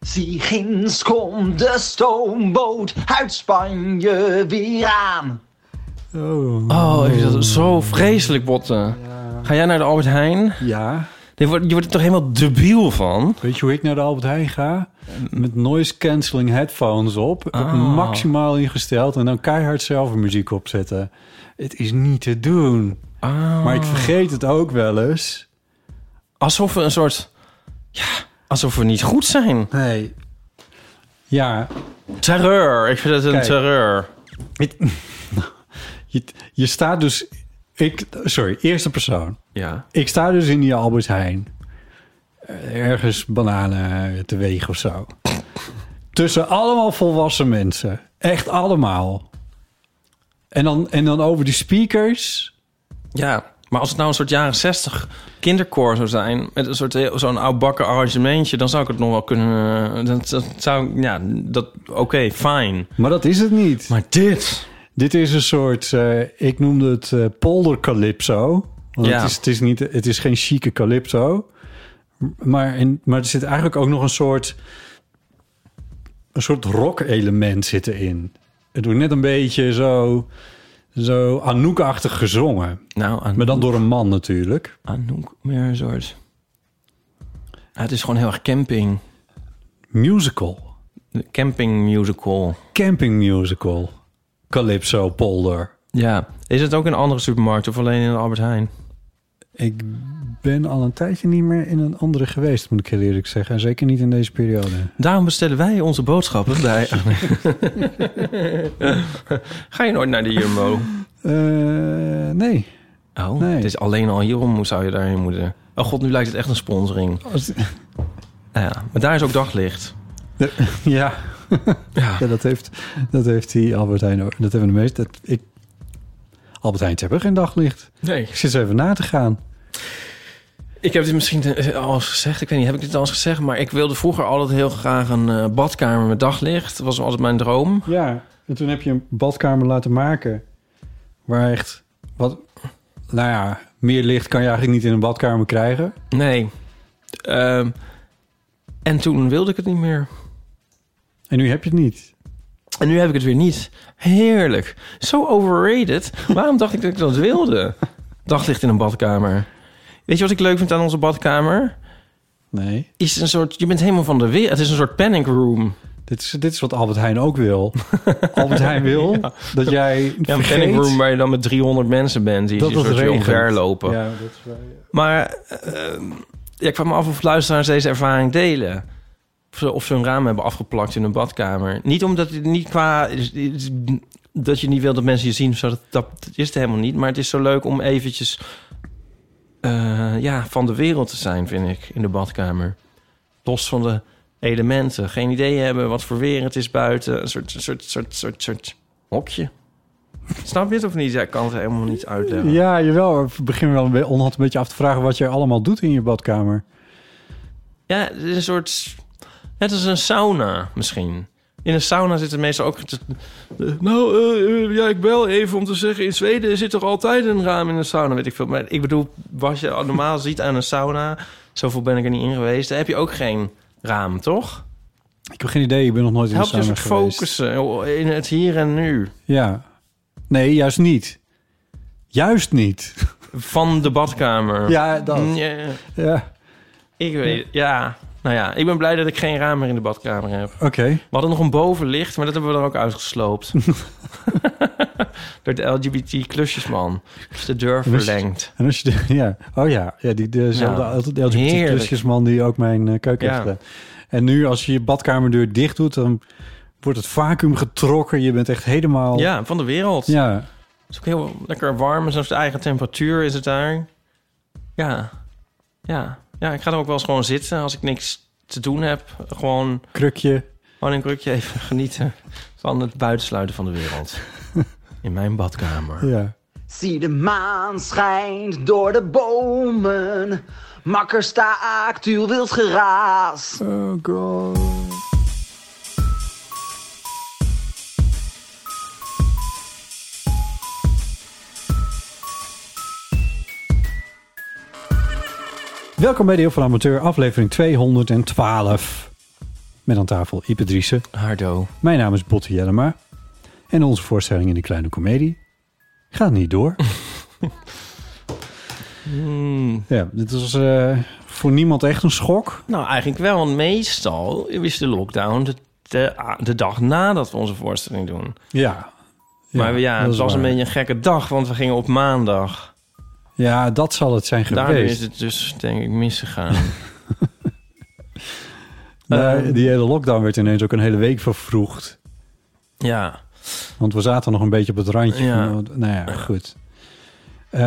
Zie ginds komt de stoomboot uit Spanje weer aan. oh, Oh, ik vind dat zo vreselijk, botten. Ga jij naar de Albert Heijn? ja. Je wordt, je wordt er toch helemaal debiel van? Weet je hoe ik naar de Albert Heijn ga? Met noise cancelling headphones op. Ah. Maximaal ingesteld. En dan keihard zelf een muziek opzetten. Het is niet te doen. Ah. Maar ik vergeet het ook wel eens. Alsof we een soort... Ja, alsof we niet goed zijn. Nee. Ja, Terreur. Ik vind het een Kijk. terreur. je, je staat dus... Ik, sorry, eerste persoon. Ja. Ik sta dus in die Albert Heijn. Eh, Ergens bananen teweeg of zo. Tussen allemaal volwassen mensen. Echt allemaal. En dan, en dan over die speakers. Ja. Maar als het nou een soort jaren 60 kinderkoor zou zijn... met een soort heel- zo'n oudbakken arrangementje... dan zou ik het nog wel kunnen... eh, Dat, dat zou ik- Ja, dat... Oké, fijn. Maar dat is het niet. Maar dit... Dit is een soort, eh, ik noemde het eh, polder calypso. Want Ja. het, is, het, is niet, het is geen chique calypso. Maar, in, maar er zit eigenlijk ook nog een soort, een soort rock element zit erin. Het wordt net een beetje zo, zo Anouk-achtig gezongen. Nou, aan, Maar dan door een man natuurlijk. Anouk meer een soort... Ja, het is gewoon heel erg camping. Musical. De camping musical. Camping musical. Calypso polder. Ja. Is het ook in andere supermarkten of alleen in de Albert Heijn? Ik ben al een tijdje niet meer in een andere geweest, moet ik heel eerlijk zeggen. En zeker niet in deze periode. Daarom bestellen wij onze boodschappen bij... Ga je nooit naar de Jumbo? Eh, nee. Oh, Nee. het is alleen al hierom moet- zou je daarheen moeten. Oh god, nu lijkt het echt een sponsoring. Als- Nou ja, maar daar is ook daglicht. ja. Ja. ja, dat heeft, dat heeft die Albert Heijn ook. Dat hebben de meeste. dat- Ik, Albert Heijn hebben geen daglicht. Nee. Ik zit eens even na te gaan. Ik heb dit misschien eh, al eens gezegd. Ik weet niet, heb ik dit al eens gezegd? Maar ik wilde vroeger altijd heel graag een eh, badkamer met daglicht. Dat was altijd mijn droom. Ja, en toen heb je een badkamer laten maken. Waar echt wat. Nou ja, meer licht kan je eigenlijk niet in een badkamer krijgen. Nee. Ehm, en toen wilde ik het niet meer. En nu heb je het niet. En nu heb ik het weer niet. Heerlijk. Zo overrated. Waarom dacht ik dat ik dat wilde? Daglicht in een badkamer. Weet je wat ik leuk vind aan onze badkamer? Nee. Is een soort, je bent helemaal van de weer. Het is een soort panic room. Dit is, dit is wat Albert Heijn ook wil. Albert Heijn wil dat jij. Ja, een vergeet panic room waar je dan met 300 mensen bent. Die dat een het soort weer regent. omverlopen. Ja, dat is waar, ja. Maar eh, eh, ja, ik kwam me af of luisteraars deze ervaring delen. Of ze, of ze hun raam hebben afgeplakt in een badkamer. Niet omdat het niet qua. is- is- dat je niet wil dat mensen je zien. of Zo, dat, dat is het helemaal niet. Maar het is zo leuk om eventjes. eh, ja, van de wereld te zijn, vind ik. In de badkamer. Los van de elementen. Geen idee hebben wat voor weer het is buiten. Een soort, soort, soort, soort, soort hokje. Snap je het of niet? Ja, ik kan het helemaal niet uitleggen. Ja, jawel. Ik begin wel een beetje, onhand een beetje af te vragen wat je allemaal doet in je badkamer. Ja, het is een soort... Net als een sauna misschien. In een sauna zitten meestal ook... te- eh, Nou, eh, eh, ja, ik bel even om te zeggen... in Zweden zit toch altijd een raam in een sauna, weet ik veel. Maar ik bedoel, wat je normaal ziet aan een sauna... zoveel ben ik er niet in geweest... daar heb je ook geen raam, toch? Ik heb geen idee, ik ben nog nooit Het in de helpt je een sauna soort geweest. focussen in het hier en nu. Ja. Nee, juist niet. Juist niet. Van de badkamer. Ja, dat. Mm, Ja, Ja. ik weet... Ja, Nou ja, ik ben blij dat ik geen raam meer in de badkamer heb. Oké. We hadden nog een bovenlicht, maar dat hebben we er ook uitgesloopt. Door de LGBT-klusjesman. Dus de deur verlengd. En als je de, ja, oh ja, ja die, Ja, dezelfde ja, Nou, heerlijk. LGBT-klusjesman die ook mijn eh, keuken heeft Ja. gedaan. En nu als je je badkamerdeur dicht doet, dan wordt het vacuüm getrokken. Je bent echt helemaal... Ja, van de wereld. Ja, Het is ook heel lekker warm. Zelfs de eigen temperatuur is het daar. Ja. Ja. Ja, ik ga er ook wel eens gewoon zitten als ik niks te doen heb. Gewoon, krukje. gewoon een krukje even genieten van het buitensluiten van de wereld. In mijn badkamer. Ja. Zie de maan schijnt door de bomen. Makker staakt uw wild geraas. Oh god. Welkom bij de Heel van Amateur, aflevering 212. Met aan tafel Ipe Driessen. Hardo. Mijn naam is Botte Jellema. En onze voorstelling in de kleine komedie gaat niet door. Hmm. ja, dit was eh, voor niemand echt een schok. Nou, eigenlijk wel. Want meestal is de lockdown de, de, de dag nadat we onze voorstelling doen. Ja. maar we- ja, dat het is was een waar. beetje een gekke dag, want we gingen op maandag. Ja, dat zal het zijn Daardoor is geweest. het dus, denk ik, misgegaan. Maar Eh, Nou, die hele lockdown werd ineens ook een hele week vervroegd. ja. Want we zaten nog een beetje op het randje. Ja. Van, nou ja, goed. Eh,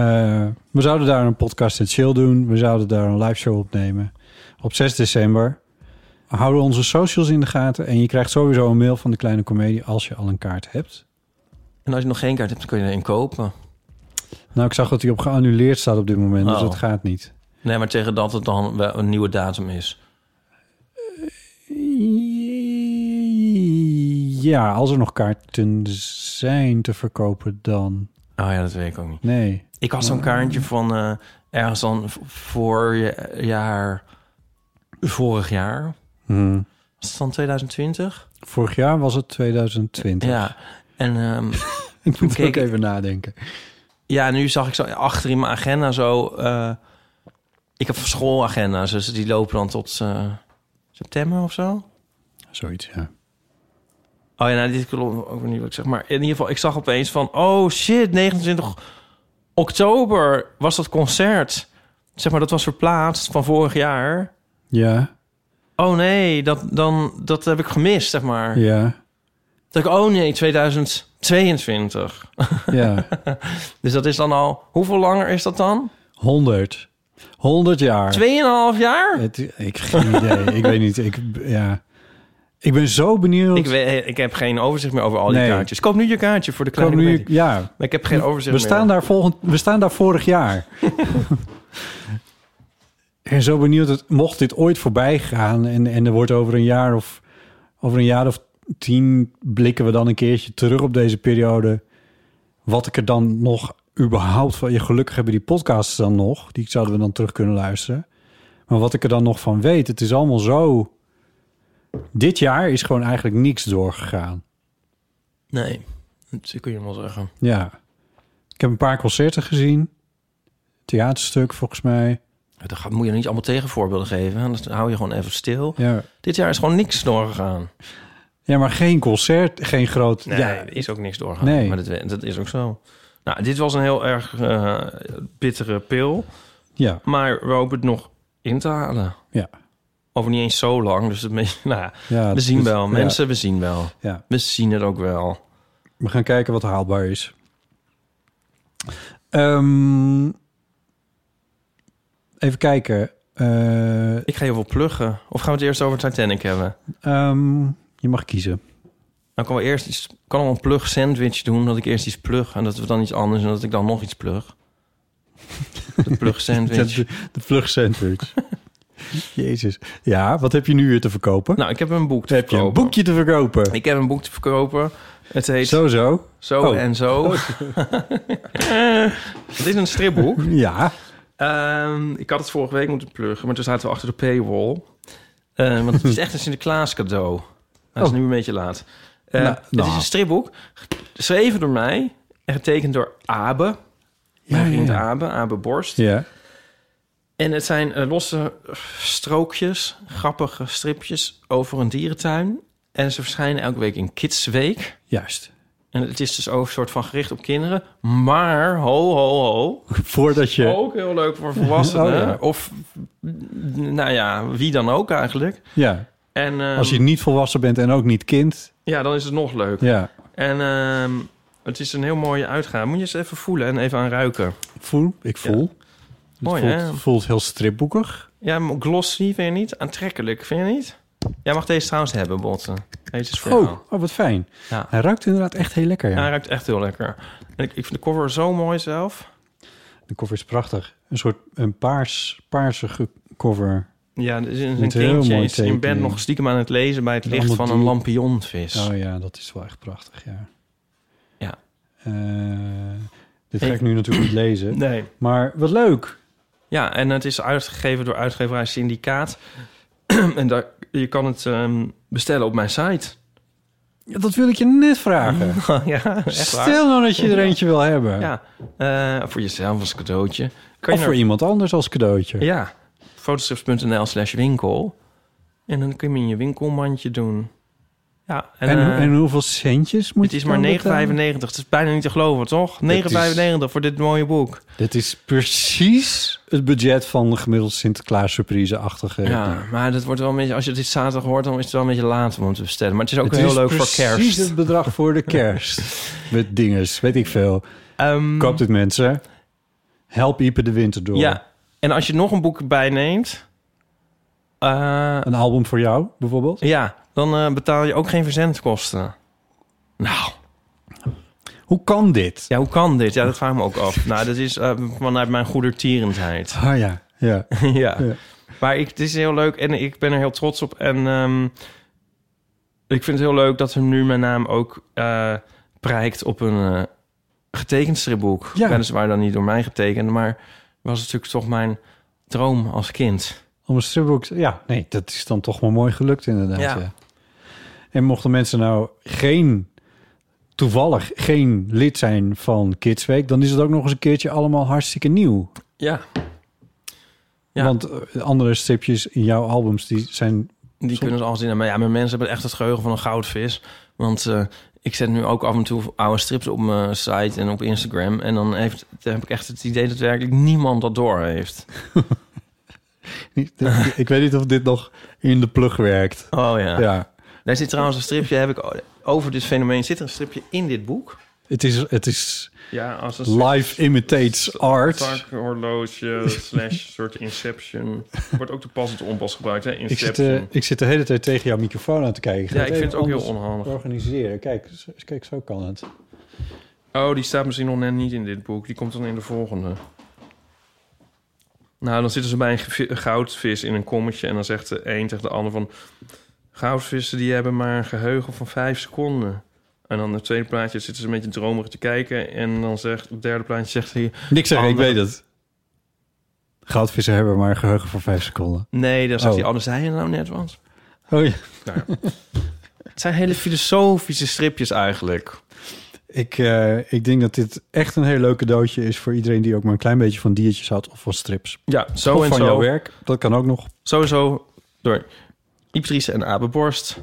we zouden daar een podcast en chill doen. We zouden daar een live show opnemen. Op 6 december. Houden onze socials in de gaten. En je krijgt sowieso een mail van de kleine comedie als je al een kaart hebt. En als je nog geen kaart hebt, dan kun je er een kopen. Nou, ik zag dat die op geannuleerd staat op dit moment. Dus Oh. dat gaat niet. Nee, maar tegen dat het dan wel een nieuwe datum is. Ja, als er nog kaarten zijn te verkopen, dan. Oh ja, dat weet ik ook niet. Nee. Ik had zo'n kaartje van eh, ergens dan v- voor je- jaar... Vorig jaar? Hmm. Was het dan 2020? Vorig jaar was het 2020. Ja. En ehm, ik moet Kijk, ook even nadenken. Ja, nu zag ik zo achter in mijn agenda zo. eh, ik heb schoolagenda's, dus die lopen dan tot eh, september of zo. Zoiets, ja. Oh ja, nou, dit klopt ook niet wat ik zeg. Maar in ieder geval, ik zag opeens van... Oh shit, 29 oktober was dat concert. Zeg maar, dat was verplaatst van vorig jaar. Ja, Oh nee, dat, dan, dat heb ik gemist, zeg maar. ja, Dat ik, oh nee, 2022. ja. Dus dat is dan al... Hoeveel langer is dat dan? 100. 100 jaar. Tweeënhalf jaar? Het, ik geen idee. ik weet niet. Ik, ja. ik ben zo benieuwd. Ik, weet, ik heb geen overzicht meer over al die Nee. kaartjes. Koop nu je kaartje voor de Kom kleine nu, comedie. ja, Maar ik heb geen overzicht we staan, meer. daar volgend, we staan daar vorig jaar. ik ben zo benieuwd, dat, mocht dit ooit voorbij gaan... en, en er wordt over een jaar of over een jaar of tien... blikken we dan een keertje terug op deze periode... wat ik er dan nog überhaupt van... Ja, gelukkig hebben die podcasts dan nog. Die zouden we dan terug kunnen luisteren. Maar wat ik er dan nog van weet, het is allemaal zo... Dit jaar is gewoon eigenlijk niks doorgegaan. Nee, dat kun je wel zeggen. Ja. Ik heb een paar concerten gezien. Theaterstuk, volgens mij. Daar ga- moet je niet allemaal tegenvoorbeelden geven. Dan hou je gewoon even stil. Ja, Dit jaar is gewoon niks doorgegaan. ja maar geen concert, geen groot... Nee, ja, er is ook niks doorgegaan. Nee. Maar dat, dat is ook zo. Nou, dit was een heel erg eh, bittere pil. ja, Maar we hopen het nog in te halen. ja, nou, Over niet eens zo lang. Dus het, me- nou, ja, ja, we zien dus- wel. ja, Mensen, we zien wel. Ja, We zien het ook wel. we gaan kijken wat haalbaar is. Ehm, even kijken. Eh, Ik ga heel veel pluggen. Of gaan we het eerst over Titanic hebben? ehm, je mag kiezen. Dan kan wel eerst iets, kan wel een plug sandwich doen dat ik eerst iets plug en dat we dan iets anders en dat ik dan nog iets plug. De plug sandwich. De, de vlug sandwich. Jezus. Ja, wat heb je nu weer te verkopen? Nou, ik heb een boek te heb je een verkopen. boekje te verkopen? Ik heb een boek te verkopen. Het heet Zo, Zo, zo. Oh. en Zo. het is een stripboek. Ja. Ehm, ik had het vorige week moeten pluggen, maar toen zaten we achter de paywall. Eh, want het is echt een Sinterklaas cadeau. Nou, Het is Oh. nu een beetje laat. Eh, Nou, Het nou. is een stripboek, geschreven door mij en getekend door Abe. Mijn ja, vriend ja. Abe, Abe Borst. Ja. En het zijn eh, losse strookjes, grappige stripjes over een dierentuin. En ze verschijnen elke week in Kids Week. Juist. En het is dus ook een soort van gericht op kinderen. Maar, ho, ho, ho. Voordat je... Ook heel leuk voor volwassenen. Oh, ja. Of, mm, nou ja, wie dan ook eigenlijk. Ja, En ehm, als je niet volwassen bent en ook niet kind. ja, dan is het nog leuk. Ja, En ehm, het is een heel mooie uitgave. Moet je eens even voelen en even aan ruiken. ik voel. Ik voel. Het Mooi, voelt, hè? voelt heel stripboekig. Ja, maar glossy vind je niet? Aantrekkelijk, vind je niet? Jij mag deze trouwens hebben, Botten. Deze is voor jou. Oh, oh, wat fijn. Ja. Hij ruikt inderdaad echt heel lekker. Ja, Ja. hij ruikt echt heel lekker. En ik, ik vind de cover zo mooi zelf. De cover is prachtig. Een soort een paars, paarsige cover. Ja, er is een Met een heel kindje mooi is in bed tekening. nog stiekem aan het lezen... bij het En licht allemaal van een dier- lampionvis. Oh ja, dat is wel echt prachtig, ja. Ja. Eh, dit ga Hey. ik nu natuurlijk niet lezen. Nee. Maar wat leuk. Ja, en het is uitgegeven door uitgeverij Syndicaat. en daar, je kan het ehm, bestellen op mijn site. Ja, Dat wil ik je net vragen. ja, echt waar. Stel nou dat je er eentje wil hebben. Ja, eh, voor jezelf als cadeautje. Kan Of je voor iemand anders als cadeautje. Ja, fotostrips.nl slash winkel. En dan kun je hem in je winkelmandje doen. Ja, en, En, eh, en hoeveel centjes moet het je is maar dan eh, 9,95. betalen? Het is bijna niet te geloven, toch? 9,95 voor dit mooie boek. Dit is precies het budget van de gemiddeld Sinterklaas surprise-achtige. Ja, maar dat wordt wel een beetje... Als je dit zaterdag hoort, dan is het wel een beetje laat om het te bestellen. Maar het is ook Het heel is leuk voor Precies kerst. het bedrag voor de kerst. Met dinges, weet ik veel. Ehm, Koop dit mensen. Help Ipe de winter door. ja, en als je nog een boek bijneemt... eh, Een album voor jou bijvoorbeeld. ja, dan eh, betaal je ook geen verzendkosten. Nou, Hoe kan dit? ja, hoe kan dit? Ja, dat vraag ik me ook af. Nou, dat is eh, vanuit mijn goedertierendheid. Ah ja, ja. ja. Ja. Maar ik, het is heel leuk en ik ben er heel trots op. En ehm, ik vind het heel leuk dat er nu mijn naam ook eh prijkt op een eh, getekend stripboek. Ja. Weliswaar dan niet door mij getekend, maar was natuurlijk toch mijn droom als kind. Om een stripboek. Ja, nee, dat is dan toch wel mooi gelukt inderdaad. Ja. ja. En mochten mensen nou geen toevallig geen lid zijn van Kids Week, dan is het ook nog eens een keertje allemaal hartstikke nieuw. Ja, Ja. Want eh, andere stripjes in jouw albums die zijn die Som- kunnen ze alles in. Maar ja, mijn mensen hebben echt het geheugen van een goudvis. Want eh, ik zet nu ook af en toe oude strips op mijn site en op Instagram. En dan, heeft, dan heb ik echt het idee dat werkelijk niemand dat door heeft. niet- ik weet niet of dit nog in de plug werkt. Oh Ja. Daar zit trouwens een stripje, heb ik over dit fenomeen zit er een stripje in dit boek. Het is het is Ja, als een soort live imitates art. takhorloge slash soort inception. Wordt ook de pas en te onpas gebruikt, hè? Ik zit, Inception. eh, ik zit de hele tijd tegen jouw microfoon aan te kijken. ga ja, ik even vind het ook heel anders onhandig. Organiseren. Kijk, zo- kijk, zo kan het. Oh, die staat misschien nog net niet in dit boek. Die komt dan in de volgende. Nou, dan zitten ze bij een gevi- een goudvis in een kommetje... en dan zegt de een tegen de ander van... goudvissen die hebben maar een geheugen van vijf seconden. En dan in het tweede plaatje zitten ze een beetje dromerig te kijken... en dan zegt het derde plaatje zegt hij... Niks zeggen, ik Andere- weet het. Goudvissen hebben maar een geheugen van vijf seconden. Nee, dan zegt Oh. hij, anders zei je nou net wat. Oh ja. Nou ja. het zijn hele filosofische stripjes eigenlijk. Ik, eh, ik denk dat dit echt een heel leuk cadeautje is voor iedereen die ook maar een klein beetje van diertjes had of van strips. Ja, zo of en van jouw zo. werk. Dat kan ook nog. Sowieso door Ieptrice en Abeborst.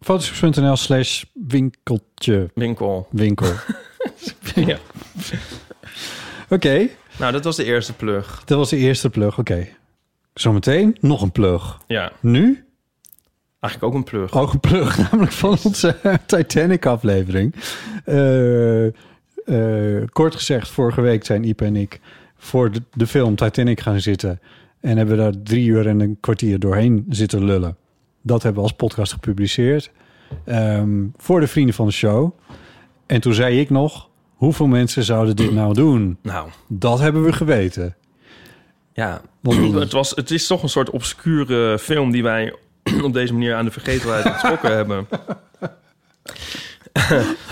Fotoshop.nl slash winkeltje Winkel. winkel. ja. Oké, Nou, dat was de eerste plug. dat was de eerste plug. Oké. Zometeen nog een plug. Ja, Nu eigenlijk ook een plug. ook een plug, namelijk van onze Titanic aflevering. Eh, eh, kort gezegd, vorige week zijn Iep en ik voor de, de film Titanic gaan zitten. En hebben daar drie uur en een kwartier doorheen zitten lullen. Dat hebben we als podcast gepubliceerd. ehm, voor de vrienden van de show. En toen zei ik nog, hoeveel mensen zouden dit nou doen? Nou, Dat hebben we geweten. ja. Want- het, was, het is toch een soort obscure film die wij op deze manier aan de vergetelheid getrokken hebben.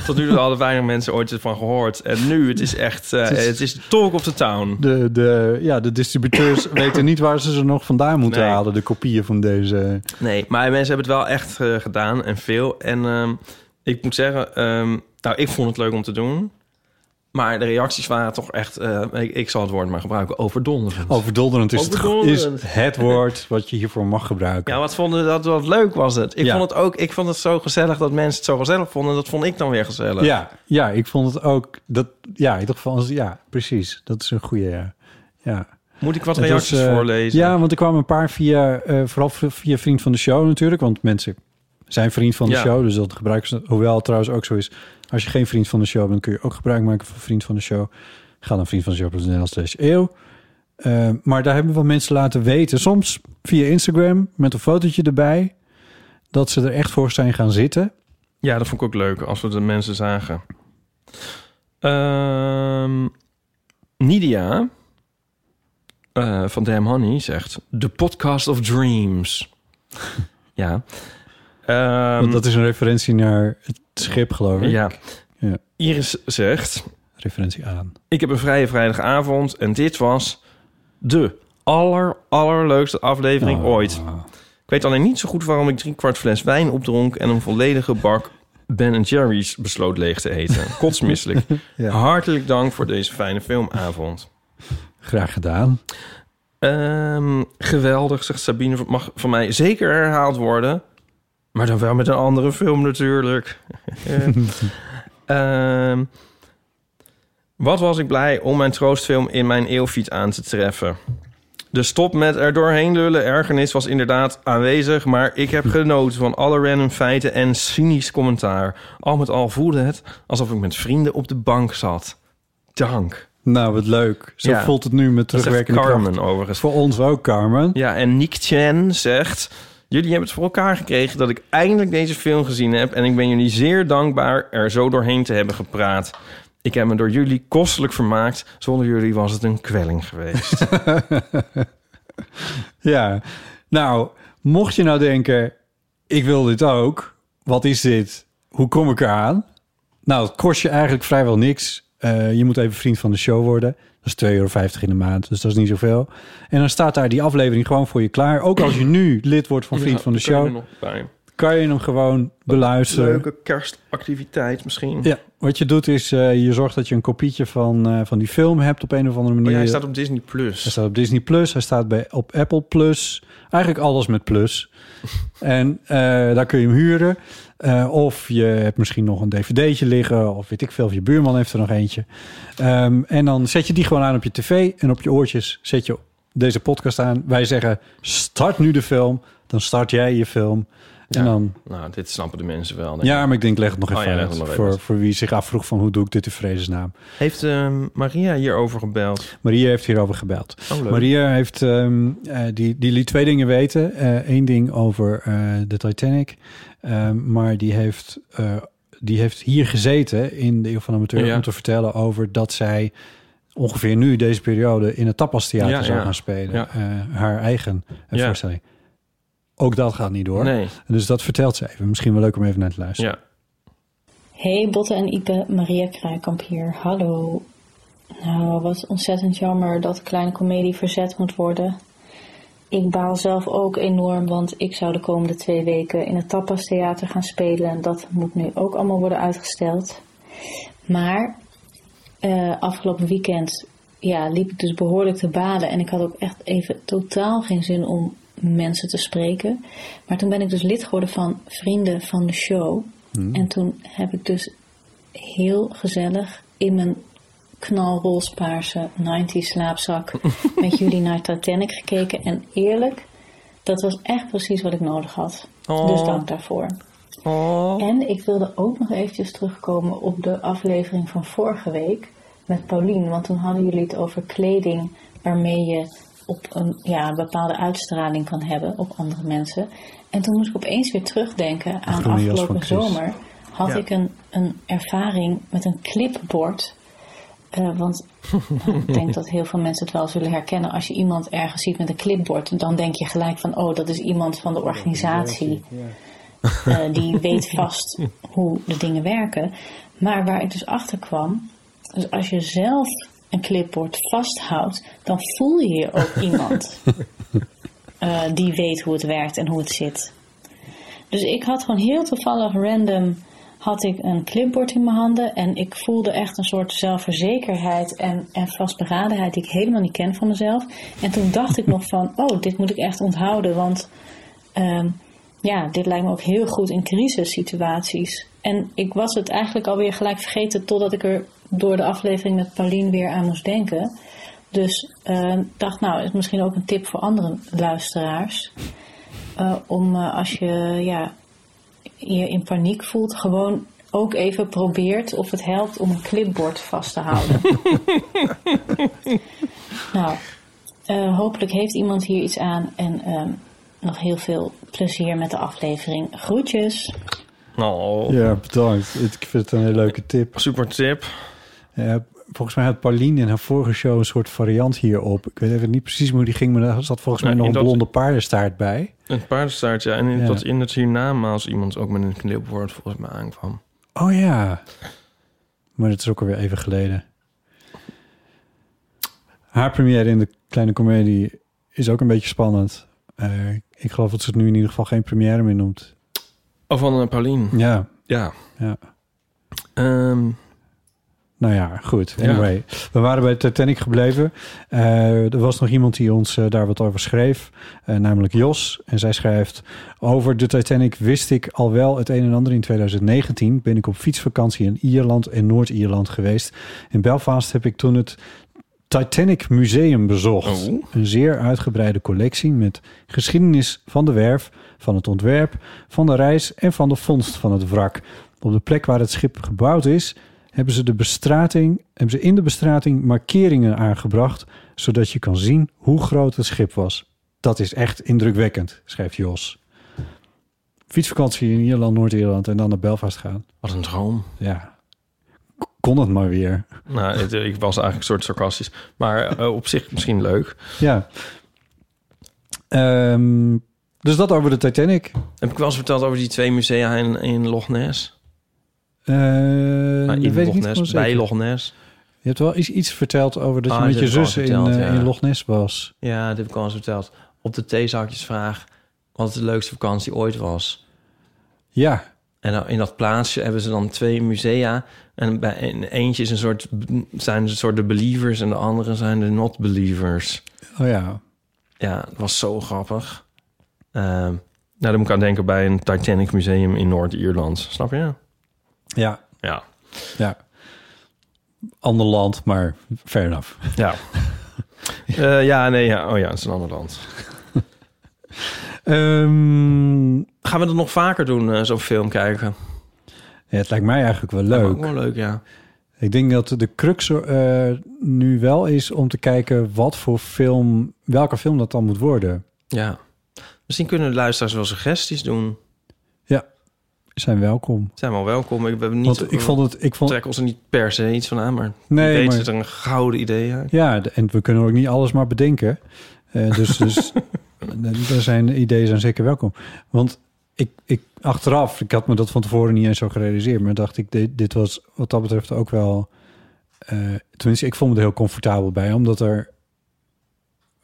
Tot nu toe hadden weinig mensen ooit ervan gehoord. En nu, het is echt... eh, Het is- het is talk of the town. De, de, ja, de distributeurs weten niet waar ze ze nog vandaan moeten Nee. halen, de kopieën van deze. Nee, maar mensen hebben het wel echt eh, gedaan en veel. En ehm, ik moet zeggen, ehm, nou, ik vond het leuk om te doen. Maar de reacties waren toch echt, eh, ik, ik zal het woord maar gebruiken, overdonderend. Overdolderend is, Het, Overdolderend. is het woord wat je hiervoor mag gebruiken. Ja, wat vonden dat wat leuk was het? Ik Ja. vond het ook, ik vond het zo gezellig dat mensen het zo gezellig vonden. Dat vond ik dan weer gezellig. Ja, ja, ik vond het ook. Dat, ja, ik dacht van, als- ja, precies. Dat is een goede. Ja. ja. Moet ik wat Het was, reacties eh, voorlezen? Ja, want er kwamen een paar via, eh, vooral v- via vriend van de show natuurlijk. Want mensen zijn vriend van de Ja. show, dus dat gebruiken ze. Hoewel het trouwens ook zo is, als je geen vriend van de show bent, kun je ook gebruik maken van vriend van de show. Ga dan vriend van de show.nl slash eeuw. Eh, maar daar hebben we wel mensen laten weten, soms via Instagram met een fotootje erbij, dat ze er echt voor zijn gaan zitten. Ja, dat vond ik ook leuk als we de mensen zagen. Ehm, Nidia eh, van Damn Honey zegt: The podcast of dreams. ja. Ehm, Want dat is een referentie naar het schip, geloof ik. ja. Ja. Iris zegt: Referentie aan. Ik heb een vrije vrijdagavond en dit was de aller, allerleukste aflevering Oh. ooit. Ik weet alleen niet zo goed waarom ik drie kwart fles wijn opdronk en een volledige bak Ben Jerry's besloot leeg te eten. Kotsmisselijk. Ja. Hartelijk dank voor deze fijne filmavond. Graag gedaan. Ehm, geweldig, zegt Sabine. Mag van mij zeker herhaald worden. Maar dan wel met een andere film natuurlijk. Ehm, wat was ik blij om mijn troostfilm in mijn eeuwfiet aan te treffen. De stop met er doorheen lullen ergernis was inderdaad aanwezig... maar ik heb genoten van alle random feiten en cynisch commentaar. Al met al voelde het alsof ik met vrienden op de bank zat. Dank. Nou, wat leuk. Zo Ja. voelt het nu met Dat zegt terugwerkende kracht. Carmen overigens. Voor ons ook, Carmen. Ja, en Nick Chen zegt... Jullie hebben het voor elkaar gekregen dat ik eindelijk deze film gezien heb... en ik ben jullie zeer dankbaar er zo doorheen te hebben gepraat. Ik heb me door jullie kostelijk vermaakt. Zonder jullie was het een kwelling geweest. Ja. Nou, mocht je nou denken, ik wil dit ook. Wat is dit? Hoe kom ik eraan? Nou, het kost je eigenlijk vrijwel niks. Eh, je moet even vriend van de show worden. Dat is 2,50 euro in de maand, dus dat is niet zoveel. En dan staat daar die aflevering gewoon voor je klaar. Ook als je nu lid wordt van vriend van de show, kan je hem gewoon beluisteren. Leuke kerstactiviteit misschien. Oh, Ja, wat je doet is, eh, je zorgt dat je een kopietje van, eh, van die film hebt op een of andere manier. Maar jij Oh staat op Disney+. Plus. eh, Hij staat op Disney Plus, hij staat bij, op Apple Plus. Eigenlijk alles met Plus. en eh, daar kun je hem huren. Eh, of je hebt misschien nog een dvd'tje liggen, of weet ik veel, of je buurman heeft er nog eentje. Ehm, en dan zet je die gewoon aan op je tv en op je oortjes zet je deze podcast aan. Wij zeggen, start nu de film, dan start jij je film. En Ja. dan, Nou, dit snappen de mensen wel. denk ik. ja, maar ik denk, leg het nog Oh even ja, leg uit het nog even voor, uit. voor wie zich afvroeg van hoe doe ik dit in vredesnaam. Heeft ehm, Maria hierover gebeld? Maria heeft hierover gebeld. Oh, leuk. Maria heeft, ehm, eh, die, die liet twee dingen weten. Eén ding over eh, de Titanic. Ehm, maar die heeft, eh, die heeft hier gezeten in de Eeuw van de Amateur... Ja. om te vertellen over dat zij ongeveer nu deze periode... in het Tapas Theater Ja, zou ja. gaan spelen. Ja. Eh, haar eigen eh, Ja. voorstelling. Ook dat gaat niet door. Nee. Dus dat vertelt ze even. Misschien wel leuk om even naar te luisteren. Ja. Hey Botte en Ipe, Maria Kraaikamp hier. Hallo. Nou, wat ontzettend jammer dat kleine komedie verzet moet worden. Ik baal zelf ook enorm, want ik zou de komende twee weken in het Tapas Theater gaan spelen en dat moet nu ook allemaal worden uitgesteld. Maar eh, afgelopen weekend ja, liep ik dus behoorlijk te balen en ik had ook echt even totaal geen zin om mensen te spreken. Maar toen ben ik dus lid geworden van Vrienden van de Show. En toen heb ik dus heel gezellig in mijn knalroospaarse 90 slaapzak met jullie naar Titanic gekeken. En eerlijk, dat was echt precies wat ik nodig had. Oh. Dus dank daarvoor. En ik wilde ook nog eventjes terugkomen op de aflevering van vorige week met Paulien. Want toen hadden jullie het over kleding waarmee je op een, ja, een bepaalde uitstraling kan hebben op andere mensen. En toen moest ik opeens weer terugdenken aan groene jas van afgelopen Chris. zomer. Had ik een, een ervaring met een clipboard. Eh, want nou, ik denk dat heel veel mensen het wel zullen herkennen. Als je iemand ergens ziet met een clipboard, dan denk je gelijk van... oh, dat is iemand van de organisatie. Eh, die weet vast hoe de dingen werken. Maar waar ik dus achter kwam, dus als je zelf een clipboard vasthoudt, dan voel je je ook iemand eh, die weet hoe het werkt en hoe het zit. Dus ik had gewoon heel toevallig random had ik een clipboard in mijn handen en ik voelde echt een soort zelfverzekerheid en, en vastberadenheid die ik helemaal niet ken van mezelf. En toen dacht ik nog van, oh, dit moet ik echt onthouden, want ehm, ja, dit lijkt me ook heel goed in crisissituaties. En ik was het eigenlijk alweer gelijk vergeten totdat ik er door de aflevering met Paulien weer aan moest denken. Dus ehm, dacht, nou, is misschien ook een tip voor andere luisteraars. Eh, om eh, als je ja, je in paniek voelt, gewoon ook even probeert of het helpt om een clipboard vast te houden. nou, eh, hopelijk heeft iemand hier iets aan en ehm, nog heel veel plezier met de aflevering. Groetjes! Oh, Ja, bedankt. Het- Ik vind het een hele leuke tip. super tip. Eh, volgens mij had Pauline in haar vorige show een soort variant hierop. Ik weet even niet precies hoe die ging, maar daar zat volgens mij Nou, nog een in dat- blonde paardenstaart bij. Een paardenstaart, ja. En in- Ja. dat in het hiernamaals iemand ook met een knipwoord volgens mij aankwam. Oh ja. Maar dat is ook alweer even geleden. Haar première in de kleine komedie is ook een beetje spannend. Eh, ik geloof dat ze het nu in ieder geval geen première meer noemt. Oh, van eh, Paulien. Ja, Ja. Ja. Ehm, nou ja, goed. Ja. Anyway, we waren bij Titanic gebleven. Eh, er was nog iemand die ons eh, daar wat over schreef, eh, namelijk Jos. En zij schrijft... Over de Titanic wist ik al wel het een en ander in 2019. Ben ik op fietsvakantie in Ierland en Noord-Ierland geweest. In Belfast heb ik toen het Titanic Museum bezocht. Oh. Een zeer uitgebreide collectie met geschiedenis van de werf, van het ontwerp, van de reis en van de vondst van het wrak. Op de plek waar het schip gebouwd is, hebben ze, de bestrating, hebben ze in de bestrating markeringen aangebracht, zodat je kan zien hoe groot het schip was. Dat is echt indrukwekkend, schrijft Jos. Fietsvakantie in Ierland, Noord-Ierland en dan naar Belfast gaan. wat een droom. Ja, K- kon het maar weer. Nou, het- ik was eigenlijk een soort sarcastisch. Maar eh, op zich misschien leuk. Ja. Ehm, dus dat over de Titanic. Heb ik wel eens verteld over die twee musea in, in Loch Ness? Eh, Nou, dat in weet Loch ik niet Ness, helemaal bij zeker. Loch Ness. Je hebt wel iets, iets verteld over dat je Ah, met dat je heb ik al zus in, verteld, eh, ja. in Loch Ness was. Ja, dat heb ik al eens verteld. Op de theezakjesvraag wat de leukste vakantie ooit was. Ja, En dan in dat plaatsje hebben ze dan twee musea. En bij en eentje is een soort, zijn ze een soort de believers en de andere zijn de not believers. oh ja. Ja, het was zo grappig. Ehm, nou, dan moet ik aan denken bij een Titanic museum in Noord-Ierland. Snap je? Ja, Ja. ja. Ander land, maar fair enough. Ja. Eh, ja, nee, ja. Oh ja, het is een ander land. Ehm, Gaan we dat nog vaker doen, eh, zo'n film kijken? ja, het lijkt mij eigenlijk wel Ja, leuk. Ook wel leuk, ja. Ik denk dat de crux eh, nu wel is om te kijken wat voor film, welke film dat dan moet worden. Ja. Misschien kunnen de luisteraars wel suggesties doen. Zijn welkom. Zijn wel welkom. Ik, ben niet, Want ik vond het, ik vond, trek ons er niet per se iets van aan, maar Nee, nee, weet maar- zit er een gouden idee uit. Ja, de- en we kunnen ook niet alles maar bedenken. Eh, dus dus er zijn, ideeën zijn zeker welkom. Want ik, ik achteraf, ik had me dat van tevoren niet eens zo gerealiseerd, maar dacht ik, dit, dit was wat dat betreft ook wel. eh, tenminste, ik vond me er heel comfortabel bij, omdat er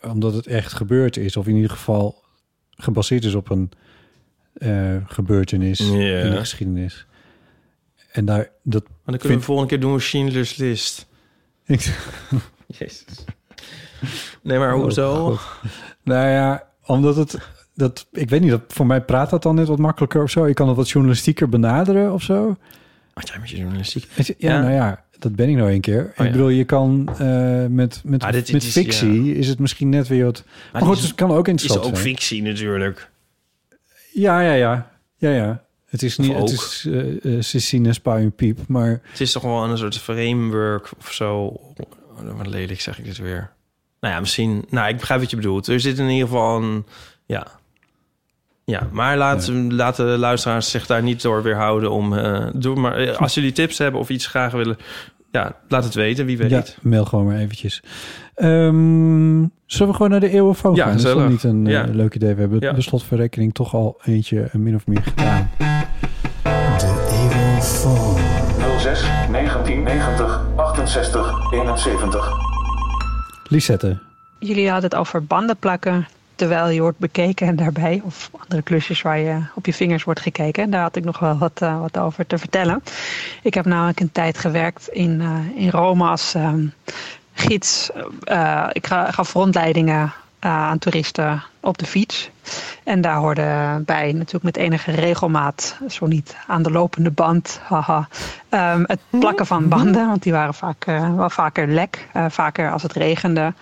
omdat het echt gebeurd is, of in ieder geval gebaseerd is op een eh, gebeurtenis Ja. in de geschiedenis. En daar dat. Maar dan kunnen we Vind- de volgende keer doen we Schindler's List. Jezus. Nee, maar hoezo? Oh, God. nou ja, omdat het... Dat, ik weet niet, dat, voor mij praat dat dan net wat makkelijker of zo. Ik kan het wat journalistieker benaderen of zo. Wat jij met je journalistiek. Het- Ja, Ja. Oh, nou ja, dat ben ik nou een keer. ja. Ik bedoel, je kan eh, met, met, Ah, dit- dit met is- fictie is het misschien net weer wat... Maar, dit goed, is- Oh, het kan ook Het is interessant ook zijn. fictie natuurlijk. Ja, ja, ja. Ja, ja. Het is niet... ook. Het is eh eh Cecine Spuien Piep, maar... Het is toch wel een soort framework of zo. Oh, Wat lelijk zeg ik dit weer. Nou ja, misschien... Nou, ik begrijp wat je bedoelt. Er zit in ieder geval een... Ja. Ja, maar laat, laat de luisteraars zich daar niet door weerhouden om... eh doe maar, eh, Hm. als jullie tips hebben of iets graag willen... Ja, laat het weten. Wie weet. Ja, mail gewoon maar eventjes. Ehm, zullen we gewoon naar de eeuwenfoon Ja, gaan? Dat is toch gezellig. niet een eh, Ja. leuk idee. We hebben Ja. de slotverrekening toch al eentje eh, min of meer gedaan. De Eeuwenfoon. 06 1990 68 71. Lisette. Jullie hadden het over banden plakken. terwijl je wordt bekeken en daarbij. Of andere klusjes waar je op je vingers wordt gekeken. En daar had ik nog wel wat, eh, wat over te vertellen. Ik heb namelijk een tijd gewerkt in, eh, in Rome als ehm, gids. Eh, ik ga- gaf rondleidingen eh, aan toeristen op de fiets. En daar hoorde bij natuurlijk met enige regelmaat, zo niet aan de lopende band, haha, ehm, het plakken van banden. Want die waren vaak, eh, wel vaker lek, eh, vaker als het regende.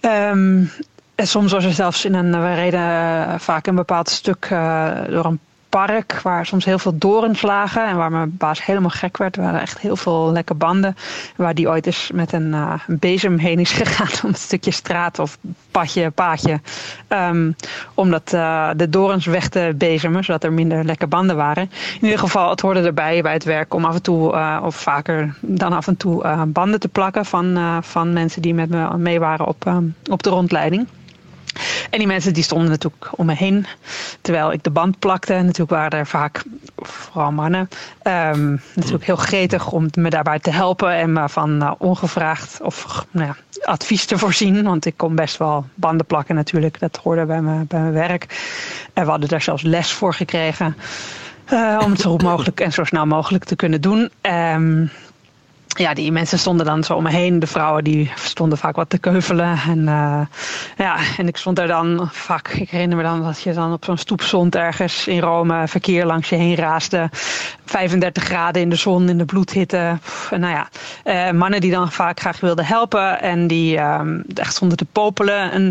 Ehm, en soms was er zelfs in een, we reden eh, vaak een bepaald stuk eh, door een park waar soms heel veel dorens lagen en waar mijn baas helemaal gek werd. Er waren echt heel veel lekke banden waar die ooit eens met een, eh, een bezem heen is gegaan om het stukje straat of padje, paadje, ehm, om dat, eh, de dorens weg te bezemen zodat er minder lekke banden waren. In ieder geval, het hoorde erbij bij het werk om af en toe eh, of vaker dan af en toe eh, banden te plakken van, eh, van mensen die met me mee waren op, ehm, op de rondleiding. En die mensen die stonden natuurlijk om me heen. Terwijl ik de band plakte. En Natuurlijk waren er vaak, vooral mannen, ehm, natuurlijk heel gretig om me daarbij te helpen. En me van eh, ongevraagd of nou ja, advies te voorzien. Want ik kon best wel banden plakken natuurlijk. Dat hoorde bij, me, bij mijn werk. En we hadden daar zelfs les voor gekregen. eh, om het zo goed mogelijk en zo snel mogelijk te kunnen doen. Ehm, ja, die mensen stonden dan zo om me heen. De vrouwen die stonden vaak wat te keuvelen. En, eh, ja, en ik stond daar dan vaak. Ik herinner me dan dat je dan op zo'n stoep stond ergens in Rome. Verkeer langs je heen raasde. 35 graden in de zon, in de bloedhitte. Pff, en nou ja, eh, mannen die dan vaak graag wilden helpen. En die ehm, echt stonden te popelen. En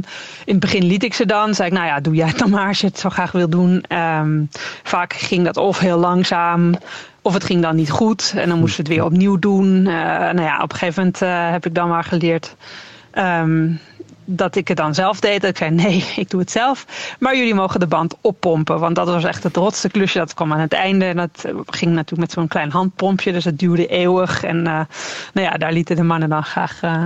in het begin liet ik ze dan. Zei ik, nou ja, doe jij het dan maar als je het zo graag wil doen. Ehm, vaak ging dat of heel langzaam. Of het ging dan niet goed en dan moesten we het weer opnieuw doen. Eh, nou ja, op een gegeven moment eh, heb ik dan maar geleerd ehm, dat ik het dan zelf deed. Dat ik zei: nee, ik doe het zelf. Maar jullie mogen de band oppompen. Want dat was echt het rotste klusje. Dat kwam aan het einde. En dat eh, ging natuurlijk met zo'n klein handpompje. Dus dat duurde eeuwig. En eh, nou ja, daar lieten de mannen dan graag. eh,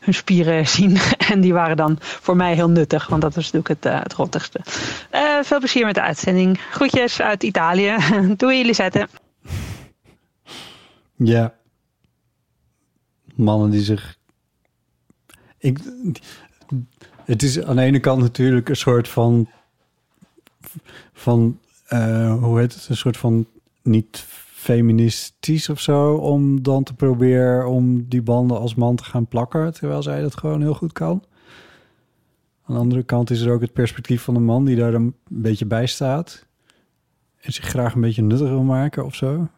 hun spieren zien. En die waren dan voor mij heel nuttig, want dat was natuurlijk het, eh, het rottigste. Eh, veel plezier met de uitzending. Groetjes uit Italië. Doei, Lisette. Ja. Mannen die zich. Ik, het is aan de ene kant natuurlijk een soort van. van eh, hoe heet het? Een soort van niet feministisch of zo. Om dan te proberen om die banden als man te gaan plakken. Terwijl zij dat gewoon heel goed kan. Aan de andere kant is er ook het perspectief van de man die daar dan een beetje bij staat. En zich graag een beetje nuttig wil maken of zo.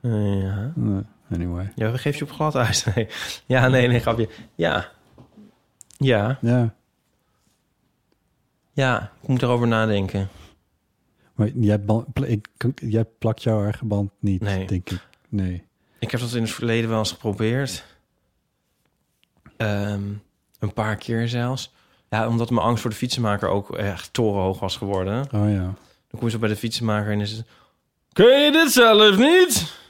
Eh, ja. Nee, Anyway. ja, we geven je op glad ijs. Nee. Ja, nee, nee, grapje. Ja. Ja, Ja. ja, ik moet erover nadenken. Maar jij, ban- pla- ik, kan- jij plakt jouw eigen band niet, Nee. denk ik. Nee. Ik heb dat in het verleden wel eens geprobeerd. Ehm, een paar keer zelfs. Ja, omdat mijn angst voor de fietsenmaker ook echt torenhoog was geworden. Oh ja. Dan kom je zo bij de fietsenmaker en is het... Kun je dit zelf niet?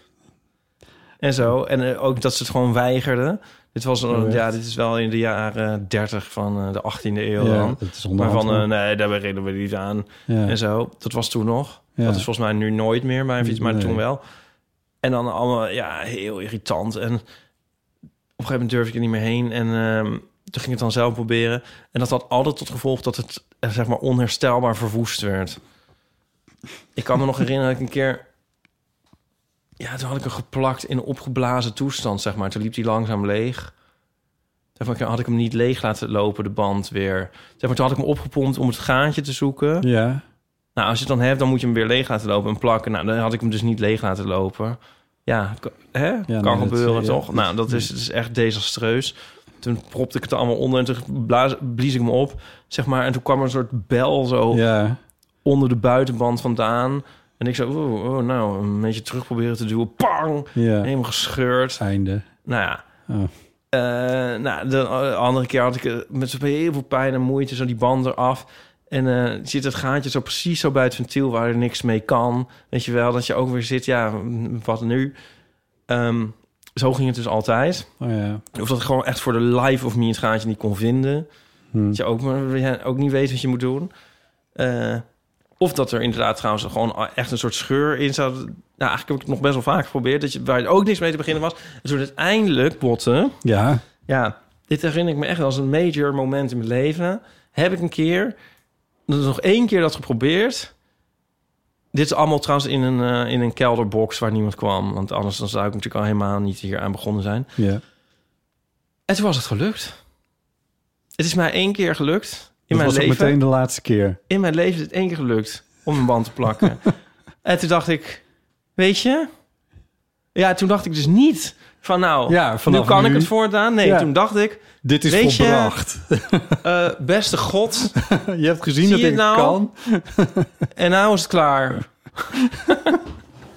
En zo. En eh, ook dat ze het gewoon weigerden. Dit was een, Oh, echt? ja, dit is wel in de jaren 30 van eh, de 18e eeuw ja, dan. dat is Maar onderhand. van, eh, nee, daar reden we niet aan. ja. en zo. Dat was toen nog. Ja. Dat is volgens mij nu nooit meer bij een fiets, maar Nee. toen wel. En dan allemaal, ja, heel irritant. En op een gegeven moment durfde ik er niet meer heen. En ehm, toen ging ik het dan zelf proberen. En dat had altijd tot gevolg dat het, eh, zeg maar, onherstelbaar verwoest werd. Ik kan me nog herinneren dat ik een keer... Ja, toen had ik hem geplakt in een opgeblazen toestand, zeg maar. Toen liep hij langzaam leeg. Toen had ik hem niet leeg laten lopen, de band weer. Zeg maar, toen had ik hem opgepompt om het gaatje te zoeken. ja. Nou, als je het dan hebt, dan moet je hem weer leeg laten lopen en plakken. Nou, dan had ik hem dus niet leeg laten lopen. Ja, k- hè? nee, kan dat, gebeuren, eh, toch? ja. nou, dat is, het is echt desastreus. Toen propte ik het allemaal onder en toen blaas- blies ik hem op, zeg maar. En toen kwam er een soort bel zo Ja. onder de buitenband vandaan. En ik zo, oh, oh, nou, een beetje terug proberen te duwen. Pang! Ja. Helemaal gescheurd. Einde. Nou ja. Oh. Eh, nou, de eh, andere keer had ik eh, met zo'n heel veel pijn en moeite zo die band eraf. En eh, zit het gaatje zo precies zo bij het ventiel waar er niks mee kan. Weet je wel, dat je ook weer zit, ja, mm, wat nu? Ehm, zo ging het dus altijd. Oh ja. Of dat ik gewoon echt voor de life of me het gaatje niet kon vinden. Hm. Dat je ook, maar- ja, ook niet weet wat je moet doen. Eh, of dat er inderdaad trouwens gewoon echt een soort scheur in zat. Nou, eigenlijk heb ik het nog best wel vaak geprobeerd. Dat je, waar je ook niks mee te beginnen was. En toen uiteindelijk botten... Ja. Ja, dit herinner ik me echt als een major moment in mijn leven. heb ik een keer, dat is nog één keer dat geprobeerd. Dit is allemaal trouwens in een, eh, in een kelderbox waar niemand kwam. Want anders dan zou ik natuurlijk al helemaal niet hier aan begonnen zijn. Ja. En toen was het gelukt. Het is mij één keer gelukt in Dat mijn was ook leven. meteen de laatste keer. In mijn leven is het één keer gelukt om een band te plakken. en toen dacht ik, weet je? Ja, toen dacht ik dus niet van nou, Ja, vanaf nu kan nu. ik het voortaan. Nee, Ja. toen dacht ik, Dit is Weet je- volbracht. eh, beste god, Je, hebt gezien Zie dat je ik nou? kan. en nou is het klaar.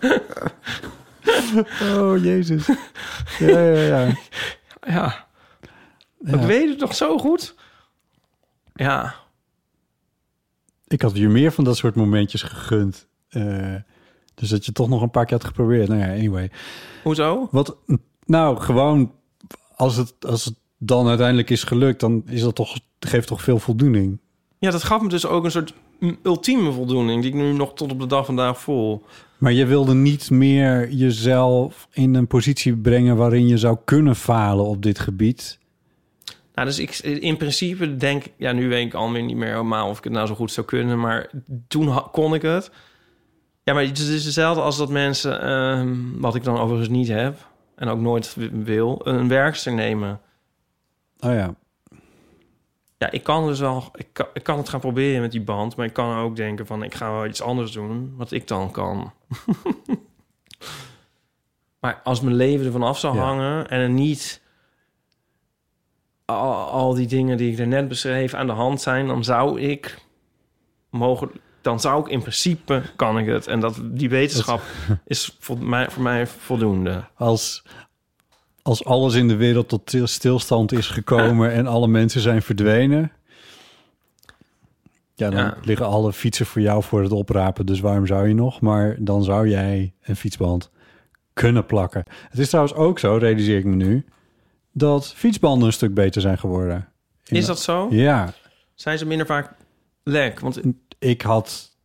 Oh, jezus. Ja, ja, ja. Ja, Ja. ik weet het nog zo goed. Ja, Ik had je meer van dat soort momentjes gegund. Eh, dus dat je toch nog een paar keer had geprobeerd. Nou ja, anyway. hoezo? Wat, nou, gewoon als het, als het dan uiteindelijk is gelukt, dan is dat toch, geeft toch veel voldoening. Ja, dat gaf me dus ook een soort mm, ultieme voldoening... die ik nu nog tot op de dag vandaag voel. Maar je wilde niet meer jezelf in een positie brengen waarin je zou kunnen falen op dit gebied. Nou, dus ik, in principe denk ik, ja, nu weet ik alweer niet meer helemaal of ik het nou zo goed zou kunnen, maar toen ha- kon ik het. Ja, maar het is hetzelfde als dat mensen, ehm, wat ik dan overigens niet heb en ook nooit w- wil, een werkster nemen. Oh ja, Ja, ik kan dus al, ik kan, ik kan het gaan proberen met die band, maar ik kan ook denken van, ik ga wel iets anders doen, wat ik dan kan. maar als mijn leven ervan af zou Ja. hangen en er niet al, al die dingen die ik er net beschreef aan de hand zijn, dan zou ik mogen, dan zou ik in principe kan ik het. En dat die wetenschap is voor mij, voor mij voldoende. als, als alles in de wereld tot til- stilstand is gekomen en alle mensen zijn verdwenen. Ja, dan Ja. liggen alle fietsen voor jou voor het oprapen. Dus waarom zou je nog? Maar dan zou jij een fietsband kunnen plakken. Het is trouwens ook zo, realiseer ik me nu, dat fietsbanden een stuk beter zijn geworden. In Is de- dat zo? Ja, Zijn ze minder vaak lek? Want ik had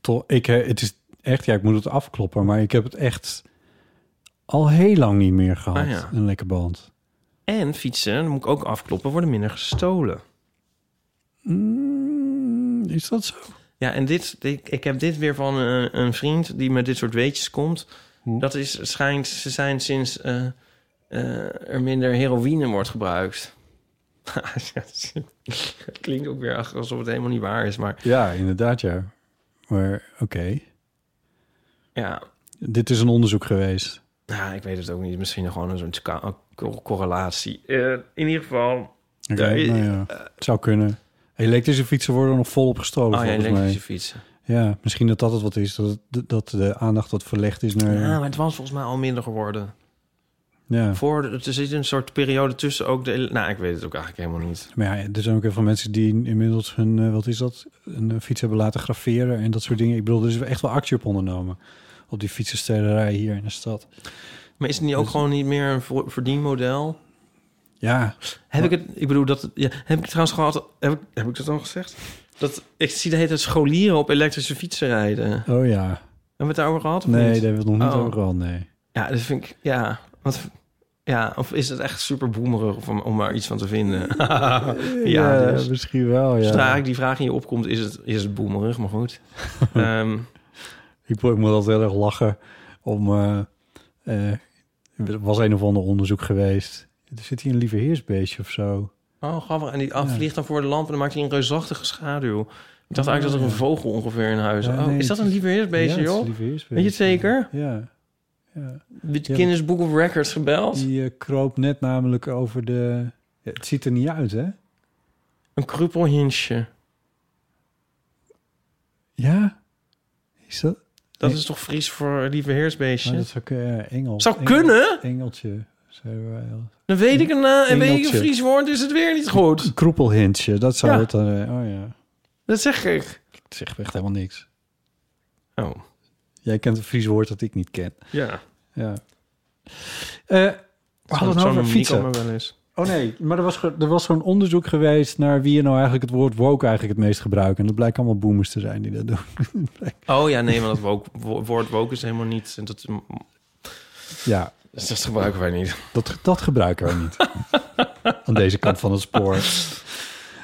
toch ik eh, het is echt ja ik moet het afkloppen maar ik heb het echt al heel lang niet meer gehad Ah, ja. een lekker band En fietsen, dat moet ik ook afkloppen, worden minder gestolen. Mm, is dat zo Ja, en dit, ik, ik heb dit weer van eh, een vriend die met dit soort weetjes komt. Dat is, schijnt, ze zijn sinds eh, eh, er minder heroïne wordt gebruikt. Het klinkt ook weer alsof het helemaal niet waar is, maar ja inderdaad ja maar oké ja, dit is een onderzoek geweest nou, ik weet het ook niet. Misschien gewoon zo'n ka- co- correlatie. Eh, in ieder geval, Oké, Ja, nou ja, het zou kunnen elektrische fietsen worden nog volop gestolen oh ja, volgens mij elektrische fietsen. ja misschien dat dat het wat is dat het- dat de aandacht wat verlegd is naar Ja, ja, maar het was volgens mij al minder geworden. Voor, de- er zit een soort periode tussen ook de... Nou, ik weet het ook eigenlijk helemaal niet. Maar ja, er zijn ook heel veel mensen die inmiddels hun, eh, wat is dat, een eh, fiets hebben laten graveren en dat soort dingen. Ik bedoel, er is echt wel actie op ondernomen op die fietsenstelerij hier in de stad. Maar is het niet ook gewoon niet meer een vo- verdienmodel? Ja, Heb ik het, ik bedoel, dat, ja, heb ik trouwens gehad, heb ik, heb ik dat al gezegd? Dat, ik zie de hele tijd scholieren op elektrische fietsen rijden. Hebben oh ja. we het daarover gehad? Of Nee, daar niet? hebben we het nog niet Oh. over gehad, nee. Ja, dat vind ik, ja. Wat, ja, of is het echt super boemerig om, om daar iets van te vinden? ja, dus. misschien wel, ja. Zodra ik die vraag in je opkomt, is het, is het boemerig, maar goed. Ehm, Ik mo- ik moet altijd heel erg lachen om... eh, eh, er was een of ander onderzoek geweest. Er zit hier een lieve heersbeestje of zo. oh, grappig. En die af, vliegt dan voor de lamp en dan maakt hij een reusachtige schaduw. Ik dacht eigenlijk dat er een vogel ongeveer in huis. Ah, Ja, oh, nee, is dat het een lieveheersbeestje, ja, het is een joh? lieve heersbeestje. Weet je het zeker? Ja. De Guinness Book of Records gebeld. Die eh, kroop net namelijk over de... Ja, het ziet er niet uit, hè? Een kruppelhinsje. Ja? Is dat? Dat Nee. is toch Fries voor lieve Maar heersbeestje? dat is ook eh, Engel. Zou Engel- kunnen? Engeltje. Zo, eh, Dan weet ik een, na- en weet ik Engeltje. een Fries woord, is het weer niet goed. Kroepelhintje, dat zou Ja. het dan... eh, oh ja, Dat zeg ik. het zegt echt helemaal niks. Oh, Jij kent een Fries woord dat ik niet ken. ja. Ja. Eh we hadden het over fietsen. wel eens. Oh nee, maar er was, ge- er was zo'n onderzoek geweest... naar wie er nou eigenlijk het woord woke eigenlijk het meest gebruiken. En dat blijkt allemaal boomers te zijn die dat doen. Oh ja, nee, maar dat woke, wo- woord woke is helemaal niet... en Dat, Ja, dus dat gebruiken wij niet. dat, dat gebruiken we niet. Aan deze kant van het spoor.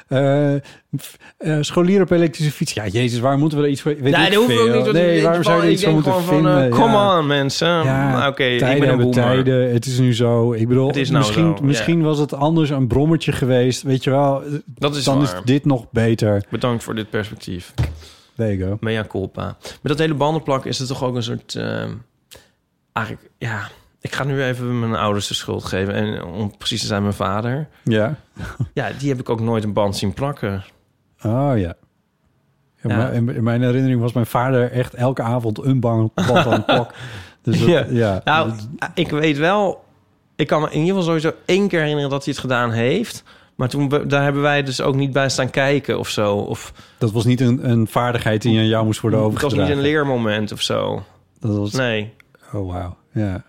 eh, f- eh, scholieren op elektrische fiets. Ja, jezus, waar moeten we er iets voor... Weet Nee, ik dat hoeft veel. ook niet. want Nee, ik- waarom zou je er ik iets voor denk moeten gewoon van, vinden? eh, Come on, mensen. Mm, Ja, Oké, ik tijden ben een hebben boomer. tijden. Het is nu zo. Ik bedoel, Het is nou misschien, zo, ja. misschien was het anders een brommertje geweest. Weet je wel, Dat is dan waar. is dit nog beter. Bedankt voor dit perspectief. There you go. Mea culpa. Met dat hele bandenplak is het toch ook een soort... ehm, eigenlijk, ja... Ik ga nu even mijn ouders de schuld geven. En om precies te zijn, mijn vader. Ja. Ja, die heb ik ook nooit een band zien plakken. Oh ja. In, Ja. mijn- in- in mijn herinnering was mijn vader echt elke avond een bang band aan het pak. Dus dat- Ja. ja. Nou, ik weet wel... Ik kan me in ieder geval sowieso één keer herinneren dat hij het gedaan heeft. Maar toen, we- daar hebben wij dus ook niet bij staan kijken of zo. Of dat was niet een, een vaardigheid die aan jou moest worden het was overgedragen. niet een leermoment of zo. Dat was, Nee. Oh wauw. Ja.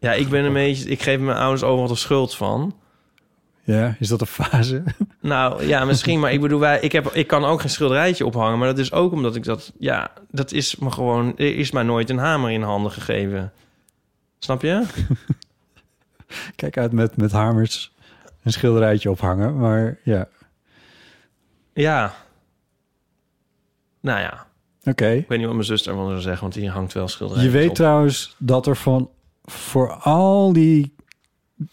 Ja, ik ben een beetje... Ik geef mijn ouders overal de schuld van. ja, is dat een fase? Nou ja, misschien, maar ik bedoel, wij, ik, heb, ik kan ook geen schilderijtje ophangen. Maar dat is ook omdat ik dat, ja, dat is me gewoon, er is mij nooit een hamer in handen gegeven. Snap je? Kijk uit met, met hamers een schilderijtje ophangen. Maar ja, Ja. Nou ja, oké. ik weet niet wat mijn zus daarvan zou zeggen, want die hangt wel Je schilderijtjes weet op. trouwens dat er van voor al die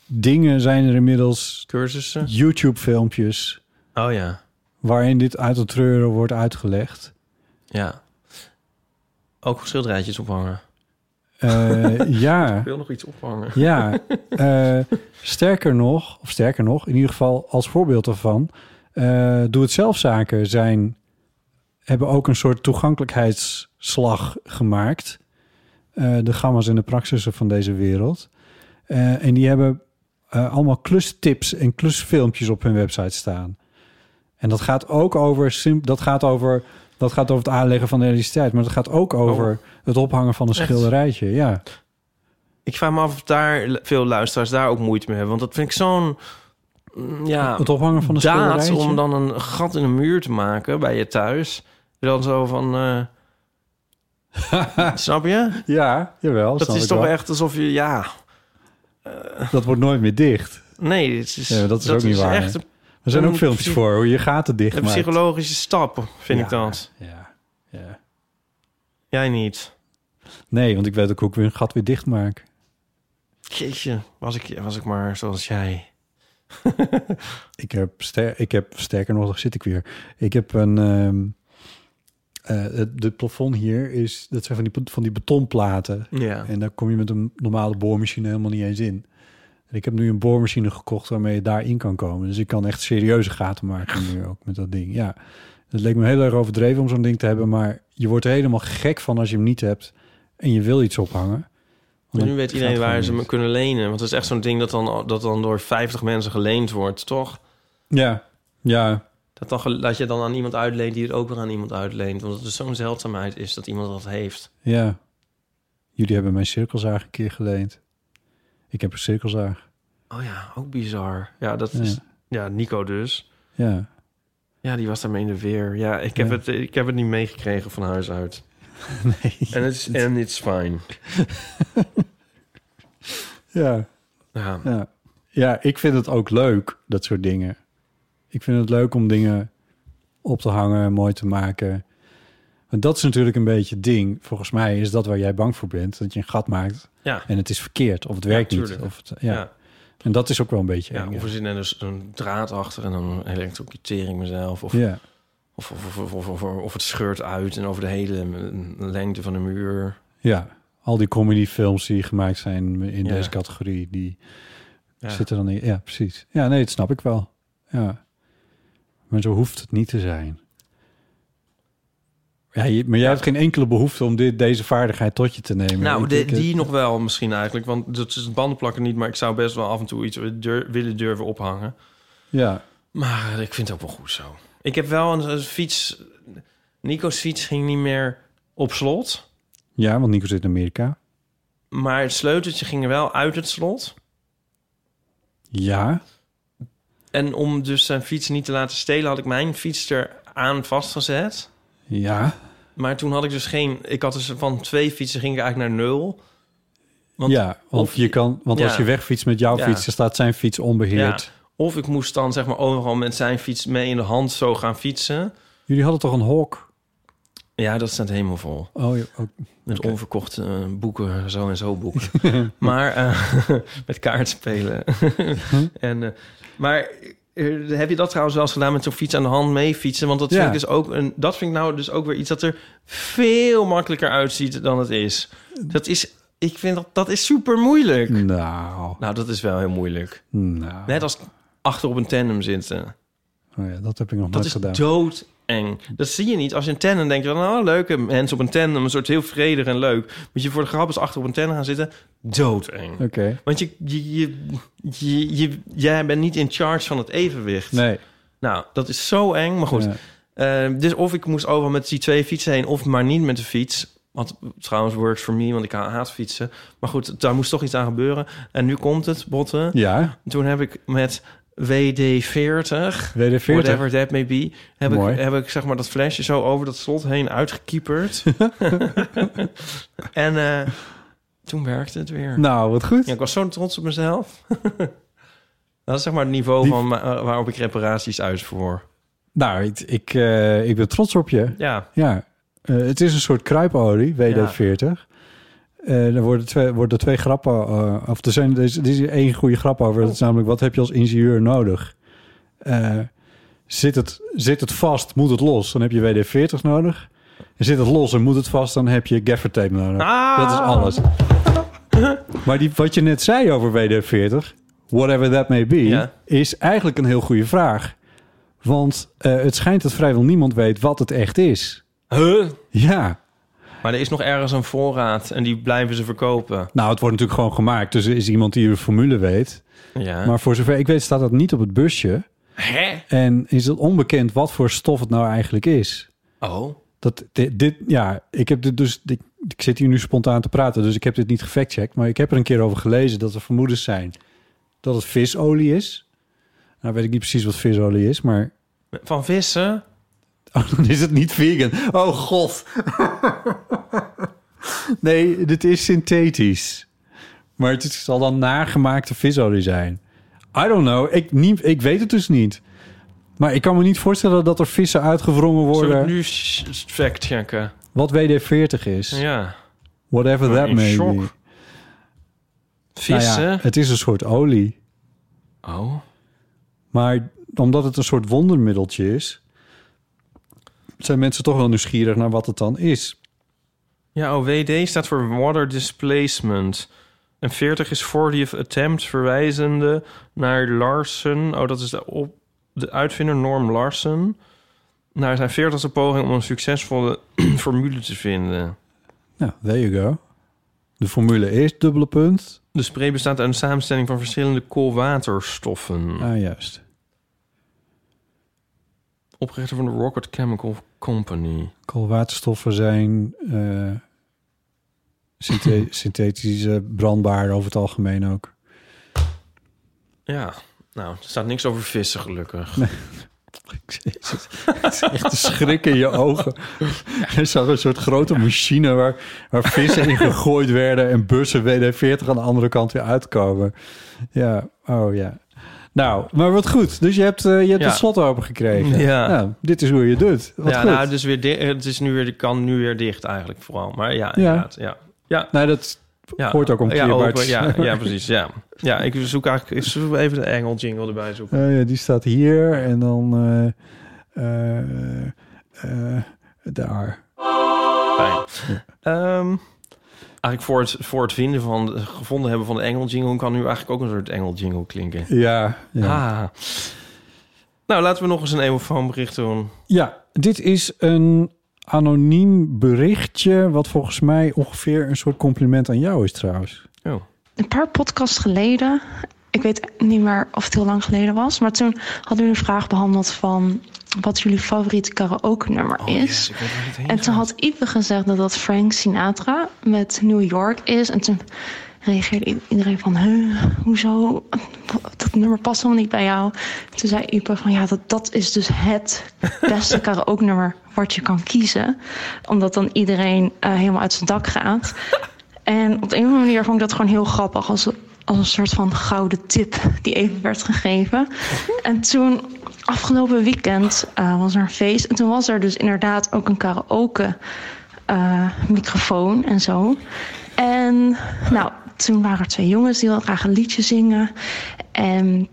dingen zijn er inmiddels Cursussen? YouTube filmpjes Oh ja, waarin dit uit het treuren wordt uitgelegd. ja. Ook schilderijtjes ophangen. Eh, ja, Ik wil nog iets ophangen. ja. Eh, sterker nog, of sterker nog, in ieder geval als voorbeeld daarvan, eh doe het zelfzaken zijn hebben ook een soort toegankelijkheidsslag gemaakt. Eh, de gamma's en de praxissen van deze wereld. Eh, en die hebben eh, allemaal klustips en klusfilmpjes op hun website staan. En dat gaat ook over, sim- dat gaat over, dat gaat over het aanleggen van de elektriciteit. Maar dat gaat ook over het ophangen van een Oh. Echt? schilderijtje. Ja. Ik vraag me af of daar veel luisteraars daar ook moeite mee hebben. Want dat vind ik zo'n, mm, ja... Het ophangen van een daad schilderijtje. om dan een gat in de muur te maken bij je thuis. Dan zo van... eh, snap je? Ja, jawel. Dat snap is ik toch wel. echt alsof je... Ja, Dat wordt nooit meer dicht. nee, dit is, Ja, dat is ook niet waar, echt hè? een, Er zijn Een ook filmpjes psych- voor hoe je gaten dicht een maakt. psychologische stap, vind ik Ja. dat. Ja, ja. Jij niet. Nee, want ik weet ook hoe ik weer een gat weer dicht maak. Jeetje, was ik, was ik maar zoals jij. Ik heb, ster ik heb sterker nog, daar zit ik weer. Ik heb een... ehm eh, het, het plafond hier is... Dat zijn van die, van die betonplaten. Ja. En daar kom je met een normale boormachine helemaal niet eens in. En ik heb nu een boormachine gekocht waarmee je daarin kan komen. Dus ik kan echt serieuze gaten maken nu ook met dat ding. Ja, het leek me heel erg overdreven om zo'n ding te hebben. Maar je wordt er helemaal gek van als je hem niet hebt en je wil iets ophangen. Want nu dan weet gaat iedereen het waar gewoon ze me niet. kunnen lenen. Want dat is echt zo'n ding dat dan, dat dan door 50 mensen geleend wordt, toch? Ja, ja, Dat, dan, gel- dat je dan aan iemand uitleent die het ook weer aan iemand uitleent. Want het is zo'n zeldzaamheid is dat iemand dat heeft. ja. Jullie hebben mijn cirkelzaag een keer geleend. Ik heb een cirkelzaag. Oh ja, ook bizar. Ja, dat Ja. is. Ja, Nico dus. Ja, Ja, die was daarmee in de weer. Ja, ik heb, Ja. Het, ik heb het niet meegekregen van huis uit. nee. En it's, and it's fine. Ja. Ja. Ja. ja, ik vind het ook leuk, dat soort dingen. Ik vind het leuk om dingen op te hangen, mooi te maken. Want dat is natuurlijk een beetje het ding. Volgens mij is dat waar jij bang voor bent. Dat je een gat maakt Ja. en het is verkeerd. Of het werkt niet. tuurlijk. Of het, Ja. ja. ja. En dat is ook wel een beetje eng, ja. of er zit er dus een draad achter en dan elektrocuteer ik mezelf. Of, Ja. of, of, of, of, of, of het scheurt uit en over de hele mm, lengte van de muur. ja, al die comedyfilms die gemaakt zijn in Ja. deze categorie... die Ja. zitten dan in. Ja, precies. Ja, nee, dat snap ik wel. Ja. Maar zo hoeft het niet te zijn. Ja, je- maar jij hebt geen enkele behoefte om dit, deze vaardigheid tot je te nemen. Nou, Ik- eh, de- ik- die nog wel misschien eigenlijk. Want dat is het bandenplakken niet, maar ik zou best wel af en toe iets dur- willen durven ophangen. Ja, Maar eh, ik vind het ook wel goed zo. Ik heb wel een, een fiets. Nico's fiets ging niet meer op slot. ja, want Nico zit in Amerika. Maar het sleuteltje ging er wel uit het slot. Ja, En om dus zijn fiets niet te laten stelen, had ik mijn fiets er aan vastgezet. ja, Maar toen had ik dus geen. Ik had dus van twee fietsen ging ik eigenlijk naar nul. Want- ja. Want of- je kan, want ja. als je wegfietst met jouw Ja. fiets, dan staat zijn fiets onbeheerd. Ja. Of ik moest dan zeg maar overal met zijn fiets mee in de hand zo gaan fietsen. Jullie hadden toch een hok? Ja, dat staat helemaal vol. Oh, ja, ook. Met onverkochte eh, boeken, zo en zo boeken. maar eh, met kaartspelen. en, eh, maar eh, heb je dat trouwens wel eens gedaan met zo'n fiets aan de hand mee fietsen? Want dat vind Ja. ik dus ook een, dat vind ik nou dus ook weer iets dat er veel makkelijker uitziet dan het is. Dat is, ik vind dat, dat is super moeilijk. nou, Nou, dat is wel heel moeilijk. nou. Net als achter op een tandem zitten. Oh ja, dat heb ik nog Dat nooit is gedaan. doodeng. Dat zie je niet. Als je een tandem denkt, van, oh, leuke mensen op een tandem, een soort heel vredig en leuk. Moet je voor de grap eens achter op een tandem gaan zitten, doodeng. Oké. Want je, je, je, je, je- jij bent niet in charge van het evenwicht. Nee. Nou, dat is zo eng, maar goed. Ja. Eh, dus of ik moest overal met die twee fietsen heen, of maar niet met de fiets. Wat trouwens works for me, want ik ha- haat fietsen. Maar goed, daar moest toch iets aan gebeuren. En nu komt het, botten. Ja, Toen heb ik met WD-40 WD-40. whatever that may be, heb Mooi. ik, heb ik zeg maar dat flesje zo over dat slot heen uitgekieperd. en eh, toen werkte het weer. Nou, wat goed. Ja, ik was zo trots op mezelf. dat is zeg maar het niveau Die- van ma- waarop ik reparaties uitvoer. Nou, ik, ik, eh, ik ben trots op je. Ja, Ja, eh, het is een soort kruipolie, WD-40. Eh, er worden twee, worden twee grappen, eh, of er, zijn, er, is, er is één goede grap over. Dat is namelijk, wat heb je als ingenieur nodig? Eh, zit, het, zit het vast, moet het los, dan heb je WD-40 nodig. En zit het los en moet het vast, dan heb je gaffer tape nodig. Ah! Dat is alles. maar die, wat je net zei over WD-40, whatever that may be, Ja. is eigenlijk een heel goede vraag. Want eh, het schijnt dat vrijwel niemand weet wat het echt is. Huh? Ja, maar er is nog ergens een voorraad en die blijven ze verkopen. nou, het wordt natuurlijk gewoon gemaakt. Dus er is iemand die de formule weet. Ja. Maar voor zover ik weet staat dat niet op het busje. Hè? En is het onbekend wat voor stof het nou eigenlijk is. Oh. Dat dit, dit- ja, ik heb dit dus... dit- ik zit hier nu spontaan te praten, dus ik heb dit niet gefactcheckt. Maar ik heb er een keer over gelezen dat er vermoedens zijn dat het visolie is. Nou weet ik niet precies wat visolie is, maar... Van vissen? Oh, dan is het niet vegan. Oh god. nee, dit is synthetisch. Maar het is- zal dan nagemaakte visolie zijn. I don't know. Ik, niet, ik weet het dus niet. Maar ik kan me niet voorstellen dat er vissen uitgewrongen Zullen we worden. het nu s- s- fact-checken? Wat WD-40 is. Ja. Whatever ben that in may be. shock. Nou ja, Vissen? het is een soort olie. Oh. Maar omdat het een soort wondermiddeltje is... zijn mensen toch wel nieuwsgierig naar wat het dan is. Ja, oh, WD staat voor Water Displacement. En 40 is 40th attempt, verwijzende naar Larsen. Oh, dat is de, op, de uitvinder Norm Larsen. Naar zijn 40ste poging om een succesvolle formule te vinden. Nou, there you go. De formule is dubbele punt. De spray bestaat uit een samenstelling van verschillende koolwaterstoffen. Ah, juist. Oprichter van de Rocket Chemical Company. Koolwaterstoffen zijn eh, synthe- synthetisch eh, brandbaar over het algemeen ook. Ja, nou, er staat niks over vissen gelukkig. Jezus, het is echt een schrik in je ogen. Er zag een soort grote machine waar, waar vissen in gegooid werden... en bussen WD-40 aan de andere kant weer uitkomen. Ja, oh ja. Nou, maar wat goed. Dus je hebt, eh, je hebt Ja. het slot open gekregen. Nou, Ja. dit is hoe je het doet. Wat ja, goed. nou, dus weer di- het is nu weer, de kan nu weer dicht eigenlijk vooral. Maar ja, inderdaad, ja. ja. Nee, Nou, dat Ja. hoort ook ja, omkeerbaar ook, te zijn. ja, ja, precies. Ja. ja, ik zoek eigenlijk ik zoek even de engel jingle erbij zoeken. Eh, ja, die staat hier en dan eh, eh, eh, daar. Fijn. Ehm, eigenlijk voor het, voor het vinden van, gevonden hebben van de engel jingle... kan nu eigenlijk ook een soort engel jingle klinken. Ja, ja. Ah. Nou, laten we nog eens een emofoonbericht doen. ja, dit is een anoniem berichtje... wat volgens mij ongeveer een soort compliment aan jou is trouwens. Oh. een paar podcasts geleden. Ik weet niet meer of het heel lang geleden was. Maar toen hadden jullie een vraag behandeld van wat jullie favoriete karaoke nummer is. Oh, Ik weet waar dit heen en toen gaat. had Ipe gezegd dat dat Frank Sinatra met New York is. En toen reageerde i- iedereen van, huh, hoezo? Dat nummer past helemaal niet bij jou. Toen zei Ipe van, ja, dat, dat is dus het beste karaoke nummer wat je kan kiezen. Omdat dan iedereen eh, helemaal uit zijn dak gaat. En op de een of andere manier vond ik dat gewoon heel grappig. Als als een soort van gouden tip die even werd gegeven. En toen, afgelopen weekend, eh, was er een feest. En toen was er dus inderdaad ook een karaoke eh, microfoon en zo. En nou, toen waren er twee jongens die wilden graag een liedje zingen. En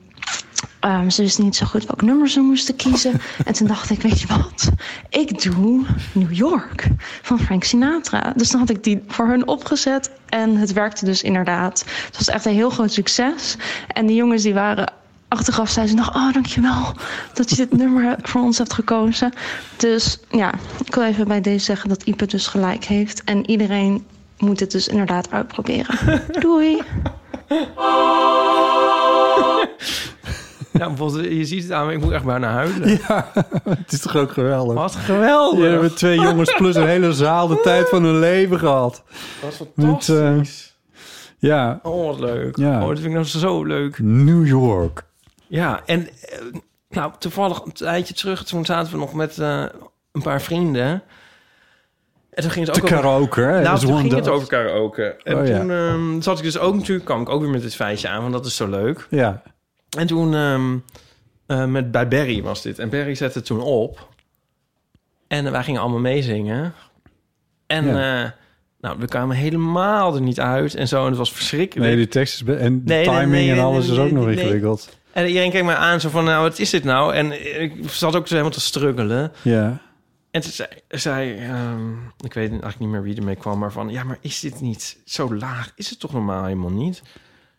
ehm, ze wisten niet zo goed welk nummer ze moesten kiezen. En toen dacht ik, weet je wat? Ik doe New York van Frank Sinatra. Dus dan had ik die voor hun opgezet. En het werkte dus inderdaad. Het was echt een heel groot succes. En die jongens die waren achteraf, zeiden ze nog... Oh, dankjewel dat je dit nummer voor ons hebt gekozen. Dus ja, ik wil even bij deze zeggen dat Ipe dus gelijk heeft. En iedereen moet het dus inderdaad uitproberen. Doei! Ja, bijvoorbeeld, je ziet het aan me, ik moet echt bijna huilen. Ja, het is toch ook geweldig. Wat Je geweldig. hebben twee jongens plus een hele zaal de tijd van hun leven gehad. Wat Met, fantastisch. eh, ja, Oh, wat leuk. Ja. Oh, dat vind ik nou zo leuk. New York. Ja, en eh, nou, toevallig een tijdje terug, toen zaten we nog met eh, een paar vrienden. En toen ging het Te ook over- karaoke, hè? Nou, Dat is toen ging one het dance. over karaoke. En Oh, ja. toen ehm, zat ik dus ook natuurlijk, kwam ik ook weer met dit feitje aan, want dat is zo leuk. Ja, En toen ehm, eh, met, bij Barry was dit. En Barry zette het toen op. En eh, wij gingen allemaal meezingen. En Ja. eh, nou, we kwamen helemaal er niet uit en zo. En het was verschrikkelijk. nee, die tekst is... be- En de nee, timing nee, en nee, alles nee, is ook nee, nog nee. ingewikkeld. En iedereen keek mij aan, zo van, nou, wat is dit nou? En ik zat ook zo helemaal te struggelen. Ja. En toen zei, zei ehm, ik weet eigenlijk niet meer wie ermee kwam, maar van, ja, maar is dit niet zo laag? Is het toch normaal helemaal niet?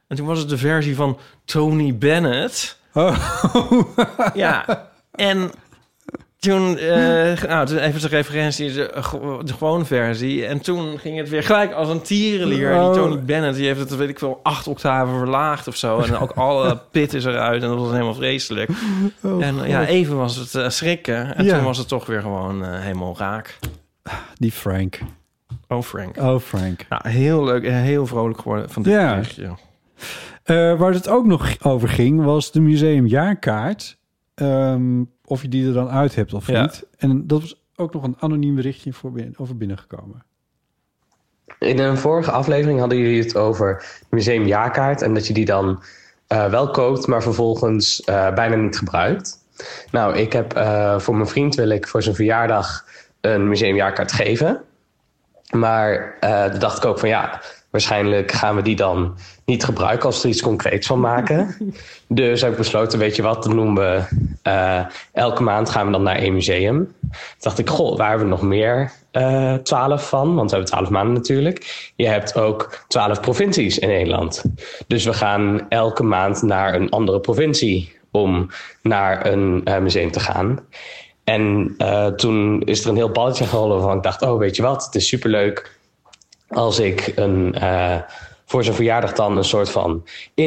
En toen was het de versie van Tony Bennett. Oh. Ja, en toen, eh nou, toen even de referentie, de, de gewone versie. En toen ging het weer gelijk als een tierenlier. Oh. Die Tony Bennett, die heeft het, weet ik veel, acht octaven verlaagd of zo. En ook alle pit is eruit en dat was helemaal vreselijk. Oh, en ja, even was het eh, schrikken. En Ja. toen was het toch weer gewoon eh, helemaal raak. Die Frank. Oh, Frank. Oh, Frank. Nou, heel leuk en heel vrolijk geworden van dit Ja. berichtje. Eh, waar het ook nog over ging, was de museumjaarkaart. Ehm, of je die er dan uit hebt of Ja. niet. En dat was ook nog een anoniem berichtje voor binnen, over binnengekomen. In een vorige aflevering hadden jullie het over museum jaarkaart en dat je die dan eh, wel koopt, maar vervolgens eh, bijna niet gebruikt. Nou, ik heb eh, voor mijn vriend wil ik voor zijn verjaardag een museumjaarkaart geven. Maar eh toen dacht ik ook van ja, waarschijnlijk gaan we die dan niet gebruiken als we er iets concreets van maken. dus heb ik besloten, weet je wat, dan noemen we eh, elke maand gaan we dan naar één museum. Toen dacht ik, goh, waar hebben we nog meer eh, twaalf van? Want we hebben twaalf maanden natuurlijk. Je hebt ook twaalf provincies in Nederland. Dus we gaan elke maand naar een andere provincie om naar een eh, museum te gaan. En eh, toen is er een heel balletje geholpen waarvan ik dacht, oh weet je wat, het is superleuk als ik een, eh, voor zijn verjaardag dan een soort van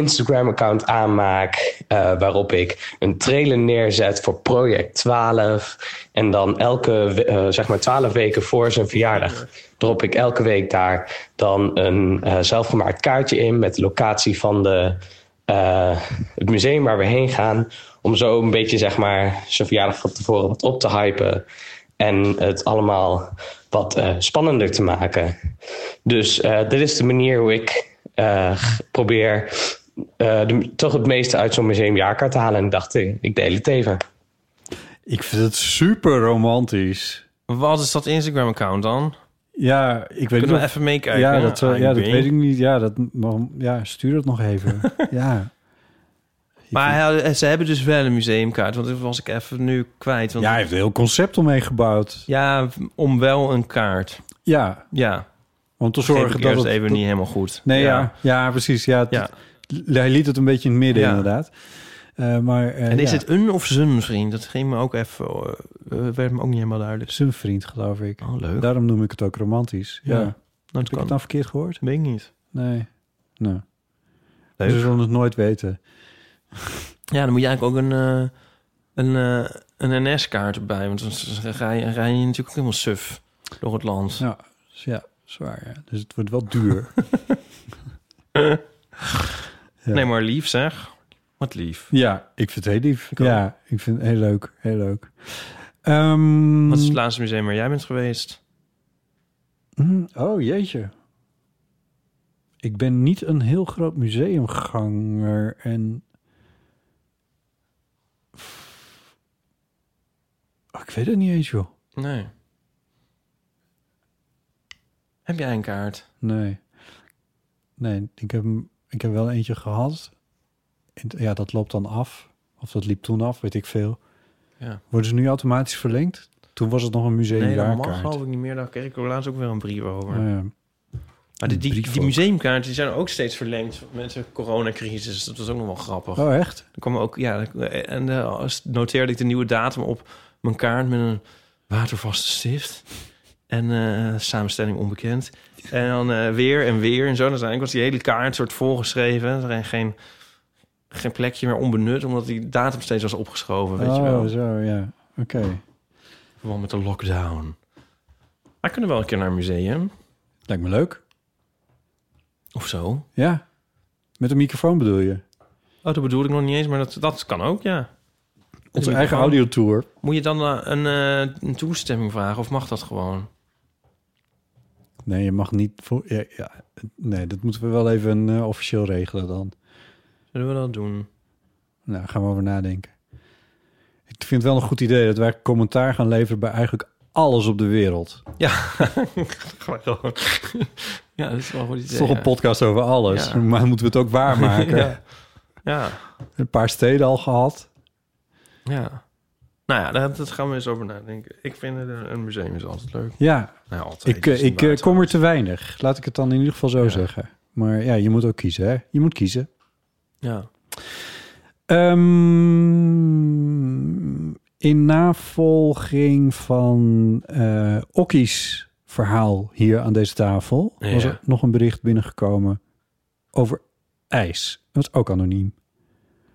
Instagram-account aanmaak eh, waarop ik een trailer neerzet voor project 12. En dan elke, we- eh, zeg maar 12 weken voor zijn verjaardag drop ik elke week daar dan een eh, zelfgemaakt kaartje in met de locatie van de, eh, het museum waar we heen gaan. Om zo een beetje zeg maar, zijn verjaardag van tevoren wat op te hypen. En het allemaal wat eh, spannender te maken. Dus eh, dit is de manier hoe ik eh, g- probeer eh, de- toch het meeste uit zo'n museumjaarkaart te halen. En ik dacht, eh, ik deel het even. Ik vind het super romantisch. Wat is dat Instagram-account dan? Ja, ik weet Kunnen niet we of- even meekijken? ja, dat, eh, Ah, ja, dat weet. weet ik niet. Ja, dat, maar- ja, stuur dat nog even. ja. Maar hij- ze hebben dus wel een museumkaart, want dat was ik even nu kwijt. Want ja, hij heeft een heel concept omheen gebouwd. Ja, om wel een kaart. Ja, Ja, om te zorg zorgen ik dat eerst het... even dat- niet helemaal goed. Nee, ja. Ja, precies. Ja, het- Ja. Hij liet het een beetje in het midden, Ja. inderdaad. Eh, maar, eh, En is ja, het een of zijn vriend? Dat ging me ook even, eh, eh, werd me ook niet helemaal duidelijk. Zijn vriend, geloof ik. Oh, leuk. Daarom noem ik het ook romantisch. Ja. Ja. Nou, dat Heb ik kan. het nou verkeerd gehoord? weet ik niet. Nee. Nee. Leuk. Ze zullen het nooit weten. Ja, dan moet je eigenlijk ook een, eh, een, eh, een NS-kaart erbij. Want dan rij, je- rij je natuurlijk ook helemaal suf door het land. Ja, dus ja zwaar. Ja. Dus het wordt wel duur. Ja. Eh. Nee, maar lief zeg. Wat lief. ja, ik vind het heel lief. ook. ja, ik vind het heel leuk. Heel leuk. Ehm, Wat is het laatste museum waar jij bent geweest? mm, oh, jeetje. Mhm. ik ben niet een heel groot museumganger en Oh, ik weet het niet eens, joh. Nee. Heb jij een kaart? Nee. Nee, ik heb, hem- ik heb wel eentje gehad. En t- ja, dat loopt dan af. Of dat liep toen af, weet ik veel. Ja. Worden ze nu automatisch verlengd? Toen was het nog een nee, dat mag museumjaarkaart. geloof ik niet meer. Daar kreeg ik er laatst ook weer een brief over. Oh ja. Maar die, die, Brief die ook. museumkaarten die zijn ook steeds verlengd met de coronacrisis. Dat was ook nog wel grappig. Oh, echt? Er kwam ook, ja, en eh, noteerde ik de nieuwe datum op mijn kaart met een watervaste stift. En eh, samenstelling onbekend. En dan eh, weer en weer en zo. Dus eigenlijk was die hele kaart soort volgeschreven. Er was geen, geen plekje meer onbenut, omdat die datum steeds was opgeschoven. Weet je wel. Oh, zo, ja. Oké. In verband met de lockdown. Maar kunnen we wel een keer naar een museum. Lijkt me leuk. Of zo. Ja. Met een microfoon bedoel je? Oh, dat bedoel ik nog niet eens, maar dat, dat kan ook, ja. Onze Een eigen microfoon. audiotour. Moet je dan eh, een, eh, een toestemming vragen of mag dat gewoon? Nee, je mag niet voor. Ja, ja. Nee, dat moeten we wel even eh, officieel regelen dan. Zullen we dat doen? Nou, gaan we over nadenken. Ik vind het wel een goed idee dat wij commentaar gaan leveren bij eigenlijk alles op de wereld. Ja, gewoon. ja, dat is wel een goed idee. Het is toch ja. een podcast over alles, Ja. maar moeten we het ook waarmaken? Ja. Ja. Een paar steden al gehad. ja. Nou ja, daar daar gaan we eens over nadenken. Ik vind het een, een museum is altijd leuk. Ja, Nou, ja, altijd. ik, Dat is eh, een ik eh, baat. kom er te weinig. Laat ik het dan in ieder geval zo zeggen. Maar ja, je moet ook kiezen, hè? Je moet kiezen. Ja. Ehm, in navolging van eh Okkie's verhaal hier aan deze tafel... Ja. was er nog een bericht binnengekomen over ijs. Dat is ook anoniem.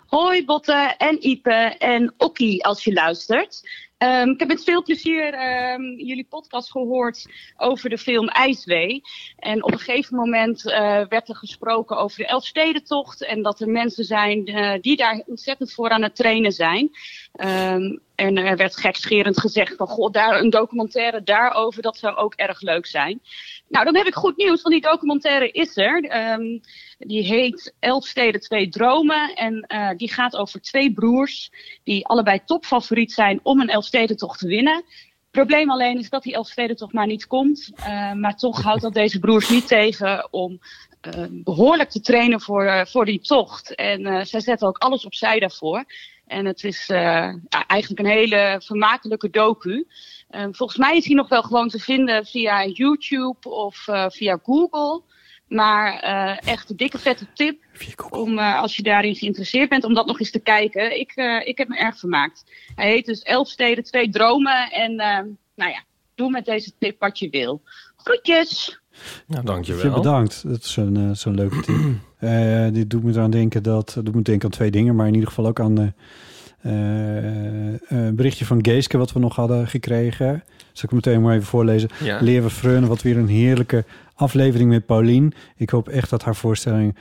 Hoi Botte en Ipe en Okkie als je luistert. Ehm, ik heb met veel plezier ehm, jullie podcast gehoord over de film IJswee. En op een gegeven moment eh, werd er gesproken over de Elfstedentocht. En dat er mensen zijn eh, die daar ontzettend voor aan het trainen zijn. Ehm, en er werd gekscherend gezegd van, god, daar, een documentaire daarover, dat zou ook erg leuk zijn. Nou, dan heb ik goed nieuws, want die documentaire is er. Ehm, die heet Elf Steden, Twee Dromen. En eh, die gaat over twee broers die allebei topfavoriet zijn om een Elfstedentocht te winnen. Probleem alleen is dat die Elfstedentocht maar niet komt. Eh, maar toch houdt dat deze broers niet tegen om eh, behoorlijk te trainen voor, eh, voor die tocht. En eh, zij zetten ook alles opzij daarvoor. En het is eh, ja, eigenlijk een hele vermakelijke docu. Eh, volgens mij is die nog wel gewoon te vinden via YouTube of eh, via Google. Maar eh, echt een dikke vette tip om, eh, als je daarin geïnteresseerd bent, om dat nog eens te kijken. Ik, eh, ik heb me erg vermaakt. Hij heet dus Elf Steden, Twee Dromen. En eh, nou ja, doe met deze tip wat je wil. Groetjes! Nou, dankjewel. Je bedankt. Dat is een, eh, zo'n leuke tip. Eh, dit doet me eraan denken dat... Dat doet me denken aan twee dingen, maar in ieder geval ook aan... eh eh, een berichtje van Geeske wat we nog hadden gekregen. Zal ik hem meteen maar even voorlezen. Ja. Leer we Freun, wat weer een heerlijke aflevering met Paulien. Ik hoop echt dat haar voorstellingen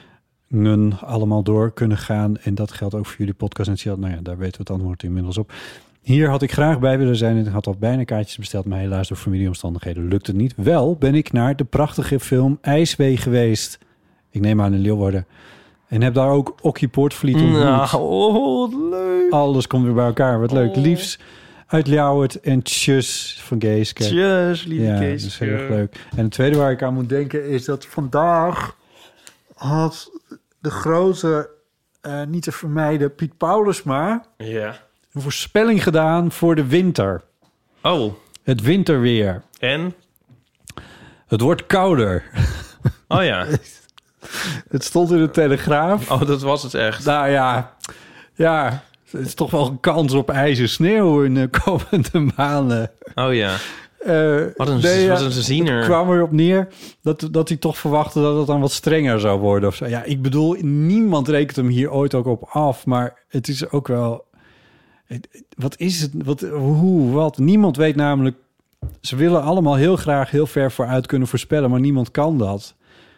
allemaal door kunnen gaan. En dat geldt ook voor jullie podcast. En Sjeld. nou ja, daar weten we het antwoord inmiddels op. Hier had ik graag bij willen zijn en ik had al bijna kaartjes besteld, maar helaas door familieomstandigheden lukt het niet. Wel ben ik naar de prachtige film IJswee geweest. Ik neem aan in Leeuwarden. En heb daar ook Okkie Poortvliet ontmoet. Nou, oh, wat leuk. Alles komt weer bij elkaar. Wat leuk. Oh. Liefs uit Ljouwert en Tjus van Geeske. Tjus, lieve ja, Kees. dat is heel erg leuk. En het tweede waar ik aan moet denken is dat vandaag had de grote, eh, niet te vermijden, Piet Paulusma Ja. een voorspelling gedaan voor de winter. Oh, Het winterweer. en? Het wordt kouder. Oh ja. Het stond in de Telegraaf. Oh, dat was het echt. Nou ja, ja, het is toch wel een kans op ijs en sneeuw in de komende maanden. Oh ja. Eh, Wat een, nee, ja, wat een ziener. Het kwam erop neer dat, dat hij toch verwachtte dat het dan wat strenger zou worden. Of zo. Ja, ik bedoel, niemand rekent hem hier ooit ook op af. Maar het is ook wel... het- het- Wat is het? Wat, hoe? Wat? Niemand weet namelijk... Ze willen allemaal heel graag heel ver vooruit kunnen voorspellen, maar niemand kan dat.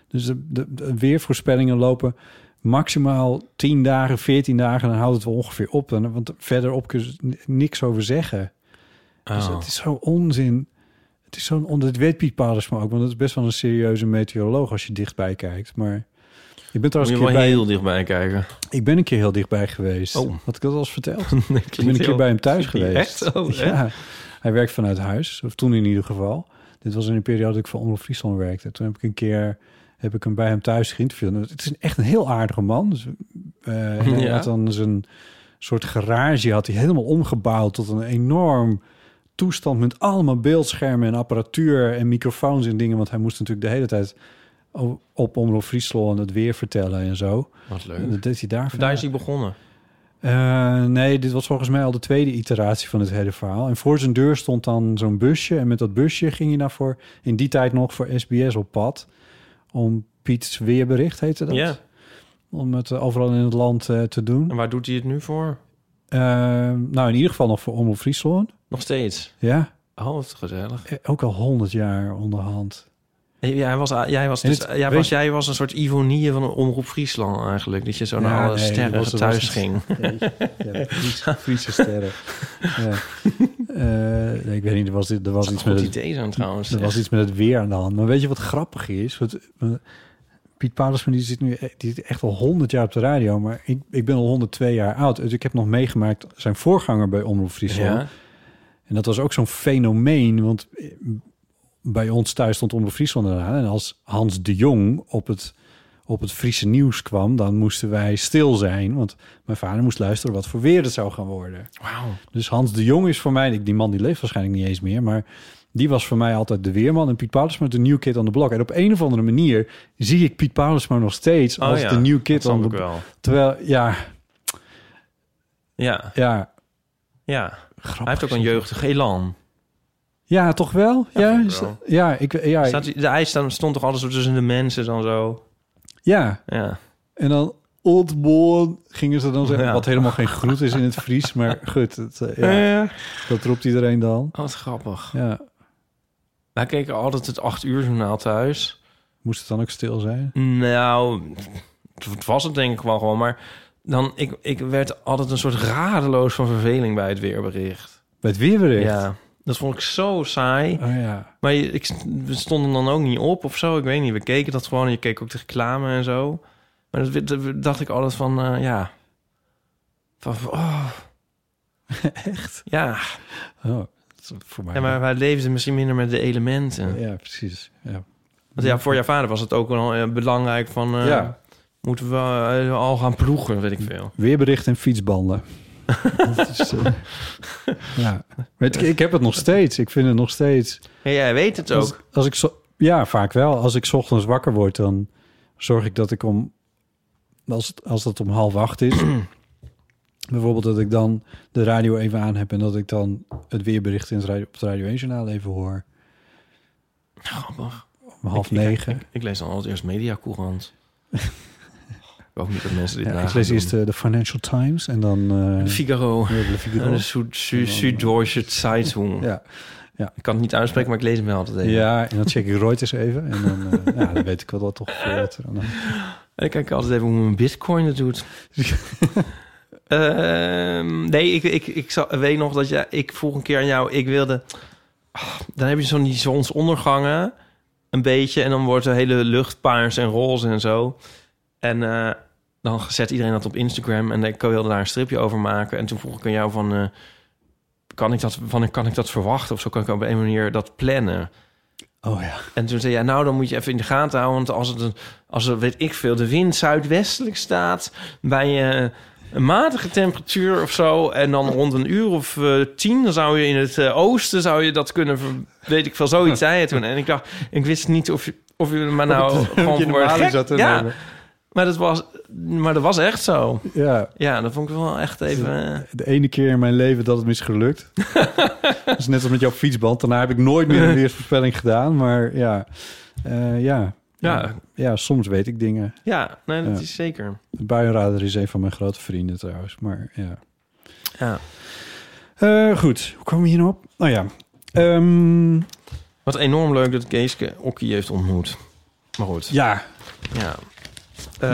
Dus de, de, de weervoorspellingen lopen maximaal 10 dagen, 14 dagen. Dan houdt het wel ongeveer op. Dan- Want verderop kun je niks over zeggen. Dus Oh. het is zo onzin. Het is zo'n onder het weet Piet Paders maar ook, want het is best wel een serieuze meteoroloog als je dichtbij kijkt. Maar ik ben Moet trouwens je een keer wel bij, heel dichtbij kijken. ik ben een keer heel dichtbij geweest. Oh. Had ik dat al eens verteld? Nee, ik ben een klinkt keer heel- bij hem thuis Echt? geweest. Oh, hè? ja, hij werkt vanuit huis, of toen in ieder geval. Dit was in een periode dat ik voor Omroep Friesland werkte. Toen heb ik een keer heb ik hem bij hem thuis geïnterviewd. En Het is een- echt een heel aardige man. Dus, eh, en hij Ja. had dan zijn soort garage had hij helemaal omgebouwd tot een enorm toestand met allemaal beeldschermen en apparatuur en microfoons en dingen. Want hij moest natuurlijk de hele tijd op, op Omroep Friesland het weer vertellen en zo. Wat leuk. En dat deed hij daar Daar is hij begonnen. eh, nee, dit was volgens mij al de tweede iteratie van het hele verhaal. En voor zijn deur stond dan zo'n busje. En met dat busje ging hij dan voor, in die tijd nog voor SBS op pad. Om Piet's weerbericht, heette dat? Ja. Om het eh, overal in het land eh, te doen. En waar doet hij het nu voor? Eh, nou, in ieder geval nog voor Omroep Friesland. Nog steeds. Ja, Oh, wat gezellig. eh, ook al honderd jaar onderhand. Ja, hij was, jij, was En dus, het- jij, weet was, je- jij was een soort Ivonie van een omroep Friesland eigenlijk. Dat je zo naar Ja, alle nee, sterren was- was thuis het- ging. Nee, ja, Friese- Friese sterren. ja. Eh, nee, ik weet niet, er was, er was Dat iets is een met goed idee zijn trouwens, Er was echt. iets met het weer aan de hand. Maar weet je wat grappig is? Wat, eh, Piet Padersman die zit nu e- die zit echt al 100 jaar op de radio, maar ik, ik ben al 102 jaar oud. Dus ik heb nog meegemaakt zijn voorganger bij Omroep Friesland. Ja. En dat was ook zo'n fenomeen, want eh, bij ons thuis stond Omroep Friesland eraan. En als Hans de Jong op het, op het Friese nieuws kwam, dan moesten wij stil zijn. Want mijn vader moest luisteren wat voor weer het zou gaan worden. Wauw. Dus Hans de Jong is voor mij, die man die leeft waarschijnlijk niet eens meer, maar die was voor mij altijd de weerman. En Piet Paulusma de new kid on the block. En op een of andere manier zie ik Piet Paulusma nog steeds Oh als ja, de new kid dat snap on the ik wel. Terwijl, ja, Ja, ja, ja. hij heeft ook een jeugdig elan. ja, toch wel? Ja, ja, vind ik is- wel. ja, ik, ja, Staat, hij- de ijs stond, stond toch alles tussen de mensen dan zo? ja. Ja. En dan old boy gingen ze dan zeggen, Ja. wat helemaal geen groet is in het Fries, maar goed, het, eh, ja, Eh. dat roept iedereen dan. Oh, Wat grappig. Ja, Wij keken altijd het 8 uur journaal thuis. moest het dan ook stil zijn? Nou, het- het was het denk ik wel gewoon. Maar dan, ik, ik werd altijd een soort radeloos van verveling bij het weerbericht. Bij het weerbericht? Ja, dat vond ik zo saai. Oh ja. Maar je- ik, st- we stonden dan ook niet op of zo. Ik weet niet, we keken dat gewoon. en Je keek ook de reclame en zo. Maar dat, dat dacht ik altijd van, eh, ja... Van, oh. Echt? Ja. Oh, dat is voor mij. ja, maar wij leefden misschien minder met de elementen. Ja, precies. Ja. Want ja, voor jouw vader was het ook wel eh, belangrijk van... eh, Ja. Moeten we eh, al gaan ploegen, weet ik veel. Weerbericht en fietsbanden. dat is, eh, ja. Weet ik, ik heb het nog steeds. Ik vind het nog steeds. Ja, jij weet het Als, ook. als ik zo, ja, vaak wel. Als ik 's ochtends wakker word, dan zorg ik dat ik om. Als, het- als dat om half acht is. bijvoorbeeld dat ik dan de radio even aan heb en dat ik dan het weerbericht in het radio, op het Radio 1 Journaal even hoor. Grappig. Om half Ik- ik- negen. Ik, ik lees dan altijd eerst Mediacourant. ik hoop niet dat mensen dit Ja, nagaan. ik lees eerst doen. de, de Financial Times en dan... eh, De Figaro. ja, de Figaro. En de Süd- Sü- Süddeutsche Zeitung. Ja. ja. Ik kan het niet uitspreken, maar ik lees hem wel altijd even. Ja, en dan check ik Reuters even. En dan, eh, ja, dan weet ik wel dat toch veel wat er aan de hand is. En ik kijk altijd even hoe mijn bitcoin het doet. Ehm, nee, ik, ik, ik zal- weet nog dat jij... Ik vroeg een keer aan jou, ik wilde... Ah, dan heb je zo'n die zonsondergangen. Een beetje. En dan wordt de hele lucht paars en roze en zo. En eh, dan zet iedereen dat op Instagram. En ik wilde daar een stripje over maken. En toen vroeg ik aan jou van... eh, kan ik, dat, van, kan ik dat verwachten? Of zo kan ik op een manier dat plannen. Oh ja. En toen zei hij, nou, dan moet je even in de gaten houden. Want als het, een- als er, weet ik veel, de wind zuidwestelijk staat... bij eh, een matige temperatuur of zo... en dan rond een uur of eh, tien dan zou je in het eh, oosten... zou je dat kunnen, ver- weet ik veel, zoiets zei hij toen. En ik dacht, ik wist niet of je, of je maar nou Of gewoon je voor normaal gek... is dat te ja, nemen. maar dat, was, maar dat was echt zo. Ja, Ja, dat vond ik wel echt even... eh, de ene keer in mijn leven dat het mis gelukt. dat is net als met jouw fietsband. Daarna heb ik nooit meer een weersvoorspelling gedaan. Maar ja, eh, ja. Ja. ja, soms weet ik dingen. ja, nee, dat Ja. is zeker. De buienrader is een van mijn grote vrienden trouwens. Maar ja. Ja. Eh, goed, hoe komen we hier nou op? Nou ja, Ehm, Wat enorm leuk dat Geeske Okkie heeft ontmoet. Maar goed. ja, Ja.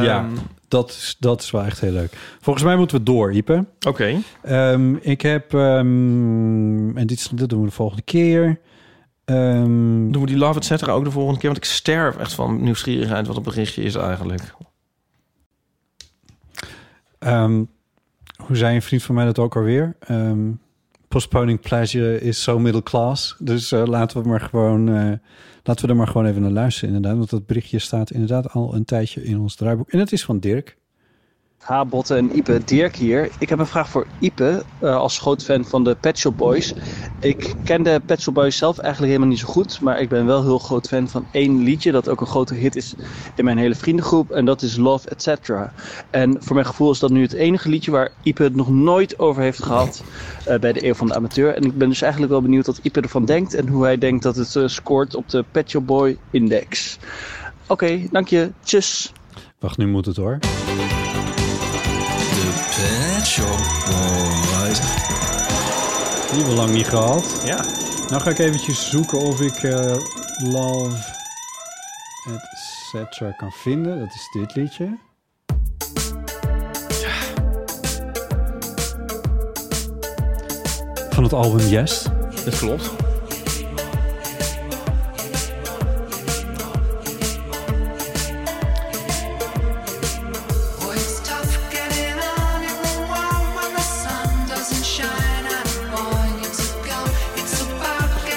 ja. Ehm, Dat is, dat is wel echt heel leuk. Volgens mij moeten we door, Ipe. Oké. Ehm, ik heb, ehm, en dit, is- dat doen we de volgende keer. Doen we die Love et cetera ook de volgende keer? Want ik sterf echt van nieuwsgierigheid wat het berichtje is eigenlijk. Ehm, hoe zei een vriend van mij dat ook alweer? Ehm, postponing pleasure is zo middle class. Dus eh, laten, we maar gewoon, eh, laten we er maar gewoon even naar luisteren inderdaad. Want dat berichtje staat inderdaad al een tijdje in ons draaiboek. En het is van Dirk. Ha, Botte en Ipe, Dirk hier. Ik heb een vraag voor Ipe eh, als groot fan van de Pet Shop Boys. Ik ken de Pet Shop Boys zelf eigenlijk helemaal niet zo goed, maar ik ben wel heel groot fan van één liedje dat ook een grote hit is in mijn hele vriendengroep en dat is Love Etc. En voor mijn gevoel is dat nu het enige liedje waar Ipe het nog nooit over heeft gehad eh, bij de Eeuw van de Amateur. En ik ben dus eigenlijk wel benieuwd wat Ipe ervan denkt en hoe hij denkt dat het eh, scoort op de Pet Shop Boy Index. Oké, dank je. Tjus. Wacht, nu moet het hoor. De Pet Shop Boys. Die hebben we lang niet gehad. Ja. Nou ga ik eventjes zoeken of ik eh, Love et cetera kan vinden. Dat is dit liedje. Van het album Yes. Dat klopt.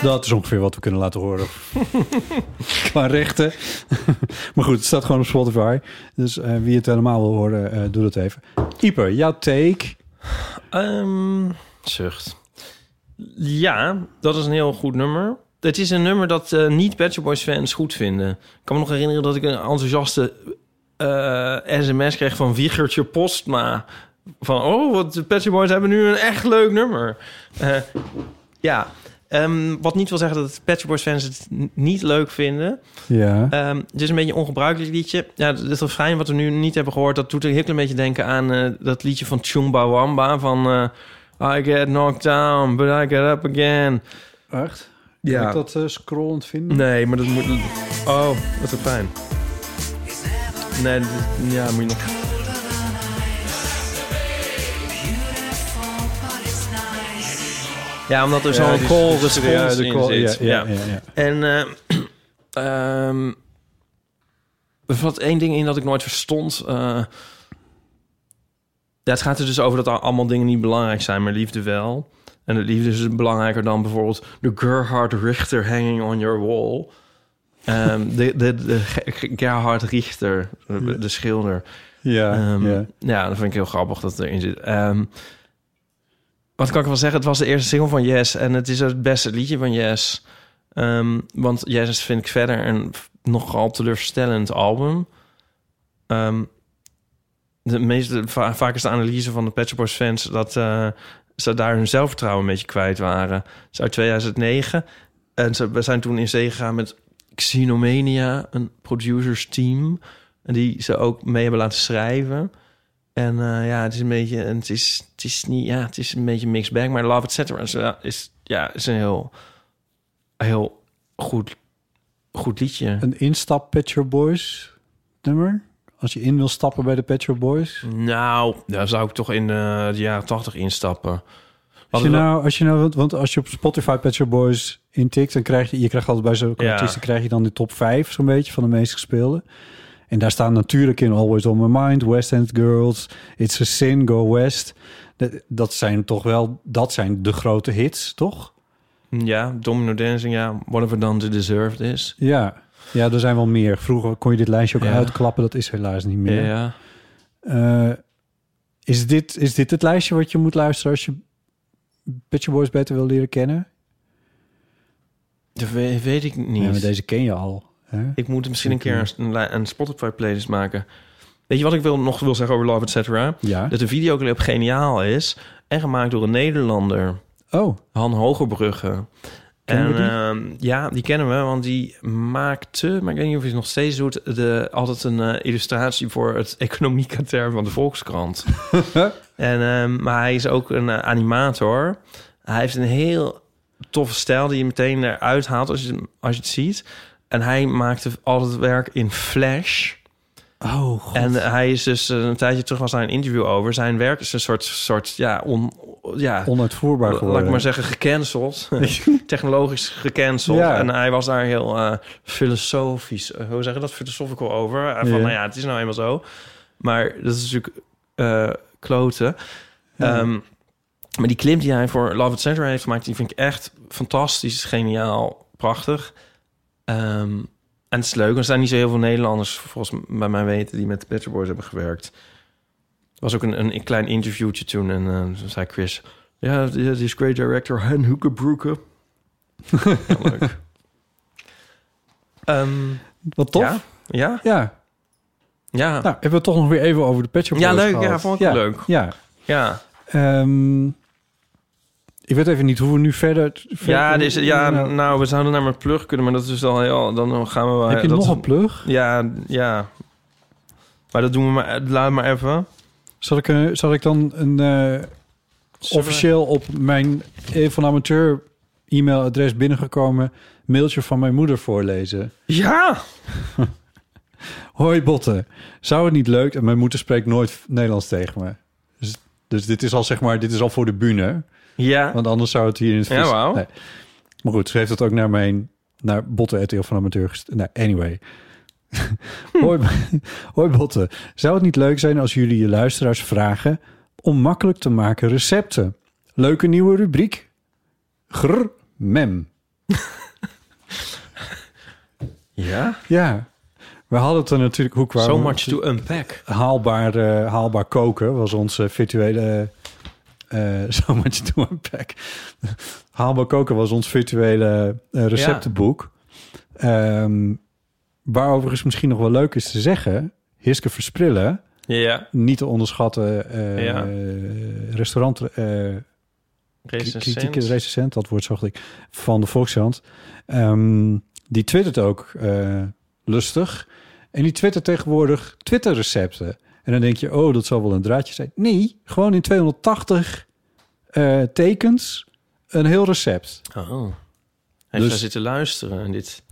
Dat is ongeveer wat we kunnen laten horen. Qua rechten. maar goed, het staat gewoon op Spotify. Dus eh, wie het helemaal wil horen, eh, doe dat even. Ieper, jouw take. Ehm, zucht. Ja, dat is een heel goed nummer. Het is een nummer dat eh, niet Pet Shop Boys fans goed vinden. Ik kan me nog herinneren dat ik een enthousiaste eh, sms kreeg van Wiegertje Postma. Van, oh, wat de Pet Shop Boys hebben nu een echt leuk nummer. Eh, ja, Ehm, wat niet wil zeggen dat Pet Shop Boys fans het n- niet leuk vinden. Ja. Ehm, het is een beetje een ongebruikelijk liedje. Ja, het het refrein wat we nu niet hebben gehoord... dat doet een heel klein beetje denken aan eh, dat liedje van Chumba Wamba... van eh, I get knocked down, but I get up again. Echt? Ja. Kan ik dat eh, scrollend vinden? Nee, maar dat moet... Oh, wat een pijn. Nee, dat- ja, moet je nog... Ja, omdat er Ja, zo'n die- call die- response ja, de call- in zit. ja, ja, ja, ja. En eh, ehm, er zat één ding in dat ik nooit verstond. eh. ja, het gaat er dus over dat al- allemaal dingen niet belangrijk zijn, maar liefde wel. En de liefde is dus belangrijker dan bijvoorbeeld de Gerhard Richter hanging on your wall. Ehm, de, de, de Ge- Gerhard Richter, de, de schilder. Ja, Ehm, ja. ja, dat vind ik heel grappig dat het erin zit. Ehm, wat kan ik wel zeggen? Het was de eerste single van Yes. En het is het beste liedje van Yes. Ehm, want Yes is, vind ik verder een f- nogal teleurstellend album. Ehm, de meeste, va- vaak is de analyse van de Pet Shop Boys fans... dat eh, ze daar hun zelfvertrouwen een beetje kwijt waren. Het is uit 2009. En ze, we zijn toen in zee gegaan met Xenomania, een producers team... die ze ook mee hebben laten schrijven... En eh, ja, het is een beetje, het is, het is niet, ja, het is een beetje mixed bag, maar Love Etc. is, eh, is, ja, is een heel, heel goed, goed liedje. Een instap Pet Shop Boys nummer. Als je in wil stappen bij de Pet Shop Boys. Nou, daar zou ik toch in eh, de jaren tachtig instappen. Als je Hadden we- nou, als je nou, want- want als je op Spotify Pet Shop Boys intikt, dan krijg je, je krijgt altijd bij zo'n Ja. artiesten krijg je dan de top 5 zo'n beetje van de meest gespeelde. En daar staan natuurlijk in Always On My Mind, West End Girls, It's a Sin, Go West. Dat, dat zijn toch wel, dat zijn de grote hits, toch? Ja, Domino Dancing, ja, Whatever Done to Deserved is. Ja, ja, er zijn wel meer. Vroeger kon je dit lijstje ook Ja. uitklappen, dat is helaas niet meer. Ja. Eh, is, dit, is dit het lijstje wat je moet luisteren als je Pet Shop Boys beter wil leren kennen? Dat we- weet ik niet. Ja, maar deze ken je al. Hè? Ik moet misschien een keer een, li- een Spotify playlist maken. Weet je wat ik wil, nog wil zeggen over Love Etc.? Ja. Dat de videoclip geniaal is en gemaakt door een Nederlander. Oh. Han Hogerbrugge. Kennen en we die? ehm, ja, die kennen we, want die maakte, maar ik weet niet of hij het nog steeds doet, de, altijd een eh, illustratie voor het economiekater van de Volkskrant. en, ehm, maar hij is ook een eh, animator. Hij heeft een heel toffe stijl die je meteen eruit haalt als je, hem- als je het ziet. En hij maakte altijd werk in Flash. Oh, En hij is dus eh, een tijdje terug was daar een interview over. Zijn werk is een soort, soort ja, on, ja, Onuitvoerbaar geworden. laat ik maar zeggen, gecanceld. Technologisch gecanceld. Ja. En hij was daar heel eh, filosofisch, eh, hoe zeg je dat, philosophical over. Eh, van, Ja. nou ja, het is nou eenmaal zo. Maar dat is natuurlijk eh kloten. Ja. Ehm, maar die clip die hij voor Love It Center heeft gemaakt... die vind ik echt fantastisch, geniaal, prachtig. Ehm, en het is leuk. Er zijn niet zo heel veel Nederlanders, volgens m- bij mij weten... die met de Pet Shop Boys hebben gewerkt. Er was ook een, een, een klein interviewtje toen en eh, toen zei Chris... Ja, die die is great director Han Hoekenbroeke. Ja, leuk. Ehm, Wat tof. Ja, ja. Ja. Ja. Nou, hebben we het toch nog weer even over de Pet Shop Ja, Boys leuk. Ja, gehad. vond ik leuk. Ja. Ja. Ehm, ik weet even niet hoe we nu verder... Ja, verder- dus, ja, nou, nou, we zouden naar mijn plug kunnen, maar dat is al heel... Dan gaan we wel... Heb je eh, dat nog is- een plug? Ja, ja. Maar dat doen we maar... Laat maar even. Zal ik, eh, zal ik dan een, eh, officieel op mijn eh, van amateur e-mailadres binnengekomen mailtje van mijn moeder voorlezen? Ja! Hoi Botten, zou het niet leuk... En mijn moeder spreekt nooit Nederlands tegen me. Dus, dus dit is al zeg maar, dit is al voor de bühne. Ja. Want anders zou het hier in het Ja, Fries- wauw. Nee. Maar goed, schreef dat ook naar mijn... Naar Botten, RTL van Amateur. gest- Nou, anyway. Hoi, hoi Botten. Zou het niet leuk zijn als jullie je luisteraars vragen... om makkelijk te maken recepten? Leuke nieuwe rubriek. Grr, mem. Ja? Ja. We hadden het er natuurlijk... Hoe kwamen So we- much to unpack. haalbaar, eh, haalbaar koken was onze virtuele... eh so much to unpack. haalbaar koken was ons virtuele eh, receptenboek. Ehm, waar overigens misschien nog wel leuk is te zeggen... Hiske Versprillen, Ja. niet te onderschatten eh, Ja. restaurant... eh, Recensent. Kritieke recensent, dat woord zocht ik, van de Volkskrant. Ehm, die twittert ook eh, lustig. En die twittert tegenwoordig Twitter-recepten. En dan denk je, oh, dat zal wel een draadje zijn. Nee, gewoon in 280 eh, tekens een heel recept. Oh. Heeft Dus- daar zitten luisteren en dit...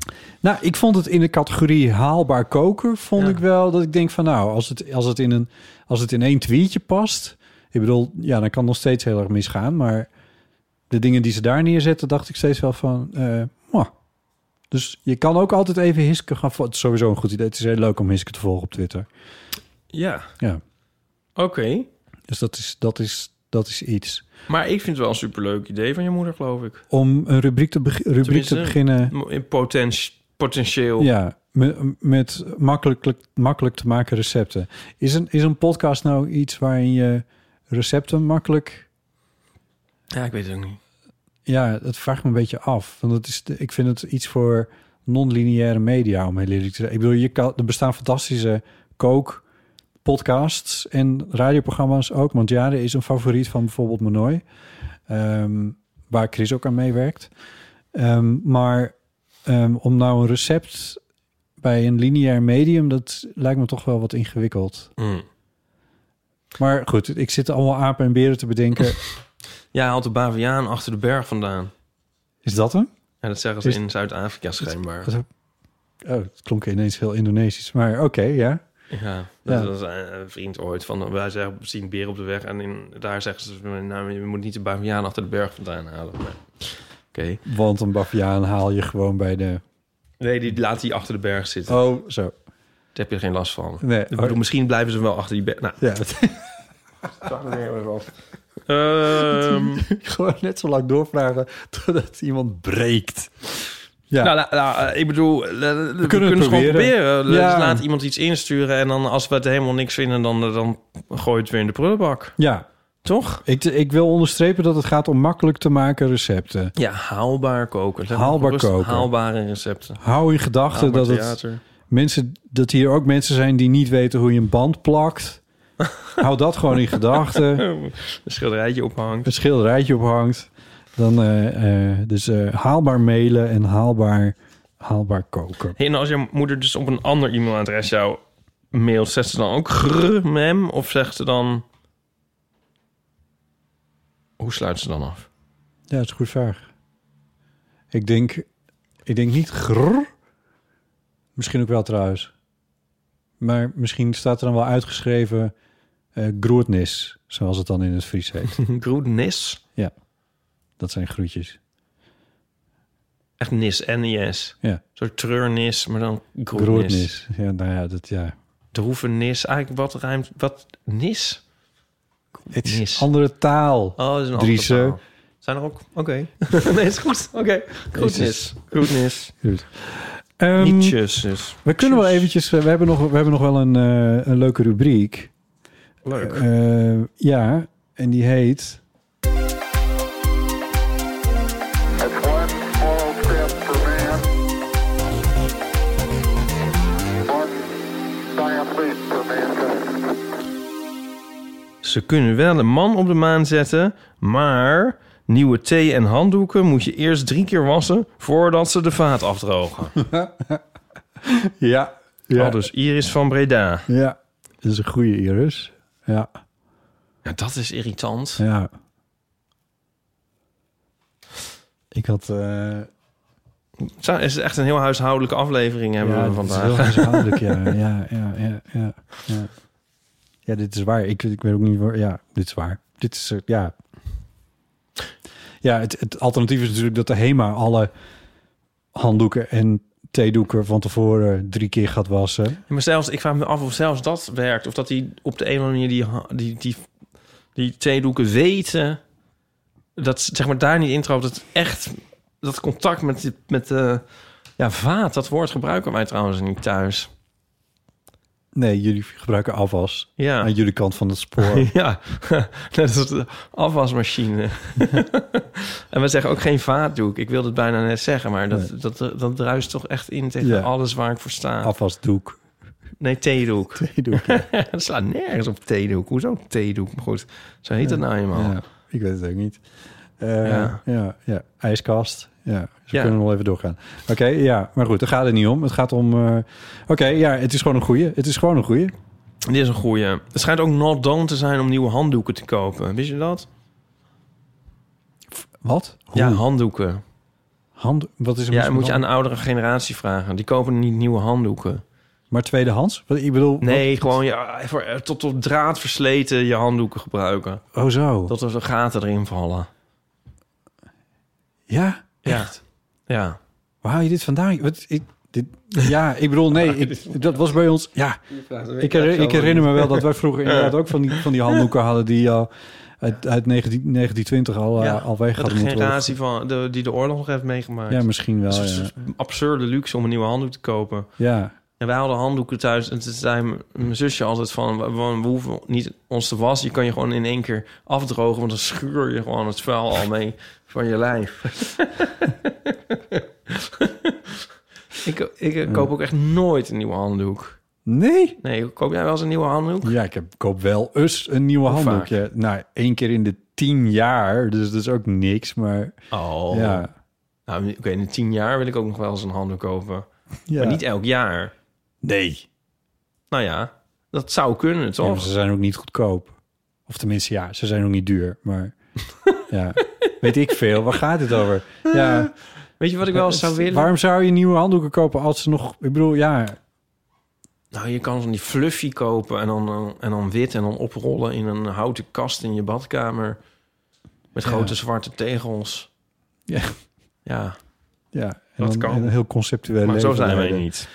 Nou, ik vond het in de categorie haalbaar koken, vond ik wel dat ik denk van nou, als het, als het, in, een, als het in één tweetje past, ik bedoel, ja, dan kan het nog steeds heel erg misgaan, maar de dingen die ze daar neerzetten, dacht ik steeds wel van, eh, mwah. Dus je kan ook altijd even Hiske gaan volgen. Het is sowieso een goed idee. Het is heel leuk om Hiske te volgen op Twitter. Ja. Ja, Oké. dus dat is, dat is, dat is iets. Maar ik vind het wel een superleuk idee van je moeder, geloof ik. Om een rubriek te, beg- rubriek te Tenminste, beginnen. mo- In potent- potentieel. Ja, me- met makkelijk, makkelijk te maken recepten. Is een, is een podcast nou iets waarin je recepten makkelijk... Ja, ik weet het ook niet. Ja, dat vraagt me een beetje af. Want het is, de- ik vind het iets voor non-lineaire media, om heel eerlijk te zijn. Ik bedoel, je kan, er bestaan fantastische kook podcasts en radioprogramma's ook. Mondiare is een favoriet van bijvoorbeeld Manoy. ehm, waar Chris ook aan meewerkt. Ehm, maar ehm, om nou een recept bij een lineair medium... dat lijkt me toch wel wat ingewikkeld. Mm. Maar goed, ik zit allemaal apen en beren te bedenken. Ja, hij haalt de baviaan achter de berg vandaan. Is dat hem? En dat zeggen ze Is- in Zuid-Afrika schijnbaar. Dat- Oh, het klonk ineens heel Indonesisch. Maar oké, ja. Ja, dat Ja. was eh, een een vriend ooit van... Wij zeggen, we zien beren op de weg en in, daar zeggen ze... Nou, je moet niet de baviaan achter de berg vandaan halen. Maar- Oké. Want een baviaan haal je gewoon bij de... Nee, die laat die achter de berg zitten. Oh, zo. Daar heb je er geen last van. Nee. Ik bedoel, misschien blijven ze wel achter die berg. Nou, Ja. Ehm. gewoon net zo lang doorvragen totdat iemand breekt. Ja. Nou, nou, nou, eh, ik bedoel, eh, we, het kunnen het gewoon proberen. proberen. Dus Ja. laat iemand iets insturen en dan als we het helemaal niks vinden, dan, eh, dan gooi je het weer in de prullenbak. Ja. Toch? Ik, ik wil onderstrepen dat het gaat om makkelijk te maken recepten. Ja, haalbaar koken. Zeg maar Haalbaar gerust koken. Haalbare recepten. Hou in gedachten Haalbaar dat, het theater. mensen, dat hier ook mensen zijn die niet weten hoe je een band plakt. Hou dat gewoon in gedachten. een schilderijtje ophangt. het schilderijtje ophangt. Dan, eh, eh, dus eh, haalbaar mailen en haalbaar, haalbaar koken. Hey, en als je moeder dus op een ander e-mailadres jou mailt, zegt ze dan ook grr, mem? Of zegt ze dan... Hoe sluit ze dan af? Ja, dat is een goede vraag. Ik denk, ik denk niet grrr. Misschien ook wel trouwens. Maar misschien staat er dan wel uitgeschreven... eh, eh groetnis, zoals het dan in het Fries heet. Groetnis? Ja, dat zijn groetjes. Echt nis, N-I-S. Ja. Een soort treurnis, maar dan groetnis. Groetnis. Ja, nou ja, dat ja. Droevenis, eigenlijk wat ruimt... Wat? Nis? Het is andere taal. Oh, dat is een andere Driese. taal. Zijn er ook... Oké. nee, is goed. Oké. Groetnis. Jezus. Groetnis. Goed. Ehm, Nietjes dus. We kunnen wel eventjes... eh, We hebben nog, we hebben nog wel een, eh, een leuke rubriek. Leuk. Eh, ja, en die heet... Ze kunnen wel een man op de maan zetten, maar nieuwe thee en handdoeken moet je eerst drie keer wassen voordat ze de vaat afdrogen. ja. ja. ja. dus Iris van Breda. Ja, dat is een goede Iris. Ja, Ja, dat is irritant. ja. Ik had... eh, Zou- is het echt een heel huishoudelijke aflevering hebben ja, we dit is vandaag. heel huishoudelijk, ja. Ja, ja, ja, ja, ja. Ja, dit is waar. Ik, ik weet ook niet waar. Ja, dit is waar. Dit is, eh, ja. Ja, het, het alternatief is natuurlijk dat de HEMA alle handdoeken en theedoeken van tevoren drie keer gaat wassen. Ja, Maar zelfs, ik vraag me af of zelfs dat werkt. Of dat die op de een of andere manier die, ha- die, die, die theedoeken weten. Dat ze, zeg maar daar niet intrapt. Dat echt dat contact met, die- met de ja, vaat. Dat woord gebruiken wij trouwens niet thuis. Nee, jullie gebruiken afwas Ja. aan jullie kant van het spoor. Ja, net als de afwasmachine. en we zeggen ook geen vaatdoek. Ik wilde het bijna net zeggen, maar dat, dat, eh, dat, druist toch echt in tegen Ja. alles waar ik voor sta. Afwasdoek. Nee, theedoek. Theedoek, Dat slaat nergens op theedoek. Hoezo theedoek? Maar goed, zo heet dat nou eenmaal. Ja, ik weet het ook niet. Eh, Ja. ja. ja, ijskast. Ja, ze Ja. kunnen nog even doorgaan. Oké, ja, maar goed, daar gaat het niet om. Het gaat om... eh, Oké, ja, het is gewoon een goeie. Het is gewoon een goeie. Dit is een goeie. Het schijnt ook not done te zijn om nieuwe handdoeken te kopen. Wist je dat? Wat? Ja, handdoeken. Hand, wat is er ja, mis dan met moet je aan de oudere generatie vragen. Die kopen niet nieuwe handdoeken. Maar tweedehands? Wat, ik bedoel... Nee, gewoon ja, voor, eh, tot op draad versleten je handdoeken gebruiken. wat- oh zo. Tot er gaten erin vallen. Ja? Echt? Ja. Waar haal je dit vandaan? Wat, ik, dit, ja, ik bedoel, nee, ik, dat was bij ons... Ja, ik, her- ik herinner me wel dat wij vroeger inderdaad ook van die, van die handdoeken hadden... die al uit, uit 19, 1920 al, eh, Ja, al dat weg de hadden moeten worden generatie van, de, die de oorlog nog heeft meegemaakt. Ja, misschien wel, Het is een soort absurde luxe om een nieuwe handdoek te kopen. Ja. En wij hadden handdoeken thuis. En toen zei m- mijn zusje altijd van... We, we- we hoeven niet ons te wassen. Je kan je gewoon in één keer afdrogen. Want dan schuur je gewoon het vuil al mee van je lijf. ik ik eh, koop ook echt nooit een nieuwe handdoek. Nee? Nee, koop jij wel eens een nieuwe handdoek? Ja, ik heb, koop wel eens een nieuwe Hoe handdoek. Ja, nou, één keer in de tien jaar. Dus dat is ook niks, maar... Oh. Ja. Nou, Oké, in de tien jaar wil ik ook nog wel eens een handdoek kopen. Ja. Maar niet elk jaar. Nee. Nou ja, dat zou kunnen, Ja, maar toch? ze zijn ook niet goedkoop. Of tenminste, ja, ze zijn ook niet duur. Maar ja, weet ik veel. Waar gaat het over? Ja. Weet je wat ik wel eens zou willen? Waarom zou je nieuwe handdoeken kopen als ze nog... Ik bedoel, ja... Nou, je kan van die fluffy kopen en dan, eh, en dan wit en dan oprollen in een houten kast in je badkamer. Met Ja. grote zwarte tegels. Ja. Ja, ja en Dat dan- kan. en Een heel conceptueel maar zo leven zijn wij leiden. niet.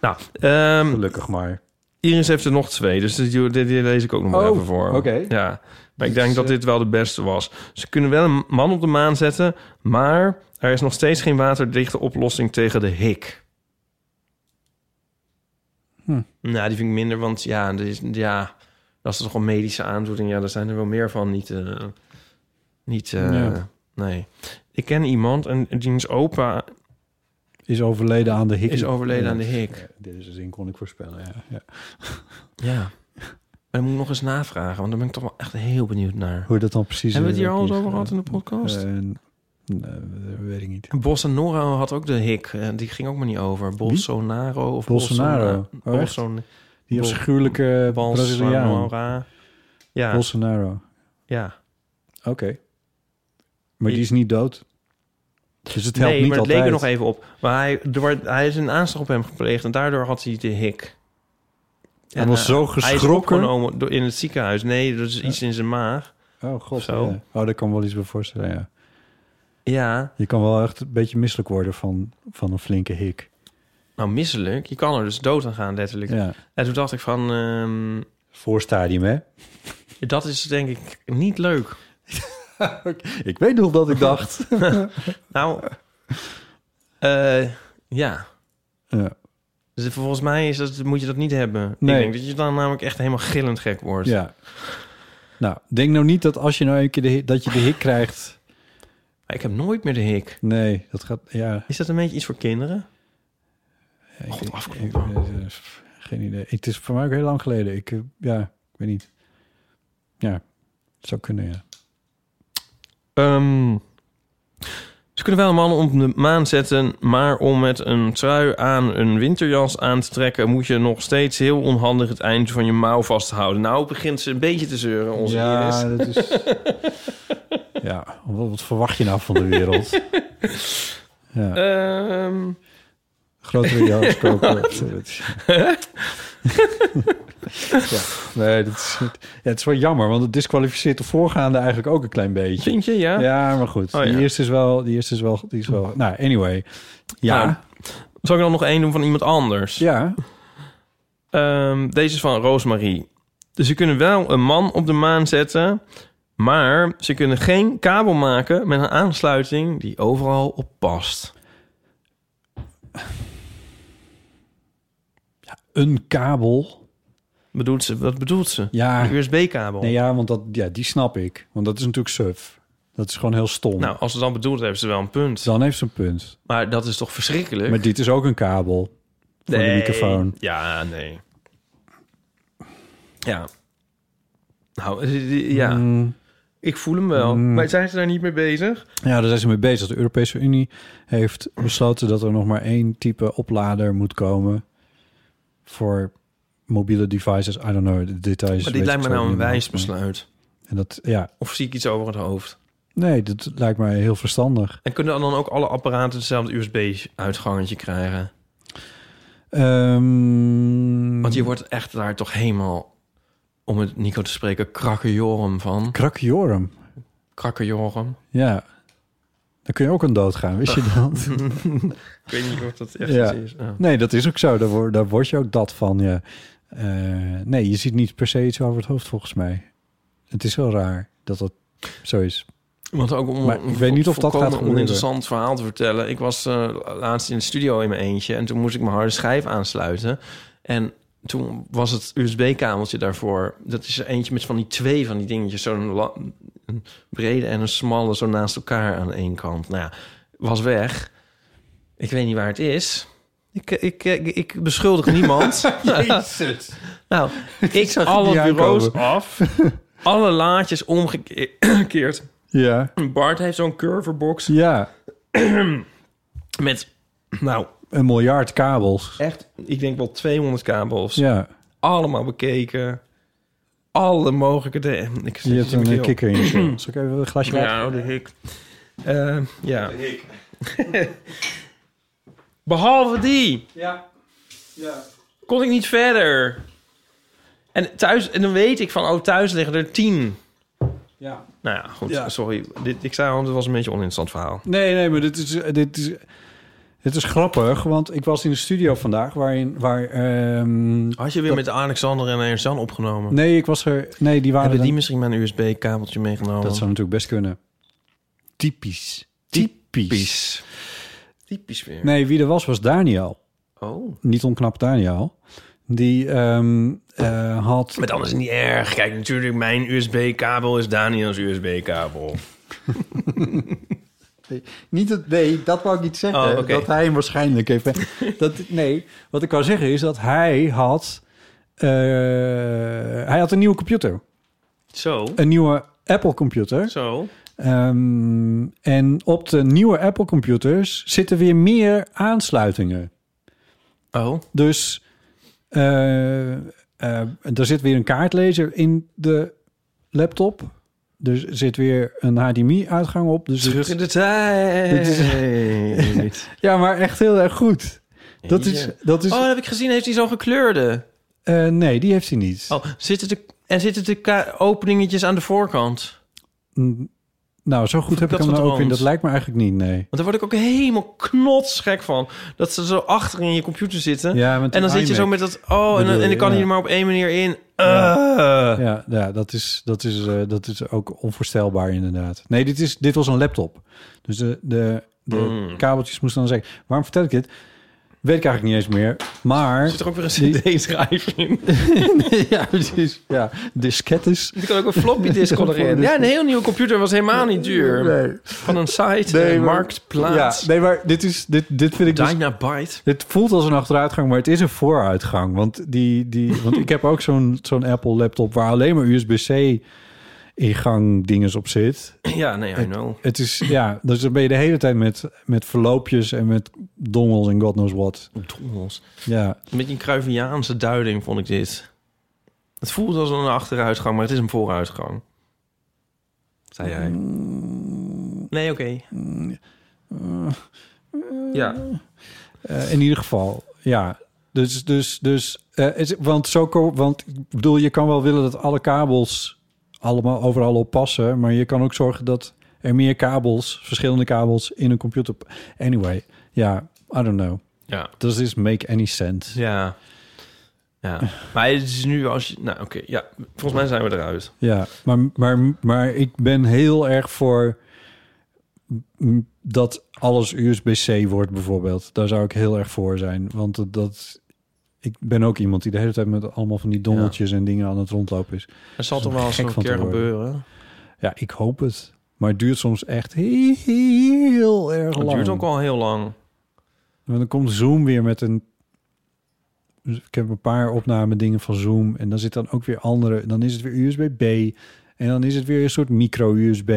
Nou, ehm, Gelukkig maar. Iris heeft er nog twee, dus die, die, die lees ik ook nog maar Oh, even voor. oké. Dus, eh, Ja, maar ik denk dat dit wel de beste was. Ze kunnen wel een man op de maan zetten, maar er is nog steeds geen waterdichte oplossing tegen de hik. Hm. Nou, die vind ik minder, want ja, er is, ja dat is toch een medische aandoening. Ja, daar zijn er wel meer van, niet... eh, niet eh, Ja. Nee. Ik ken iemand, en diens opa Is overleden aan de hik. is overleden Ja. aan de hik. Ja, dit is een zin kon ik voorspellen, ja. ja. Ja. Maar dan moet ik nog eens navragen, want daar ben ik toch wel echt heel benieuwd naar. Oh, Hoe dat dan precies... Hebben we het eh, hier al eens is, over gehad eh, in de podcast? eh, nee, weet ik niet. Bos en Nora had ook de hik. eh, Die ging ook maar niet over. Bolsonaro of Bolsonaro. Bolsona- Oh, echt? Bolson- Die Bol- afschuwelijke Braziliaan. Bolsonaro. Ja, Bolsonaro. ja. Oké. Maar die is niet dood. Dus het helpt nee, niet maar het altijd. leek er nog even op. Maar hij, er, wordt- hij is een aanslag op hem gepleegd en daardoor had hij de hik. Hij was zo Hij is geschrokken. opgenomen door- in het ziekenhuis. Nee, dat is iets in zijn maag. Oh god. Zo. Ja. Oh, daar kan ik me wel iets bij voorstellen, ja. Ja. Je kan wel echt een beetje misselijk worden van, van een flinke hik. Nou, misselijk. Je kan er dus dood aan gaan, letterlijk. Ja. En toen dacht ik van... ehm, Voorstadium, hè? dat is denk ik niet leuk. Ik weet nog dat ik dacht. nou, eh, ja. Ja. Dus volgens mij is dat, moet je dat niet hebben. Nee. Ik denk dat je dan namelijk echt helemaal gillend gek wordt. Ja. Nou, denk nou niet dat als je nou een keer de, hik- dat je de hik krijgt. Ik heb nooit meer de hik. Nee, dat gaat. Ja. Is dat een beetje iets voor kinderen? God, Ik, eh, pff, geen idee. Het is voor mij ook heel lang geleden. Ik, eh, ja, ik weet niet. Ja, het zou kunnen, ja. Ehm, ze kunnen wel een man op de maan zetten, maar om met een trui aan een winterjas aan te trekken, moet je nog steeds heel onhandig het eind van je mouw vasthouden. Nou begint ze een beetje te zeuren, onze ja, Iris. dat is. ja, wat, wat verwacht je nou van de wereld? ja. Ehm. Grotere jascoop. ja, nee, dat is, niet- ja, het is wel jammer, want het disqualificeert de voorgaande eigenlijk ook een klein beetje. Vind je, ja? Ja, maar goed. Oh, ja. Die eerste is wel, die eerste is wel, die is wel. Nou, anyway. Ja. Nou, zal ik dan nog één doen van iemand anders? Ehm, Ja. deze is van Roosmarie. Dus ze kunnen wel een man op de maan zetten, maar ze kunnen geen kabel maken met een aansluiting die overal op past. Een kabel. Bedoelt ze? Wat bedoelt ze? Ja. Een USB-kabel. Nee, ja, want dat, ja, die snap ik. Want dat is natuurlijk suf. Dat is gewoon heel stom. Nou, als ze dan bedoelt, hebben ze wel een punt. Dan heeft ze een punt. Maar dat is toch verschrikkelijk? Maar dit is ook een kabel. Voor de Nee. microfoon. Ja, nee. Ja. Nou, ja. Mm. Ik voel hem wel. Mm. Maar zijn ze daar niet mee bezig? Ja, daar zijn ze mee bezig. De Europese Unie heeft besloten dat er nog maar één type oplader moet komen voor mobiele devices. I don't know, de details. Maar weet dit lijkt ik me zo nou een niet meer. wijs besluit. En dat, ja, Of zie ik iets over het hoofd? nee, dat lijkt mij heel verstandig. En kunnen dan ook alle apparaten hetzelfde USB-uitgangetje krijgen? Ehm, Want je wordt echt daar toch helemaal, om het Nico te spreken, krakkejorum van. Krakjorum, Krakkejorum. ja. Dan kun je ook aan dood gaan, wist je dat? ik weet niet of dat echt ja. Nou, iets is. Oh. Ja. Nee, dat is ook zo. Daar word, daar word je ook dat van. Ja. Eh, nee, je ziet niet per se iets over het hoofd volgens mij. Het is wel raar dat dat zo is. Want ook om Maar ik een weet niet of dat volkomen gaat gebeuren. oninteressant verhaal te vertellen. Ik was eh, laatst in de studio in mijn eentje en toen moest ik mijn harde schijf aansluiten. En toen was het USB-kabeltje daarvoor. Dat is er eentje met van die twee van die dingetjes. Zo'n la- een brede en een smalle zo naast elkaar aan één kant. Nou ja, was weg. Ik weet niet waar het is. Ik, ik, ik, ik beschuldig niemand. Jezus. nou, ik zag zag het alle niet bureaus aankomen. af. Alle laadjes omgekeerd. Ja. Bart heeft zo'n curverbox. Ja, Met, nou, een miljard kabels. echt, ik denk wel 200 kabels. Ja, Allemaal bekeken. Alle mogelijke... De, ik je hebt een eh, kikker in je keel. Zal ik even een glasje water? Ja, oh, de hik. Eh, ja. Behalve die. Ja. Ja. Kon ik niet verder. En thuis, en dan weet ik van, oh, thuis liggen er 10. Ja. Nou ja, goed, Ja. sorry. Dit, ik zei al, het was een beetje een oninteressant verhaal. Nee, nee, maar dit is, dit is, dit is grappig, want ik was in de studio vandaag waarin, waar... ehm, Had je weer met Alexander en Ernst Jan opgenomen? Nee, ik was er... Nee, die waren Hebben die dan- misschien mijn USB-kabeltje meegenomen? Dat zou natuurlijk best kunnen. Typisch. Typisch. typisch weer. Nee, wie er was, was Daniel. Oh. Niet onknap Daniel. Die ehm, eh, had... Maar dan is het niet erg. Kijk, natuurlijk, mijn USB-kabel is Daniels USB-kabel. Niet het, nee, dat wou ik niet zeggen. Oh, oké. Dat hij hem waarschijnlijk heeft. dat, nee, wat ik wou zeggen is dat hij had, eh, hij had een nieuwe computer. Zo. Een nieuwe Apple computer. Zo. Ehm, en op de nieuwe Apple computers zitten weer meer aansluitingen. Oh. Dus eh, eh, er zit weer een kaartlezer in de laptop. Er zit weer een HDMI-uitgang op. Dus Terug het- in de tijd. Dit ja, maar echt heel erg goed. Dat is, dat is Oh, dat heb ik gezien. Heeft hij zo'n gekleurde? Eh, nee, die heeft hij niet. Oh, zitten de, en zitten de ka- openingetjes aan de voorkant? Mm, Nou, zo goed heb ik dat hem wat nou ook in. anders? Dat lijkt me eigenlijk niet, nee. Want daar word ik ook helemaal knotsgek van. Dat ze zo achter in je computer zitten. Ja, met die en dan zit je zo met iMac dat... Oh, en, dan- bedoel en je, ik kan ja. hier maar op één manier in. Eh. Ja, ja, ja, dat, is, dat, is, eh, dat is ook onvoorstelbaar inderdaad. Nee, dit, is, dit was een laptop. Dus de, de, de Mm. kabeltjes moesten dan zeggen... Waarom vertel ik dit? Weet ik eigenlijk niet eens meer. Maar... Zit er ook weer een cd-schrijver in? ja, precies. Ja, diskettes. Er kan ook een floppy disk Ja, erin. Ja, een heel nieuwe computer was helemaal niet duur. Nee. Van een site, Nee, een maar- marktplaats. Ja, nee, maar dit, is, dit, dit vind ik... dus- Dynabyte. Het voelt als een achteruitgang, maar het is een vooruitgang. Want, die, die, want ik heb ook zo'n zo'n Apple laptop waar alleen maar USB-C ingang dinges op zit. Ja, nee, I know. Het is, ja, dus dan ben je de hele tijd met, met verloopjes en met dongels en god knows what. Dongels? Ja. Een beetje een Cruyffiaanse duiding vond ik dit. Het voelt als een achteruitgang, maar het is een vooruitgang. Zei jij. Mm. Nee, oké. Ja. Eh, in ieder geval, ja. Dus, dus, dus, eh, is, want zo, ko- want ik bedoel, je kan wel willen dat alle kabels allemaal overal op passen, maar je kan ook zorgen dat er meer kabels, verschillende kabels in een computer. pa- Anyway, ja, I don't know. Ja. Does this make any sense? Ja. Ja. Maar het is nu als je... Nou, oké. Ja, volgens mij zijn we eruit. Ja, maar, maar, maar ik ben heel erg voor m- dat alles USB-C wordt bijvoorbeeld. Daar zou ik heel erg voor zijn. Want dat, dat- ik ben ook iemand die de hele tijd met allemaal van die dongeltjes en dingen aan het rondlopen is. Het zal Daar toch wel eens gek een van te keer worden. gebeuren. Ja, ik hoop het. Maar het duurt soms echt heel erg Het lang. duurt ook al heel lang. Want dan komt Zoom weer met een... Ik heb een paar opname dingen van Zoom. En dan zit dan ook weer andere... Dan is het weer USB-B. En dan is het weer een soort micro-USB.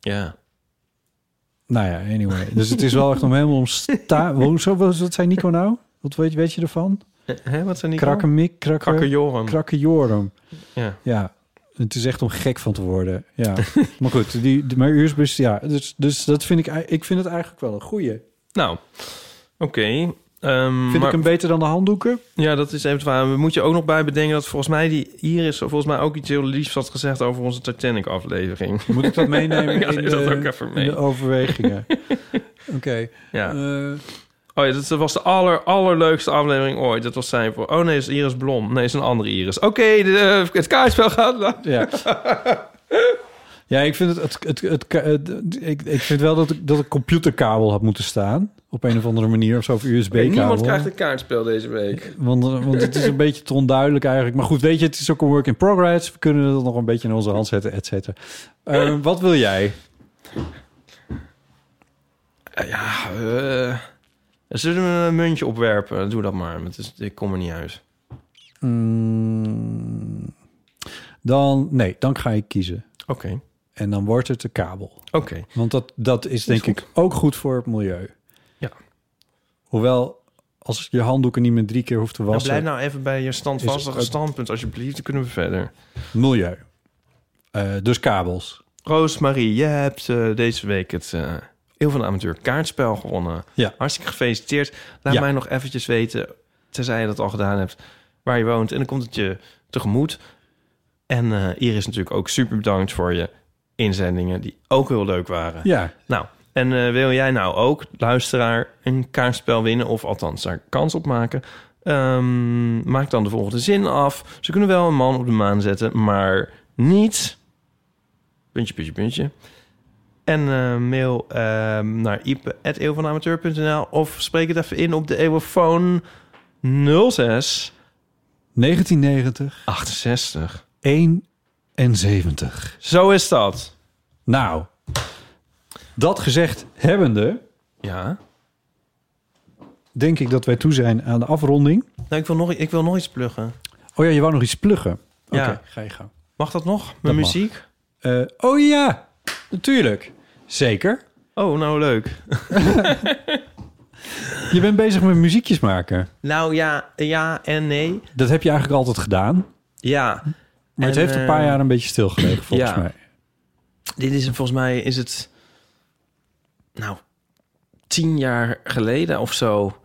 Ja. Nou ja, anyway. Dus het is wel echt om helemaal ontstaan. Hoezo was dat zei Nico nou? Wat weet, weet je ervan? Hè, wat zijn die? Krakkemik, krakken, Krakkejorum. Krakkejorum. Ja. ja. Het is echt om gek van te worden. Ja. maar goed, die, die, maar USB, ja. Dus, dus dat vind ik, ei- ik vind het eigenlijk wel een goeie. Nou, oké. Ehm, Vind maar- ik hem beter dan de handdoeken? Ja, dat is even waar. We moeten ook nog bij bedenken dat volgens mij die Iris volgens mij ook iets heel liefs had gezegd over onze Titanic aflevering. Moet ik dat meenemen ja, in, neem de, dat ook even mee. in de overwegingen? Oké. Ja. Eh, Oh ja, dat was de aller, allerleukste aflevering ooit. Dat was zijn voor. Oh nee, is Iris Blom. Nee, is een andere Iris. Oké, de- het kaartspel gaat. la- Ja. Ja, ik vind het, het, het, het, het- ik, ik vind wel dat, ik, dat een computerkabel had moeten staan. Op een of andere manier, of zo, of Oké, niemand USB-kabel. krijgt een kaartspel deze week. Want, eh, want het is een beetje te onduidelijk eigenlijk. Maar goed, weet je, het is ook een work in progress. We kunnen dat nog een beetje in onze hand zetten, et cetera. Eh, wat wil jij? Ja, eh, zullen we een muntje opwerpen? Doe dat maar. want het is- ik kom er niet uit. Mm, dan, nee, dan ga ik kiezen. Oké. En dan wordt het de kabel. Oké. Want dat, dat is denk ik ook goed voor het milieu. Ja. Hoewel, als je handdoeken niet meer drie keer hoeft te Nou, wassen... blijf nou even bij je standvastige ook- standpunt, alsjeblieft. Dan kunnen we verder. Milieu. Eh, dus kabels. Roosmarie, je hebt eh, deze week het eh Eeuw van de Amateur kaartspel gewonnen. Ja. Hartstikke gefeliciteerd. Laat Ja. mij nog eventjes weten, tenzij je dat al gedaan hebt, waar je woont. En dan komt het je tegemoet. En eh, Iris natuurlijk ook super bedankt voor je inzendingen, die ook heel leuk waren. Ja. Nou, en eh, wil jij nou ook, luisteraar, een kaartspel winnen... of althans daar kans op maken... Ehm, maak dan de volgende zin af. Ze kunnen wel een man op de maan zetten, maar niet... Puntje, puntje, puntje. En eh, mail ehm naar ipe.eeuwvanamateur.nl of spreek het even in op de eeuwenfoon 06 1990, 68. 71. Zo is dat. Nou, dat gezegd hebbende... Ja. denk ik dat wij toe zijn aan de afronding. Nou, ik, wil nog, ik wil nog iets pluggen. Oh ja, je wou nog iets pluggen. Oké, Ja. ga je gang. Mag dat nog? Met Dat mag. muziek? Eh, oh ja, natuurlijk. Zeker. Oh, nou leuk. Je bent bezig met muziekjes maken. Nou ja, ja en nee. Dat heb je eigenlijk altijd gedaan. Ja. Maar het En, heeft een paar eh, jaar een beetje stilgelegen, volgens ja. mij. Dit is volgens mij is het nou tien jaar geleden of zo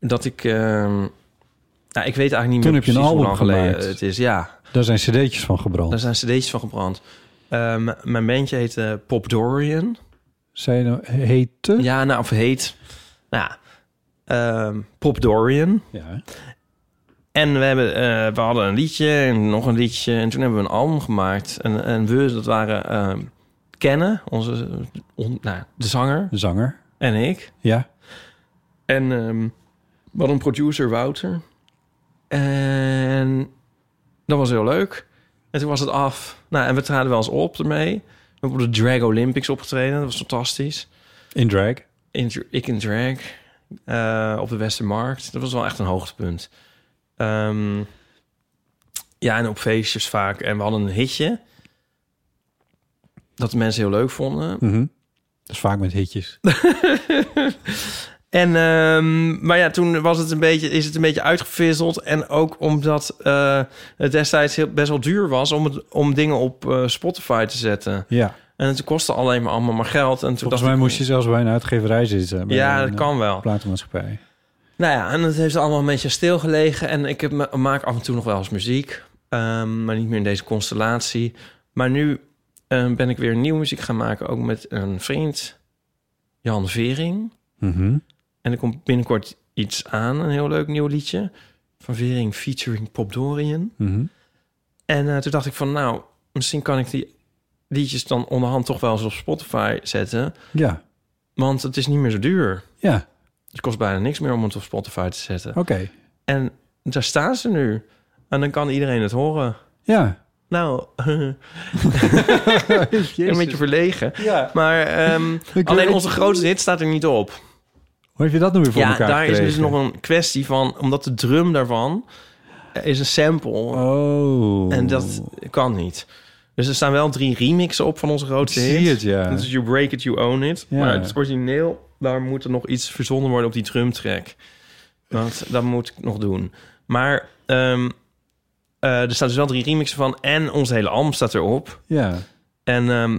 dat ik ehm, Nou, ik weet eigenlijk niet Toen meer heb je een precies hoe lang album geleden gemaakt. het is. Ja, Daar zijn cd'tjes van gebrand. daar zijn cd'tjes van gebrand. Eh, m- mijn bandje heet eh, Pop Dorian. Zij nou- heten? Ja, nou, of heet. Nou, ja, ehm, Pop Dorian. Ja. En we, hebben, eh, we hadden een liedje en nog een liedje. En toen hebben we een album gemaakt. En, en we, dat waren ehm, Kennen, onze, on- nou, de zanger. De zanger. En ik. Ja. En ehm we hadden een producer, Wouter. En dat was heel leuk. En toen was het af. Nou, en we traden wel eens op ermee. We hebben op de Drag Olympics opgetreden. Dat was fantastisch. In drag? In, dr- ik in drag. Eh, op de Westermarkt. Dat was wel echt een hoogtepunt. Ehm, ja, en op feestjes vaak. En we hadden een hitje. Dat de mensen heel leuk vonden. Mhm. Dat is vaak met hitjes. En, ehm, maar ja, toen was het een beetje, is het een beetje uitgevisseld. En ook omdat eh, het destijds heel, best wel duur was om, het, om dingen op eh, Spotify te zetten. Ja. En het kostte alleen maar allemaal maar geld. En toen Volgens dacht mij ik, moest je zelfs bij een uitgeverij zitten. bij Ja, een, dat eh, kan wel. Platenmaatschappij. Nou ja, en het heeft allemaal een beetje stilgelegen. En ik heb, ma- maak af en toe nog wel eens muziek. ehm, maar niet meer in deze constellatie. Maar nu ehm, ben ik weer nieuwe muziek gaan maken. Ook met een vriend, Jan Vering. Mhm. En er komt binnenkort iets aan. Een heel leuk nieuw liedje. Van Vering featuring Pop Dorian. Mhm. En eh, toen dacht ik van, nou, misschien kan ik die liedjes dan onderhand toch wel eens op Spotify zetten. Ja. Want het is niet meer zo duur. Ja. Het kost bijna niks meer om het op Spotify te zetten. Oké. En daar staan ze nu. En dan kan iedereen het horen. Ja. Nou, een beetje verlegen. Maar ehm, Ik alleen weet- onze grootste hit staat er niet op. Hoe heb je dat nou weer voor ja, elkaar daar is dus gekregen? nog een kwestie van... omdat de drum daarvan eh, is een sample. Oh. En dat kan niet. Dus er staan wel drie remixen op van onze grootste Ik hit. zie het, ja. Dat is You Break It, You Own It. Ja. Maar het origineel, daar moet er nog iets verzonnen worden op die drumtrack. Want dat moet ik nog doen. Maar ehm, eh, er staan dus wel drie remixen van. En ons hele album staat erop. Ja. En ehm,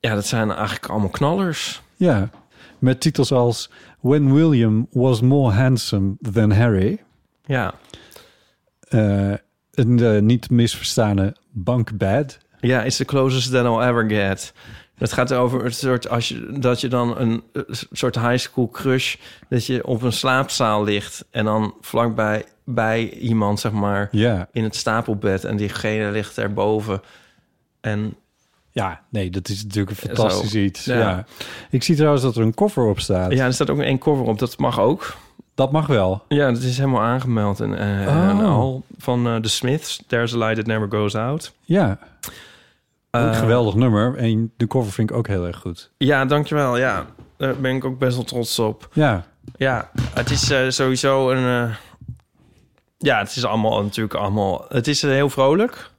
ja, dat zijn eigenlijk allemaal knallers. Ja, met titels als When William Was More Handsome Than Harry. Ja. Eh, een eh, niet misverstane bankbed. Ja, it's the closest that I'll ever get. Het gaat over het soort als je, dat je dan een eh, soort high school crush dat je op een slaapzaal ligt en dan vlakbij bij iemand zeg maar Ja. in het stapelbed en diegene ligt daarboven en ja, nee, dat is natuurlijk een Fantastisch iets. Ja. Ja. Ik zie trouwens dat er een koffer op staat. Ja, er staat ook één cover op. Dat mag ook. Dat mag wel. Ja, dat is helemaal aangemeld en, eh, en Oh. al van eh, The Smiths. There's a light that never goes out. Ja. Een Eh, geweldig nummer. En de cover vind ik ook heel erg goed. Ja, dankjewel. Ja, daar ben ik ook best wel trots op. Ja. Ja, het is eh, sowieso een. eh, ja, het is allemaal natuurlijk allemaal. Het is eh, heel vrolijk.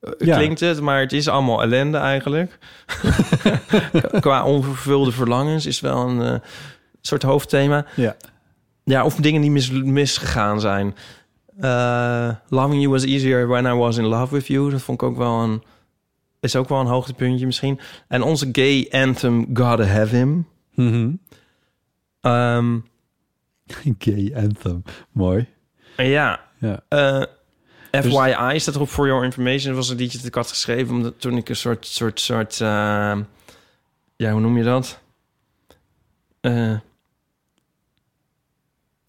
Eh, Ja. Klinkt het, maar het is allemaal ellende eigenlijk. Qua onvervulde verlangens is wel een eh, soort hoofdthema. Ja. Ja, of dingen die mis, misgegaan zijn. Eh, Loving You Was Easier When I Was In Love With You. Dat vond ik ook wel een... Is ook wel een hoogtepuntje misschien. En onze gay anthem Gotta Have Him. Mhm. Ehm, Gay anthem. Mooi. en ja. Ja. Dus- eh, FYI staat erop For Your Information. Dat was een liedje dat ik had geschreven... Omdat toen ik een soort... soort, soort eh, ja, hoe noem je dat? Eh,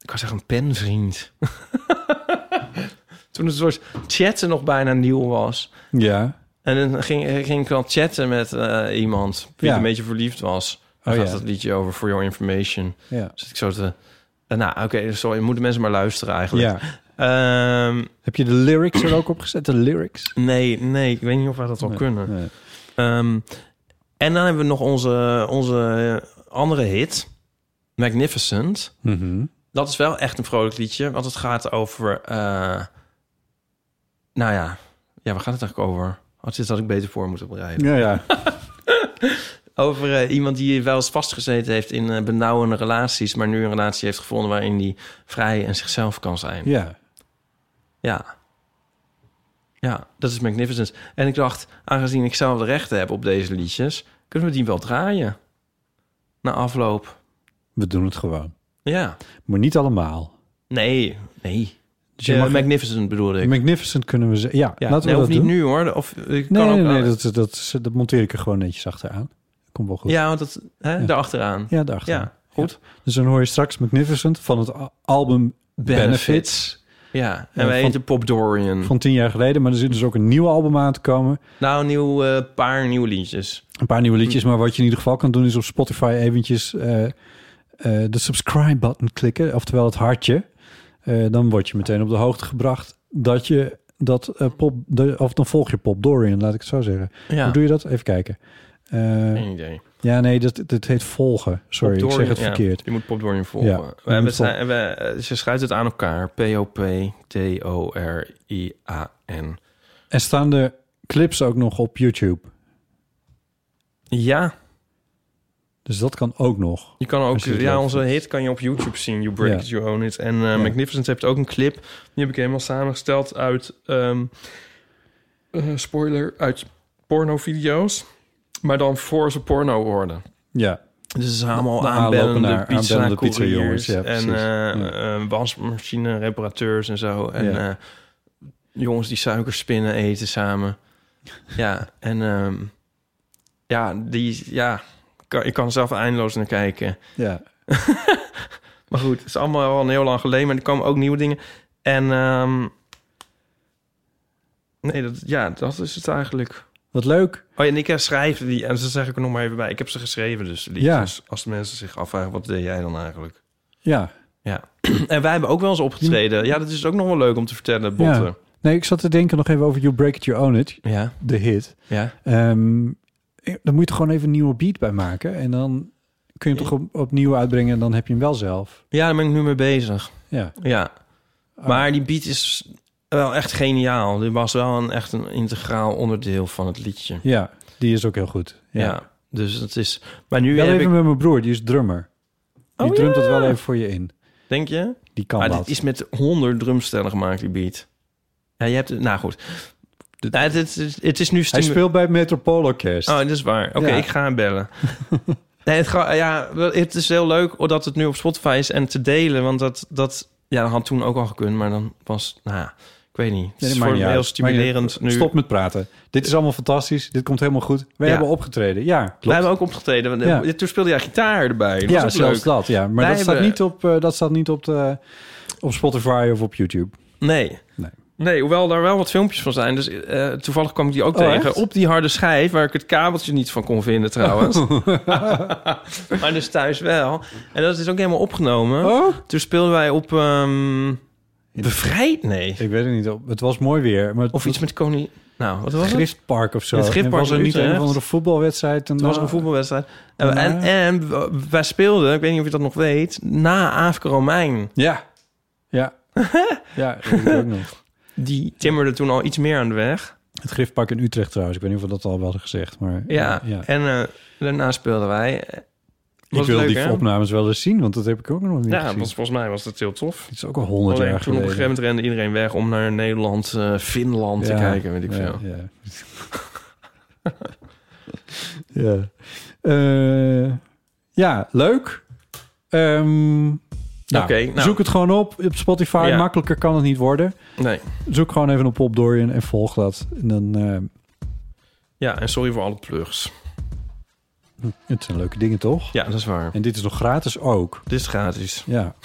ik was echt een penvriend. toen het soort chatten nog bijna nieuw was. Ja. En dan ging, ging ik al chatten met eh, iemand die Ja. een beetje verliefd was. Daar Oh, gaat ja. dat liedje over For Your Information. Ja. Dus ik zo te... eh, nou, oké, sorry. Moeten mensen maar luisteren eigenlijk. Ehm, Heb je de lyrics er ook op gezet? De lyrics? nee, nee. Ik weet niet of wij dat wel Nee, kunnen. Ehm, en dan hebben we nog onze, onze andere hit. Magnificent. Mhm. Dat is wel echt een vrolijk liedje. Want het gaat over... eh, nou ja. Ja, waar gaat het eigenlijk over? Wat is dat ik beter voor moet bereiden? Ja, ja. Over eh, iemand die wel eens vastgezeten heeft in eh, benauwende relaties, maar nu een relatie heeft gevonden waarin die vrij en zichzelf kan zijn. Ja. Ja. Ja, dat is magnificent. En ik dacht, aangezien ik zelf de rechten heb op deze liedjes, kunnen we die wel draaien? Na afloop. We doen het gewoon. Ja. Maar niet allemaal. Nee, nee. Dus je Eh, mag- Magnificent bedoelde ik. Magnificent kunnen we zeggen. Ja, Ja, laten we nee, dat of niet doen. nu hoor. Of, eh, ik nee, kan ook, nee, nee, dat, dat, dat, monteer ik er gewoon netjes achteraan. Komt wel goed. Ja, want dat, hè, daarachteraan. Ja, daarachteraan. Ja, goed. Dus dan hoor je straks Magnificent van het a- album Benefits. Ja, en Ja, wij van- heten Pop Dorian. Van tien jaar geleden. Maar er zit dus ook een nieuw album aan te komen. Nou, een nieuw, eh, paar nieuwe liedjes. Een paar nieuwe Mm. liedjes. Maar wat je in ieder geval kan doen is op Spotify eventjes eh, eh, de subscribe button klikken. Oftewel het hartje. Eh, dan word je meteen op de hoogte gebracht dat je dat eh, pop... De, of dan volg je Pop Dorian, laat ik het zo zeggen. Ja. Hoe doe je dat? Even kijken. Eh, Geen idee. Ja, nee, dat, dat heet volgen. Sorry, Pop ik zeg Dorian, het ja, verkeerd. je moet Pop Dorian volgen. Ja, je we hebben moet het, we, eh, ze schrijven het aan elkaar. P-O-P-T-O-R-I-A-N. En staan de clips ook nog op YouTube? Ja, Dus dat kan ook nog. je kan ook, Als je het ja, leuk onze vindt. hit kan je op YouTube zien. You Break Ja. It, You Own It. En eh, Magnificent heeft ook een clip. Die heb ik helemaal samengesteld uit, ehm, eh, spoiler, uit pornovideo's. Maar dan voor ze porno worden. Ja. Dus het zijn allemaal De aanbellende aanlopenaar, pizza aanbellende couriers pizzajongens, ja, en precies. Ja. eh, eh, wasmachine reparateurs en zo. En Ja. eh, jongens die suikerspinnen eten samen. Ja, en ehm, ja, die, ja, kan, ik kan er zelf eindeloos naar kijken. Ja. maar goed, het is allemaal al een heel lang geleden, maar er komen ook nieuwe dingen. En ehm, nee, dat, ja, dat is het eigenlijk. Wat leuk. Oh ja, en ik heb schrijven die, en dat zeg ik er nog maar even bij. Ik heb ze geschreven, dus die Ja. dus als de mensen zich afvragen, wat deed jij dan eigenlijk? Ja. Ja. en wij hebben ook wel eens opgetreden. Ja, dat is ook nog wel leuk om te vertellen, Botten. ja. Nee, ik zat te denken nog even over You Break It, You Own It. Ja. De hit. Ja. Ehm, dan moet je er gewoon even een nieuwe beat bij maken. En dan kun je hem toch op- opnieuw uitbrengen en dan heb je hem wel zelf. Ja, daar ben ik nu mee bezig. Ja. Ah. Ja. Maar die beat is wel echt geniaal. Dit was wel een, echt een integraal onderdeel van het liedje. Ja, die is ook heel goed. Ja. Ja. Dus het is... Maar nu wel heb even ik... met mijn broer, die is drummer. Die Oh, drumt het ja. wel even voor je in. Denk je? Die kan maar wat. dit is met 100 drumstellen gemaakt, die beat. Ja, je hebt... het- Nou goed. Nou, het, het, het is nu... Hij stimu- speelt bij het Metropool Orkest. Oh, dat is waar. Oké, Ja. ik ga hem bellen. nee, het, ga- ja, wel, het is heel leuk dat het nu op Spotify is en te delen. Want dat, dat, ja, dat had toen ook al gekund, maar dan was... Nou, ik weet niet. Het is Nee, dat voor maakt me niet heel uit. stimulerend Maakt niet nu. uit. Stop met praten. Dit is allemaal fantastisch. Dit komt helemaal goed. We Ja. hebben opgetreden. Ja, klopt. Wij hebben ook opgetreden. want, eh, Ja. Toen speelde jij gitaar erbij. Dat was ja, ook zelfs leuk. dat. Ja. Maar Wij dat staat, hebben- niet op, eh, dat staat niet op, de, op Spotify of op YouTube. Nee. Nee. Nee, hoewel daar wel wat filmpjes van zijn. Dus eh, toevallig kwam ik die ook Oh, tegen. echt? Op die harde schijf, waar ik het kabeltje niet van kon vinden trouwens. maar dus thuis wel. En dat is ook helemaal opgenomen. Oh? Toen speelden wij op... ehm, Bevrijd? Nee. Ik weet het niet. op- Het was mooi weer. Maar of iets met Koning... Nou, wat was het? Griftpark of zo. Het Griftpark En was er in niet een of Utrecht. andere Nou. voetbalwedstrijd. En Het was een voetbalwedstrijd. En, Nou. en, en w- wij speelden, ik weet niet of je dat nog weet, na Afrika Romein. Ja. Ja. ja, dat weet ik ook nog. Die timmerde toen al iets meer aan de weg. Het Griftpark in Utrecht trouwens. Ik weet niet of we dat al wel hadden gezegd. Maar, Ja. ja. En eh, daarna speelden wij. Ik wil leuk, die hè? opnames wel eens zien, want dat heb ik ook nog niet Ja, gezien. want volgens mij was dat heel tof. Het is ook al honderd Alleen jaar toen op een geleden. gegeven moment rende iedereen weg om naar Nederland, eh, Finland Ja, te kijken, weet ik ja, veel. ja. Ja. Eh, ja, leuk. Ehm, nou, Oké, nou. Zoek het gewoon op op Spotify. Ja. Makkelijker kan het niet worden. Nee. Zoek gewoon even op Pop Dorian en volg dat. En dan, eh, Ja, en sorry voor alle plugs. Hm, het zijn leuke dingen, toch? Ja, dat is waar. En dit is nog gratis ook. Dit is gratis. Ja.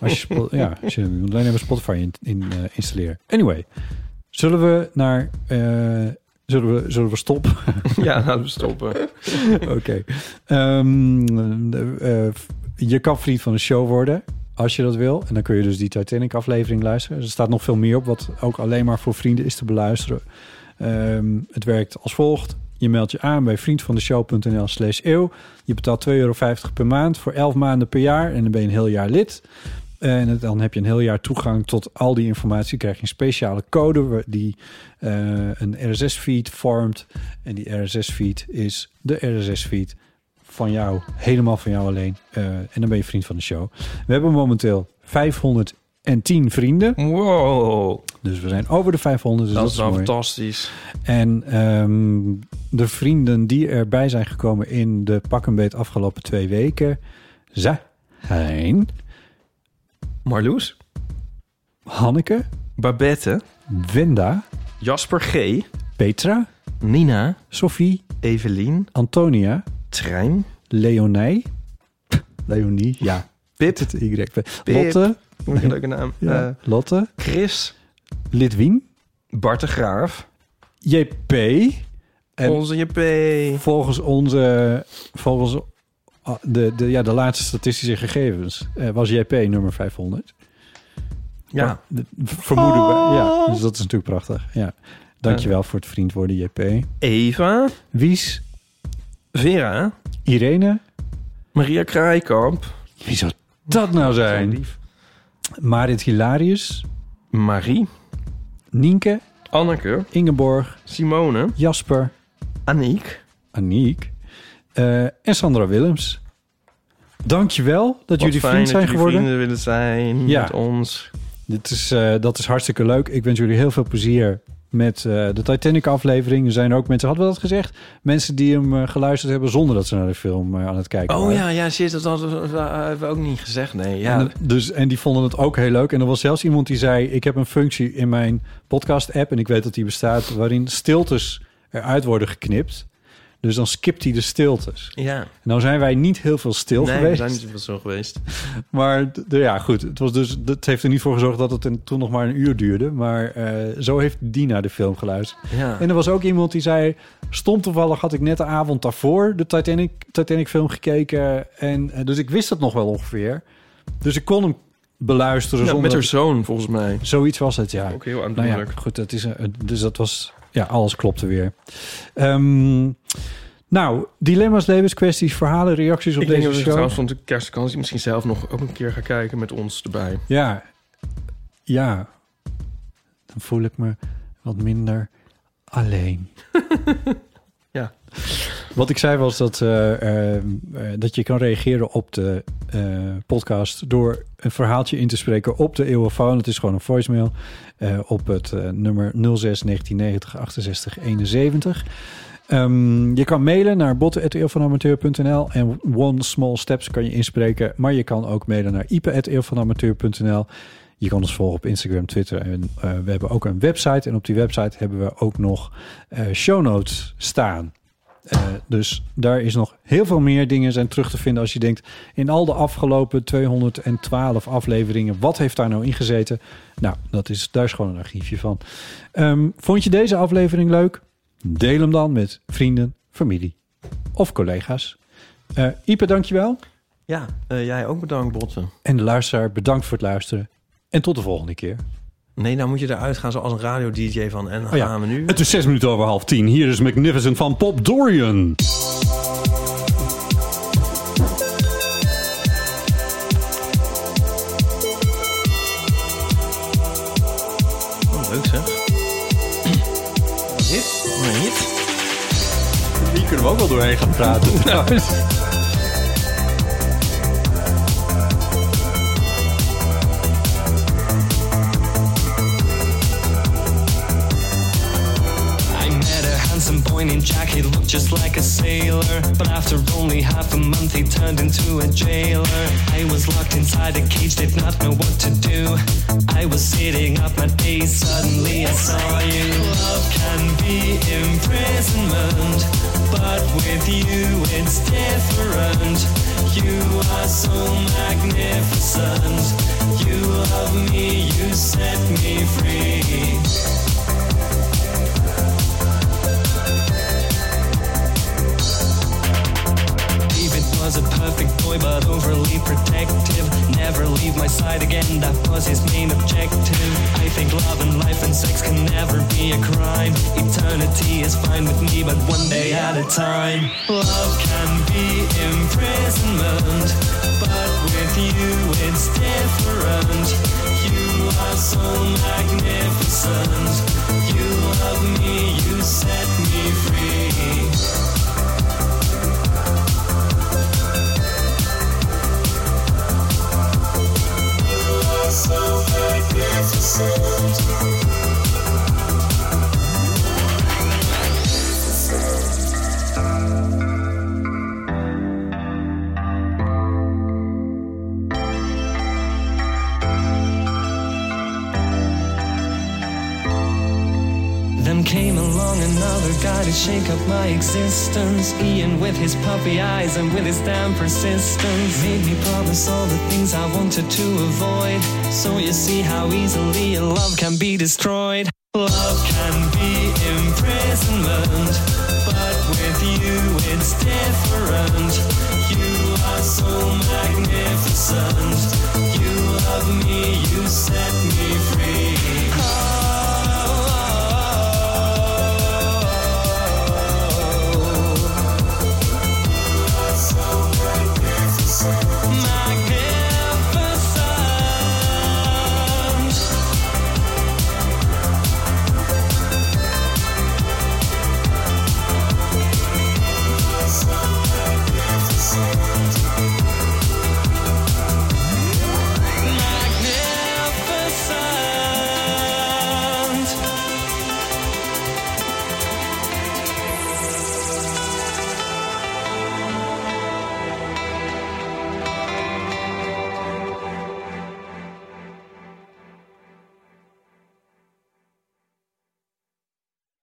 als je, Spo- ja, als je alleen even Spotify in, in, eh, installeert. Anyway, zullen we naar... eh, zullen, we, zullen we stoppen? Ja, laten we Dus stoppen. Oké. Ehm, eh, eh, je kan vriend van de show worden als je dat wil. En dan kun je dus die Titanic-aflevering luisteren. Er staat nog veel meer op, wat ook alleen maar voor vrienden is te beluisteren. Ehm, het werkt als volgt. Je meldt je aan bij vriendvandeshow.nl slash eeuw. Je betaalt 2,50 euro per maand voor 11 maanden per jaar. En dan ben je een heel jaar lid. En het- dan heb je een heel jaar toegang tot al die informatie. Krijg je een speciale code waar- die eh, een RSS-feed vormt. En die RSS-feed is de RSS-feed van jou. Helemaal van jou alleen. Eh, en dan ben je vriend van de show. We hebben momenteel 510 vrienden. Wow. Dus we zijn over de 500. Dus dat, dat, is mooi. nou fantastisch. En ehm, de vrienden die erbij zijn gekomen in de pak een beet afgelopen twee weken zijn... Marloes? Hanneke. Babette. Wenda. Jasper G. Petra. Nina. Sophie. Evelien. Antonia. Trein. Leonij. Leonie, ja. Pip. Het Y. Pip. Lotte. Vind ik een leuke naam. Ja. Eh, Lotte. Chris. Lidwien. Bart de Graaf. JP. En Onze JP. Volgens onze... Volgens ah, de, de, ja, de laatste statistische gegevens eh, was JP nummer 500. Ja. De- Vermoeden we. Oh. Ja, dus dat is natuurlijk prachtig. Ja. Dankjewel voor het vriend worden, JP. Eva. Wies. Vera. Irene. Maria Kraaikamp. Wie zou dat nou zijn? Marit Hilarius. Marie. Nienke. Anneke. Ingeborg. Simone. Jasper. Aniek. Aniek. eh, en Sandra Willems. Dankjewel dat Wat jullie fijn vriend zijn dat jullie geworden. vrienden willen zijn Ja. met ons. Dit is, eh, dat is hartstikke leuk. Ik wens jullie heel veel plezier met eh, de Titanic-aflevering. Er zijn ook mensen, hadden we dat gezegd? Mensen die hem eh, geluisterd hebben zonder dat ze naar de film eh, aan het kijken Oh waren. ja, ja, shit, dat hadden we, eh, hebben we ook niet gezegd. Nee, ja. En, dus, en die vonden het ook heel leuk. En er was zelfs iemand die zei... ik heb een functie in mijn podcast-app... en ik weet dat die bestaat... waarin stiltes eruit worden geknipt. Dus dan skipt hij de stiltes. ja. Nou zijn wij niet heel veel stil nee, we geweest. zijn niet zoveel zo geweest. Maar d- d- ja, goed. Het, was dus, het heeft er niet voor gezorgd dat het een- toen nog maar een uur duurde. Maar eh, zo heeft die naar de film geluisterd. Ja. En er was ook iemand die zei... Stom toevallig had ik net de avond daarvoor de Titanic, Titanic film gekeken. En, eh, dus ik wist het nog wel ongeveer. Dus ik kon hem beluisteren Ja, zonder... met haar zoon, volgens mij. Zoiets was het, ja. Ook heel Nou ja, aandoenlijk. goed, dat is, een- dus dat was... Ja, alles klopte weer. Ehm, nou, dilemma's, levenskwesties, verhalen, reacties op Ik denk deze dat we show. trouwens van de kerstvakantie misschien zelf nog ook een keer gaan kijken met ons erbij. Ja, ja. Dan voel ik me wat minder alleen. Ja. Wat ik zei was dat, eh, eh, eh, dat je kan reageren op de eh, podcast door een verhaaltje in te spreken op de eeuwenfoon. Het is gewoon een voicemail eh, op het eh, nummer 06 1990 68 71. Ehm, je kan mailen naar botten.eeuwvanamateur.nl en One Small Steps kan je inspreken. Maar je kan ook mailen naar ipe.eeuwvanamateur.nl. Je kan ons volgen op Instagram, Twitter en eh, we hebben ook een website. En op die website hebben we ook nog eh, show notes staan. Eh, dus daar is nog heel veel meer dingen zijn terug te vinden als je denkt in al de afgelopen 212 afleveringen wat heeft daar nou in gezeten? Nou, dat is daar is gewoon een archiefje van. Ehm, vond je deze aflevering leuk? Deel hem dan met vrienden, familie of collega's. Eh Ipe, dankjewel. Ja, eh, jij ook bedankt, Botten. En de luisteraar, bedankt voor het luisteren. En tot de volgende keer. Nee, nou moet je eruit gaan zoals een radio-dj van. En dan Oh ja. gaan we nu... Het is zes minuten over half tien. Hier is Magnificent van Pop Dorian. Oh, leuk zeg. Wat is dit? Nee, niet. Hier kunnen we ook wel doorheen gaan praten. Nou, I met a handsome boy named Jack, he looked just like a sailor. But after only half a month, he turned into a jailer. I was locked inside a cage, did not know what to do. I was sitting up my days, suddenly I saw you. Love can be imprisonment, but with you it's different. You are so magnificent. You love me, you set me free. David was a perfect boy, but overly protective. Never leave my side again, that was his main objective. I think love and life and sex can never be a crime. Eternity is fine with me, but one day at a time. Love can be imprisonment, but with you it's different. You are so magnificent. You love me, you set me free. Then came along another guy to shake up my existence. Ian with his puppy eyes and with his damn persistence made me promise all the things I wanted to avoid. So you see how easily a love can be destroyed. Love can be imprisonment, but with you it's different. You are so magnificent. You love me, you set me free.